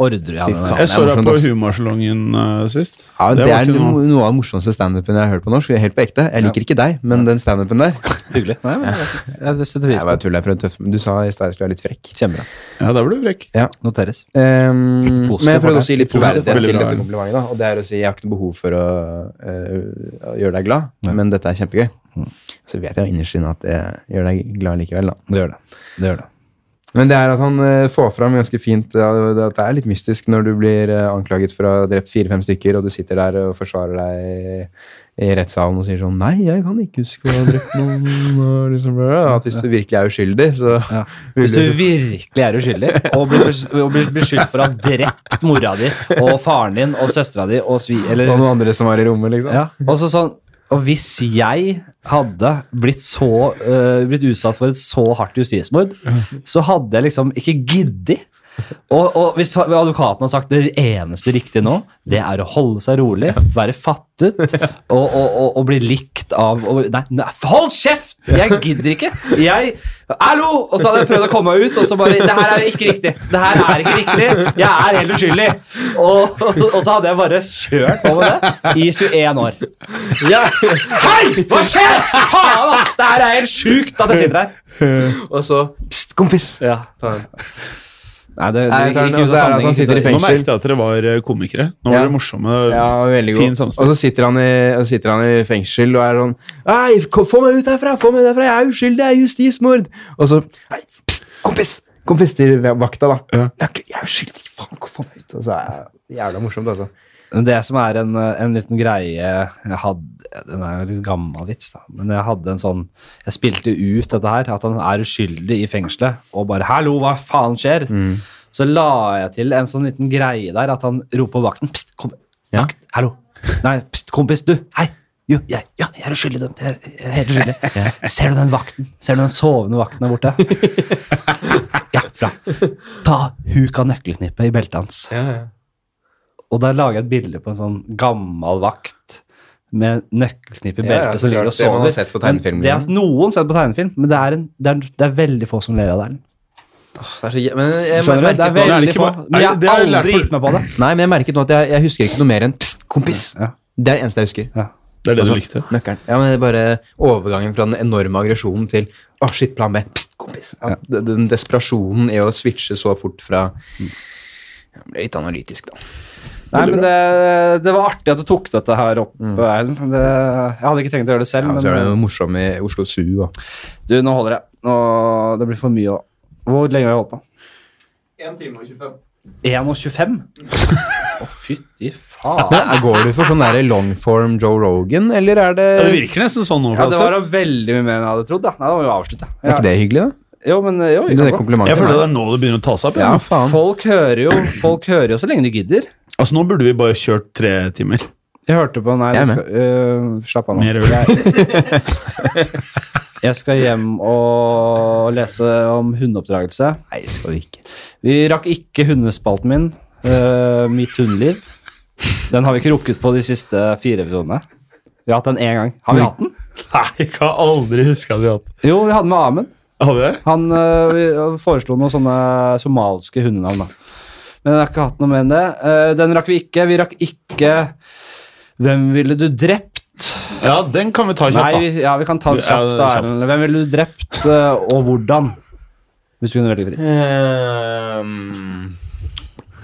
Speaker 1: Ordre, ja, den
Speaker 2: faen.
Speaker 1: der.
Speaker 3: Jeg så
Speaker 2: det er
Speaker 3: deg på
Speaker 2: morsomt, ass.
Speaker 3: Humorsalongen eh, sist.
Speaker 2: Ja, det,
Speaker 3: var
Speaker 2: er
Speaker 3: ikke
Speaker 2: no,
Speaker 3: noe-
Speaker 2: noe av den morsomste standupen jeg har hørt på norsk. Helt på ekte. Jeg liker ikke deg, men den standupen der
Speaker 1: Hyggelig. Nei, men, jeg- jeg setter pris
Speaker 2: Jeg
Speaker 1: på
Speaker 2: bare
Speaker 1: det.
Speaker 2: tuller, jeg prøvde tøft, men du sa i stad jeg skulle være litt frekk.
Speaker 1: Kjempebra.
Speaker 3: Ja, der ble du frekk.
Speaker 1: Noteres.
Speaker 2: Ehm,
Speaker 1: positiv
Speaker 2: men jeg
Speaker 1: for
Speaker 2: prøvde
Speaker 1: deg.
Speaker 2: å si litt troverdighet
Speaker 3: Litt positiv for deg.
Speaker 2: til
Speaker 3: Veldig
Speaker 2: dette
Speaker 3: bra.
Speaker 2: komplimentet. da, Og det er å si jeg har ikke noe behov for å eh, å gjøre deg glad, men dette er kjempegøy.
Speaker 1: Mm.
Speaker 2: Så vet jeg innerst inne at det gjør deg glad likevel, da.
Speaker 1: Det gjør det. Det gjør det.
Speaker 2: Men det er at han eh, får fram ganske fint ja, det- at det er litt mystisk når du blir eh, anklaget for å ha drept fire-fem stykker, og du sitter der og forsvarer deg i rettssalen og sier sånn Nei, jeg kan ikke huske å ha drept noen. Og liksom, bare, at hvis du virkelig er uskyldig, så
Speaker 1: Ja. Hvis du virkelig er uskyldig, og blir, bes- og blir beskyldt for å ha drept mora di og faren din og søstera di og svi... Eller,
Speaker 2: Det var noen andre som var i rommet, liksom.
Speaker 1: ja. og, så sånn, og hvis jeg hadde blitt, så, øh, blitt utsatt for et så hardt justismord, så hadde jeg liksom ikke giddet. Og, og hvis advokaten har sagt det eneste riktige nå, det er å holde seg rolig, være fattet og, og, og, og bli likt av og, nei, nei, hold kjeft! Jeg gidder ikke! Jeg Hallo! Og så hadde jeg prøvd å komme meg ut, og så bare Det her er ikke riktig! Det her er ikke riktig! Jeg er helt uskyldig! Og, og så hadde jeg bare kjørt på med det i 21 år. Ja. Hei! Hva skjer?! Faen, ass! Det her er helt sjukt at jeg sitter her.
Speaker 2: Og så Pst, kompis!
Speaker 1: Ja.
Speaker 2: Ta den.
Speaker 1: Nei, det,
Speaker 2: Nei, jeg tar den, og så er det at han sitter i
Speaker 1: fengsel.
Speaker 2: Fengsel.
Speaker 3: Nå merket jeg at dere var eh, komikere.
Speaker 2: Ja.
Speaker 3: Nå var dere morsomme.
Speaker 2: Ja, veldig
Speaker 3: Fin
Speaker 2: god.
Speaker 3: samspill.
Speaker 2: Og så sitter han, i, og sitter han i fengsel og er sånn Nei, kom, få meg ut herfra! Få meg ut herfra! Jeg er uskyldig! Jeg er justismord! Og så Nei, pst, kompis! Kompis til vakta, da.
Speaker 3: Ja.
Speaker 2: «Jeg er ikke- Jeg er uskyldig! Faen, kom, få meg ut! Og så er det jævla morsomt, altså.
Speaker 1: Men Det som er en, eh, en liten greie jeg hadde, Den er jo litt gammel vits, da. Men jeg hadde en sånn Jeg spilte ut dette her, at han er uskyldig i fengselet, og bare 'hallo, hva faen skjer?' Så la jeg til en sånn liten greie der, at han roper på vakten 'pst, kom,
Speaker 2: Ja.
Speaker 1: vakt, hallo'. Nei, pst, kompis, du, hei, Jo, jeg, ja, jeg er uskyldig dømt. Jeg er, jeg er helt uskyldig. Ser du den vakten? Ser du den sovende vakten der borte? ja, bra. Ta huk av nøkkelknippet i beltet hans. Og der lager jeg et bilde på en sånn gammel vakt med nøkkelknipp i
Speaker 2: Ja, ja,
Speaker 1: beltet
Speaker 2: så
Speaker 1: som ligger og
Speaker 2: klart. Det
Speaker 1: sover.
Speaker 2: man har sett på tegnefilm,
Speaker 1: Men det
Speaker 2: ja.
Speaker 1: har noen sett på tegnefilm, men det er, en, det er, det er veldig få som ler av det. Erlend.
Speaker 2: Det er så, jæ- men jeg,
Speaker 1: Skjønner du?
Speaker 2: merket
Speaker 1: Det er
Speaker 2: nå-
Speaker 3: er
Speaker 1: veldig
Speaker 3: det
Speaker 1: få.
Speaker 3: ikke bare-
Speaker 1: Men
Speaker 3: Nei,
Speaker 1: jeg
Speaker 3: det har
Speaker 1: har
Speaker 3: jeg lært
Speaker 1: aldri
Speaker 3: på-
Speaker 1: gitt meg på det.
Speaker 2: Nei, men jeg merket nå at jeg, jeg husker ikke noe mer enn Pst, kompis!
Speaker 1: Ja.
Speaker 2: Det er det eneste jeg husker.
Speaker 3: Det er det
Speaker 2: Altså,
Speaker 3: du likte.
Speaker 2: Nøkkelen. Ja, men det er bare overgangen fra den enorme aggresjonen til Å, shit, plan B. Pst, kompis! Ja, d- Den desperasjonen i å switche så fort fra Jeg ble litt analytisk, da.
Speaker 1: Nei, men det, Mm. det var artig at du tok dette her opp, Erlend. Det- Jeg hadde ikke tenkt å gjøre det selv,
Speaker 2: Ja, så Altså, er det
Speaker 1: men eh,
Speaker 2: noe morsomt i Oslo Zoo og
Speaker 1: du, nå holder jeg. Nå, det blir for mye å Hvor lenge har jeg holdt på? 1 time og 25. 1 og 25? Å, fytti faen.
Speaker 2: Men Går du for sånn der longform Joe Rogan, eller er det
Speaker 3: Ja, det virker nesten sånn nå.
Speaker 1: Ja, det var da
Speaker 3: uansett.
Speaker 1: veldig mye mer enn jeg hadde trodd. Da. Nei, da må vi avslutte.
Speaker 2: Er ikke det hyggelig, da?
Speaker 1: Jo, men eh, jo, vi
Speaker 2: Det
Speaker 1: kan
Speaker 2: er
Speaker 1: godt.
Speaker 2: komplimentet.
Speaker 3: Jeg føler det er nå det begynner å ta seg opp.
Speaker 2: Ja,
Speaker 3: Ja.
Speaker 2: faen.
Speaker 1: Folk hører jo Folk hører jo så lenge de gidder.
Speaker 3: Altså, nå burde vi bare kjørt tre timer.
Speaker 1: Jeg hørte på Nei,
Speaker 2: Jeg er
Speaker 1: jeg skal, øh, slapp av nå.
Speaker 3: Mer øl.
Speaker 1: Jeg skal hjem og lese om hundeoppdragelse.
Speaker 2: Nei, det skal du ikke.
Speaker 1: Vi rakk ikke hundespalten min, øh, mitt hundeliv. Den har vi ikke rukket på de siste fire episodene. Vi har hatt den én gang. Har vi hatt den?
Speaker 3: Nei, jeg kan aldri huske at vi har hatt
Speaker 1: Jo, vi hadde den med Amund.
Speaker 3: Har vi det?
Speaker 1: Han øh, vi øh, foreslo noen sånne somaliske hundenavn. Da. Men jeg har ikke hatt noe mer enn det. Eh, den rakk vi ikke. Vi rakk ikke Hvem ville du drept?
Speaker 3: Ja, den kan vi ta kjapt,
Speaker 1: Nei,
Speaker 3: da.
Speaker 1: vi, ja, vi kan ta det
Speaker 3: Ja,
Speaker 1: kjapt. da,
Speaker 3: kjapt.
Speaker 1: Erlend. Hvem ville du drept, øh, og hvordan? Hvis du kunne velge fritt.
Speaker 2: Ehm,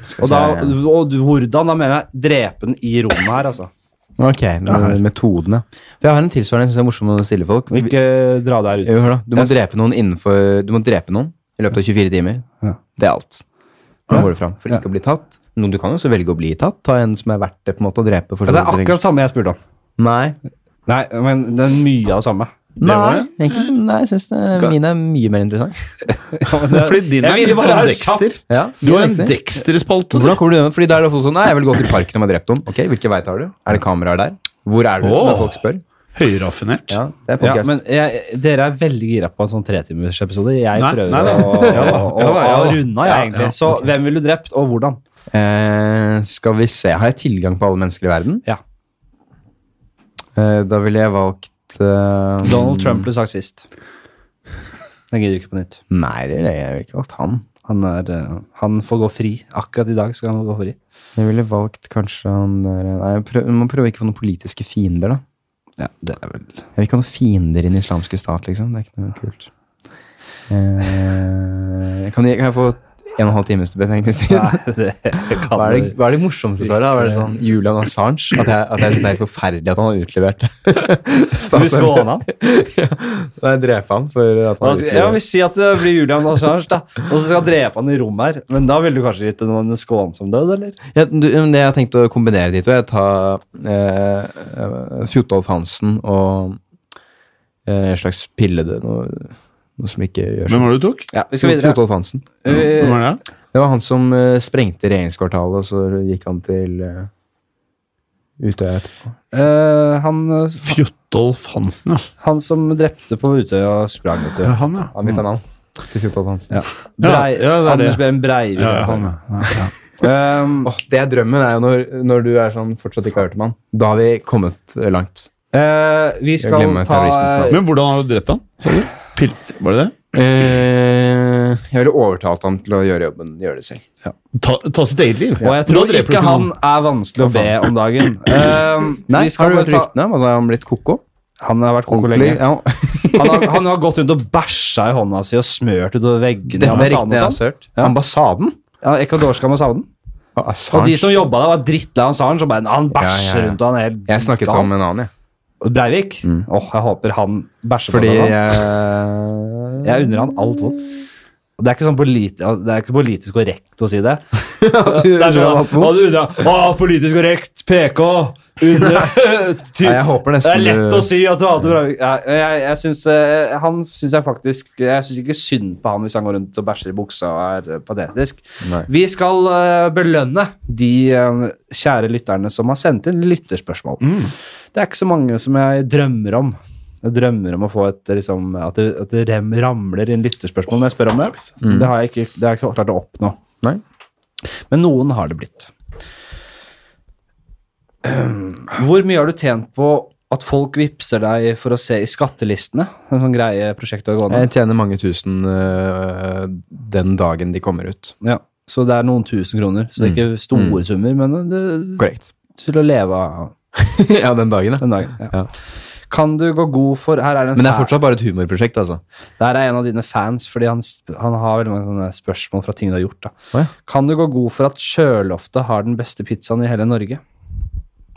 Speaker 1: Og,
Speaker 2: skal
Speaker 1: da,
Speaker 2: jeg si-
Speaker 1: og du- hvordan? Da mener jeg drepe den i rommet her, altså.
Speaker 2: Ok, med metodene. For jeg har en tilsvarende jeg synes det er morsomt å stille folk. Vi-
Speaker 1: Ikke dra deg
Speaker 2: Jo,
Speaker 1: ut.
Speaker 2: hør da. Du må drepe noen innenfor Du må drepe noen i løpet av 24 timer.
Speaker 1: Ja.
Speaker 2: Det er alt. Nå går det fram. For ikke å bli tatt. Noen du kan jo også velge å bli tatt. Ta en som er verdt det på en måte å drepe. For
Speaker 1: Ja,
Speaker 2: så
Speaker 1: det
Speaker 2: vidt
Speaker 1: er
Speaker 2: du tenker-
Speaker 1: akkurat samme jeg spurte om.
Speaker 2: Nei.
Speaker 1: Nei, men det er mye av det samme.
Speaker 2: Nei,
Speaker 3: var
Speaker 2: egentlig, nei, jeg syns det- min er mye mer interessant.
Speaker 3: Fordi
Speaker 1: Jeg
Speaker 3: din er
Speaker 1: ville
Speaker 3: litt
Speaker 1: bare
Speaker 3: sånn
Speaker 1: ha et kjapt-
Speaker 3: Dexter.
Speaker 2: Ja,
Speaker 3: Du har en
Speaker 2: Dexter.
Speaker 3: Dexter-spalte.
Speaker 2: Hvordan kommer du gjennom? Fordi der er det ofte sånn Nei, jeg vil gå til parken om jeg har drept noen. Ok, Hvilke vei tar du? Er det kameraer der? Hvor er du?
Speaker 3: Åh.
Speaker 2: Når folk spør.
Speaker 3: Høyraffinert.
Speaker 2: Ja, det
Speaker 1: Ja,
Speaker 2: er podcast.
Speaker 1: men jeg, Dere er veldig gira på en sånn tretimersepisode. Jeg
Speaker 3: Nei,
Speaker 1: prøver
Speaker 3: nei, nei.
Speaker 1: å,
Speaker 3: Ja da,
Speaker 1: å,
Speaker 3: ja
Speaker 1: å,
Speaker 3: da, ja da.
Speaker 1: runde av, jeg,
Speaker 3: Ja,
Speaker 1: egentlig.
Speaker 3: ja,
Speaker 1: Så hvem ville du drept, og hvordan?
Speaker 2: Eh, skal vi se. Har jeg tilgang på alle mennesker i verden?
Speaker 1: Ja.
Speaker 2: Eh, da ville jeg valgt eh,
Speaker 1: Donald Trump ble sagt sist. Jeg gidder ikke på nytt.
Speaker 2: Nei, det ville jeg, jeg ville ikke valgt han.
Speaker 1: Han, er, eh, han får gå fri. Akkurat i dag skal han gå fri.
Speaker 2: Jeg ville valgt kanskje han der Nei, jeg prøv, man prøver ikke å få noen politiske fiender, da.
Speaker 1: Ja, det er vel
Speaker 2: Jeg vil ikke ha noen fiender i den islamske stat, liksom. Det er ikke noe kult. Eh, kan, jeg, kan jeg få en og en halv times betenkningstid?
Speaker 1: Nei, det kan
Speaker 2: Hva er, det,
Speaker 1: du-
Speaker 2: hva er det morsomste svaret? Hva Er det sånn Julian Assange? At jeg, at jeg synes det er forferdelig at han har utlevert
Speaker 1: Du skåner han?
Speaker 2: Nei, drepe han for
Speaker 1: Da
Speaker 2: at
Speaker 1: skal-
Speaker 2: han utleverte
Speaker 1: Altså, Ja, Vi sier at det blir Julian Assange, da. og så skal han drepe han i rommet her. Men da ville du kanskje gitt en skånsom død, eller?
Speaker 2: Ja, du, men det jeg har tenkt å kombinere de to, jeg tar eh, Fjotolf Hansen og eh, en slags pilledød, noe, noe som ikke gjør
Speaker 3: Hvem var det du tok?
Speaker 1: Ja, vi skal
Speaker 2: Fjot-
Speaker 1: videre.
Speaker 2: Fjotolf Hansen.
Speaker 1: Eh,
Speaker 3: Hvem
Speaker 1: Vi,
Speaker 3: var det?
Speaker 2: Det var han som eh, sprengte regjeringskvartalet, og så gikk han til eh, Utøya etterpå.
Speaker 1: eh, han, eh,
Speaker 3: Fjotolf Hansen, ja.
Speaker 1: han som drepte på Utøya og sprang, vet
Speaker 3: Det
Speaker 1: du.
Speaker 3: er han, ja.
Speaker 2: Han bytta navn til Fjotolf Hansen.
Speaker 1: Ja. Brei,
Speaker 3: Ja, ja, det er det.
Speaker 1: Anders Behring Breivik.
Speaker 3: ja, han, ja. ja.
Speaker 1: Um,
Speaker 2: Åh, det er drømmen, er jo når, når du er sånn fortsatt ikke har hørt om han. Da har vi kommet eh, langt.
Speaker 1: eh, vi
Speaker 2: Jeg
Speaker 1: skal
Speaker 2: glemmer terroristens
Speaker 1: ta
Speaker 2: navn.
Speaker 3: Men hvordan har du drept han? Sa du? Pill... Var det det?
Speaker 2: Eh, jeg ville overtalt han til å gjøre jobben, gjøre det selv.
Speaker 3: Ta, ta sitt eget liv.
Speaker 1: Og jeg
Speaker 3: Da
Speaker 1: tror
Speaker 3: dreper du
Speaker 1: ikke han
Speaker 3: noen.
Speaker 1: er vanskelig å be om dagen. Um,
Speaker 2: Nei,
Speaker 1: vi skal
Speaker 2: har du
Speaker 1: bare
Speaker 2: hørt
Speaker 1: ta-
Speaker 2: ryktene om at han har blitt koko?
Speaker 1: Han har vært koko
Speaker 2: Ordentlig,
Speaker 1: lenge.
Speaker 2: Ja.
Speaker 1: Han har, han har gått rundt og bæsja i hånda si og smørt utover veggene. i
Speaker 2: Dette er
Speaker 1: ambassaden
Speaker 2: ryktene jeg
Speaker 1: og
Speaker 2: har
Speaker 1: sånn.
Speaker 2: hørt.
Speaker 1: Ja.
Speaker 2: Ambassaden?
Speaker 1: Ja, Ecuador skal man savne den.
Speaker 2: Og
Speaker 1: Og
Speaker 2: Assange.
Speaker 1: de som jobba der, var drittlei av Assange. Og bare, han bæsjer
Speaker 2: Ja, ja, ja.
Speaker 1: rundt og han er helt
Speaker 2: jeg snakket
Speaker 1: gal.
Speaker 2: om en annen, jeg.
Speaker 1: Og Breivik? Åh, jeg håper han bæsjer
Speaker 2: Fordi eh,
Speaker 1: på seg. sånn.
Speaker 2: jeg
Speaker 1: Jeg unner han alt vondt. Og Det er ikke sånn politi ja, det er ikke politisk korrekt å si det.
Speaker 2: du
Speaker 1: Det er
Speaker 2: gjør alt
Speaker 1: sånn,
Speaker 2: vondt.
Speaker 1: «Å, du, da, å, politisk korrekt, PK under,
Speaker 2: Nei, jeg håper nesten
Speaker 1: Det er lett
Speaker 2: du-
Speaker 1: å si at du hadde bra ja, Jeg, jeg syns eh, han synes jeg faktisk Jeg syns ikke synd på han hvis han går rundt og bæsjer i buksa og er eh, patetisk.
Speaker 2: Nei.
Speaker 1: Vi skal eh, belønne de eh, kjære lytterne som har sendt inn lytterspørsmål. Det er ikke så mange som jeg drømmer om. Jeg drømmer om å få et eh, liksom, at det, at det rem, ramler inn lytterspørsmål når jeg spør om det. Mm. Det har jeg ikke, det har jeg ikke klart å oppnå.
Speaker 2: Nei.
Speaker 1: Men noen har det blitt. Ehm, Hvor mye har du tjent på at folk vipser deg for å se i skattelistene? En sånn greie prosjektet har gående.
Speaker 2: Jeg tjener mange tusen øh, den dagen de kommer ut.
Speaker 1: Ja. Så det er noen tusen kroner. Så det er
Speaker 2: Mm.
Speaker 1: ikke store summer, men det,
Speaker 2: Korrekt.
Speaker 1: til å leve av
Speaker 2: ja, den dagen, ja.
Speaker 1: den dagen. Ja.
Speaker 2: Ja.
Speaker 1: Kan du gå god for Her er det en
Speaker 2: Men det er
Speaker 1: fa-
Speaker 2: fortsatt bare et humorprosjekt, altså.
Speaker 1: Der er en av dine fans, fordi han, sp- han har veldig mange sånne spørsmål fra ting du har gjort. Da.
Speaker 2: Å, ja.
Speaker 1: Kan du gå god for at Sjøloftet har den beste pizzaen i hele Norge?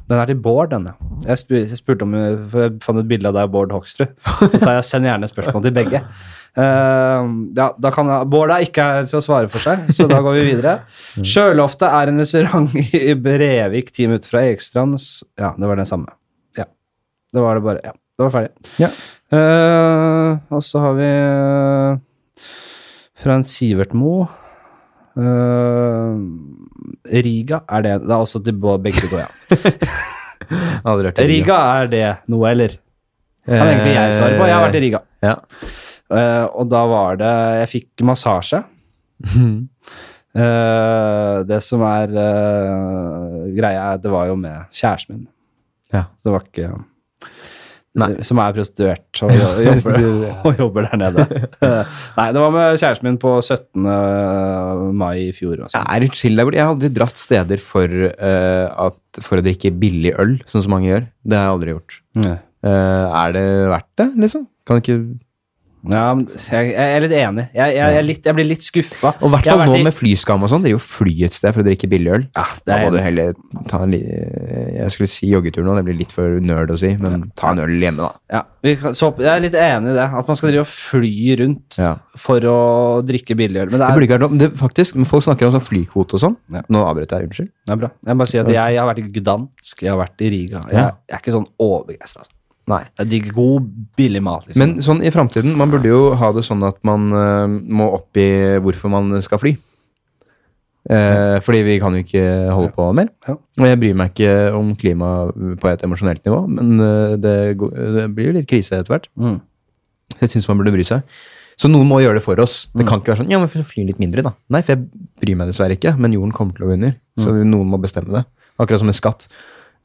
Speaker 1: Den er til Bård, denne. Jeg, spu- jeg spurte om, eh, for jeg fant et bilde av deg og Bård Hoksrud. Så sa jeg send gjerne spørsmål til begge. Eh, ja, da kan jeg, Bård er ikke her til å svare for seg, så da går vi videre.
Speaker 2: Mm.
Speaker 1: Sjøloftet er en restaurant i Brevik, ti minutter fra Ekstrand. Ja, det var den samme. Ja. Det var det bare. Ja, det var ferdig.
Speaker 2: Ja.
Speaker 1: Eh, og så har vi eh, fra en Sivert Mo Eh, Riga er det Det er også til bå- begge to, ja.
Speaker 2: Aldri vært i
Speaker 1: Riga er det noe, eller? Kan egentlig jeg svare på. Jeg har vært i Riga.
Speaker 2: Ja.
Speaker 1: Eh, og da var det Jeg fikk massasje. Eh, det som er eh, greia, er at det var jo med kjæresten min.
Speaker 2: Ja.
Speaker 1: Så det var ikke
Speaker 2: Nei.
Speaker 1: Som er prostituert og, og, jobber, og jobber der nede. Eh, Nei, det var med kjæresten min på 17. mai i fjor. Og
Speaker 2: Det
Speaker 1: sånn.
Speaker 2: er litt chill der borte. Jeg har aldri dratt steder for, øh, at, for å drikke billig øl, sånn som mange gjør. Det har jeg aldri gjort.
Speaker 1: Nei.
Speaker 2: Eh, er det verdt det, liksom? Kan ikke
Speaker 1: Ja, men jeg, jeg er litt enig. Jeg, jeg, jeg, er litt, jeg blir litt skuffa.
Speaker 2: Og i hvert
Speaker 1: Jeg
Speaker 2: fall
Speaker 1: har vært
Speaker 2: nå
Speaker 1: i-
Speaker 2: med flyskam og sånn. Dere er jo fly et sted for å drikke billig øl.
Speaker 1: ja, det
Speaker 2: Da må
Speaker 1: er,
Speaker 2: du heller ta en li Jeg skulle si joggetur nå, det blir litt for nerd å si, men ta en øl hjemme, da.
Speaker 1: ja, vi kan, så, Jeg er litt enig i det. At man skal drive og fly rundt
Speaker 2: Ja.
Speaker 1: for å drikke billig øl. Men det
Speaker 2: Det
Speaker 1: er,
Speaker 2: burde ikke vært lov. men Det, faktisk, men folk snakker om sånn flykvote og sånn.
Speaker 1: Ja. Sånn.
Speaker 2: Nå avbrøt jeg, unnskyld.
Speaker 1: det er bra. Jeg må bare si at jeg, jeg har vært i Gdansk, jeg har vært i Riga. Jeg,
Speaker 2: Ja.
Speaker 1: jeg er ikke sånn overbegeistra. Altså.
Speaker 2: Nei.
Speaker 1: Jeg digger god, billig mat. Liksom.
Speaker 2: Men sånn i framtiden, man burde jo ha det sånn at man eh, må oppgi hvorfor man skal fly. Eh, fordi vi kan jo ikke holde på mer.
Speaker 1: Ja.
Speaker 2: Og jeg bryr meg ikke om klima på et emosjonelt nivå, men eh, det, går- det blir jo litt krise etter hvert.
Speaker 1: Mm.
Speaker 2: Så Jeg syns man burde bry seg. Så noen må gjøre det for oss. Det
Speaker 1: Mm.
Speaker 2: kan ikke være sånn ja, men for så fly litt mindre, da. Nei, for jeg bryr meg dessverre ikke, men jorden kommer til å gå under. Så
Speaker 1: Mm.
Speaker 2: noen må bestemme det. Akkurat som en skatt.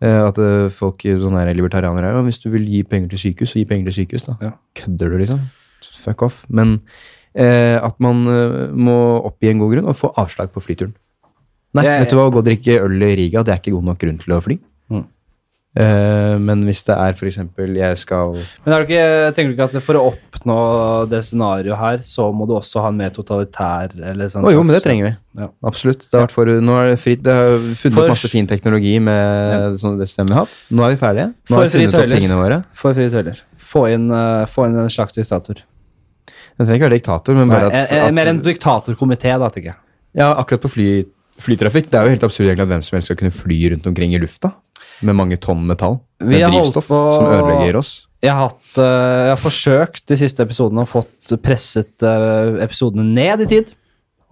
Speaker 2: Eh, At eh, folk sånne her libertarianere er, ja, hvis du vil gi penger til sykehus, så gi penger til sykehus, da.
Speaker 1: Ja.
Speaker 2: Kødder du, liksom? Fuck off. Men eh, at man eh, må oppgi en god grunn og få avslag på flyturen. Nei,
Speaker 1: Jeg-
Speaker 2: vet du hva, å gå og drikke øl i Riga, det er ikke god nok grunn til å fly.
Speaker 1: Mm.
Speaker 2: Eh, men hvis det er f.eks. jeg skal
Speaker 1: Men er det ikke, tenker du ikke at for å oppnå det scenarioet her, så må du også ha en mer totalitær eller sånn
Speaker 2: Å jo, men det
Speaker 1: slags-
Speaker 2: trenger vi.
Speaker 1: Ja.
Speaker 2: Absolutt. Det har vært for, nå er det fritt. Det har funnet
Speaker 1: For-
Speaker 2: masse fin teknologi med sånn det systemet vi har hatt. Nå er vi ferdige. Nå har
Speaker 1: For
Speaker 2: vi funnet
Speaker 1: frie
Speaker 2: opp
Speaker 1: tøyler.
Speaker 2: tingene våre.
Speaker 1: Få frie tøyler. Få inn, eh, få inn en slags diktator.
Speaker 2: Det trenger ikke være diktator, men
Speaker 1: Nei,
Speaker 2: bare
Speaker 1: eh,
Speaker 2: at,
Speaker 1: eh,
Speaker 2: at
Speaker 1: mer en diktatorkomité, da, tenker jeg.
Speaker 2: Ja, akkurat på fly, flytrafikk. Det er jo helt absurd egentlig at hvem som helst skal kunne fly rundt omkring i lufta med mange tonn metall.
Speaker 1: Vi
Speaker 2: Med
Speaker 1: har holdt
Speaker 2: drivstoff
Speaker 1: på-
Speaker 2: som ødelegger oss.
Speaker 1: Jeg har, hatt, eh, jeg har forsøkt de siste episodene og fått presset eh, episodene ned i tid.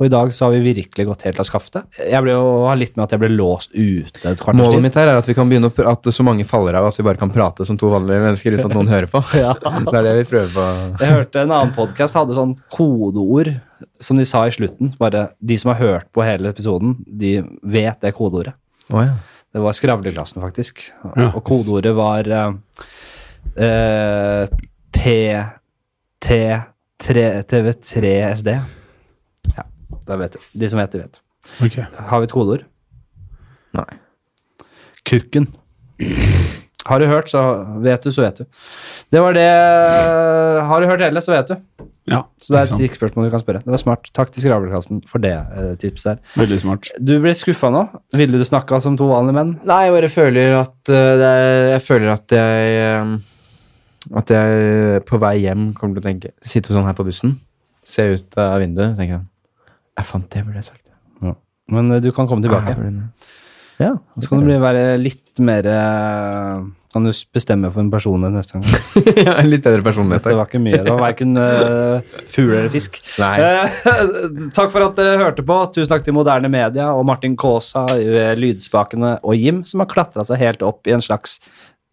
Speaker 1: Og i dag så har vi virkelig gått helt av skaftet. Jeg ble jo har litt med at jeg ble låst ute et kvarters
Speaker 2: Målet
Speaker 1: tid.
Speaker 2: mitt her er at vi kan begynne å pr at så mange faller av at vi bare kan prate som to vanlige mennesker uten at noen hører på.
Speaker 1: Ja.
Speaker 2: Det er det vi prøver på.
Speaker 1: Jeg hørte en annen podkast hadde sånn kodeord som de sa i slutten. Bare de som har hørt på hele episoden, de vet det kodeordet.
Speaker 2: Å ja.
Speaker 1: Det var skravleklassen, faktisk. Og-
Speaker 3: Ja.
Speaker 1: Og kodeordet var eh, eh, PT-TV3SD. Ja, da vet jeg. De som vet, de vet.
Speaker 3: Ok.
Speaker 1: Har vi et kodeord?
Speaker 2: Nei.
Speaker 1: Kukken. Har du hørt, så vet du, så vet du. Det var det Har du hørt hele, så vet du.
Speaker 3: Ja,
Speaker 1: Så det er
Speaker 3: ikke sant.
Speaker 1: et spørsmål du kan spørre. Det var smart. Takk til Skravlekassen for det eh, tipset der.
Speaker 3: Veldig smart.
Speaker 1: Du ble skuffa nå. Ville du snakka som to vanlige menn?
Speaker 2: Nei, jeg bare føler at eh, det er, Jeg føler at jeg eh, At jeg på vei hjem kommer til å tenke Sitte sånn her på bussen Se ut av vinduet, tenker han. Jeg fant det, burde jeg sagt.
Speaker 1: Men eh, du kan komme tilbake.
Speaker 2: Jeg burde det. Ja,
Speaker 1: Så kan du bli, være litt mer eh, Kan du s- bestemme for en person enn neste gang.
Speaker 2: Ja, en Litt bedre personlighet.
Speaker 1: Det var ikke mye. Det var verken eh, fugl eller fisk.
Speaker 2: Nei.
Speaker 1: Eh, takk for at dere hørte på. Tusen takk til Moderne Media og Martin Kaasa, eh, Lydspakene og Jim, som har klatra seg helt opp i en slags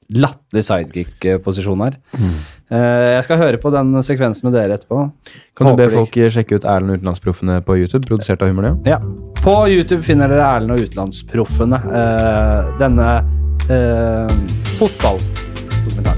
Speaker 1: latterlig sidekick-posisjon her.
Speaker 2: Mm.
Speaker 1: Eh, jeg skal høre på den sekvensen med dere etterpå.
Speaker 2: Kan du be
Speaker 1: Håper
Speaker 2: folk sjekke ut Erlend Utenlandsproffene på YouTube, produsert av Humornøya?
Speaker 1: Ja. På YouTube finner dere Erlend og Utenlandsproffene. Eh, denne eh, fotballdokumentaren.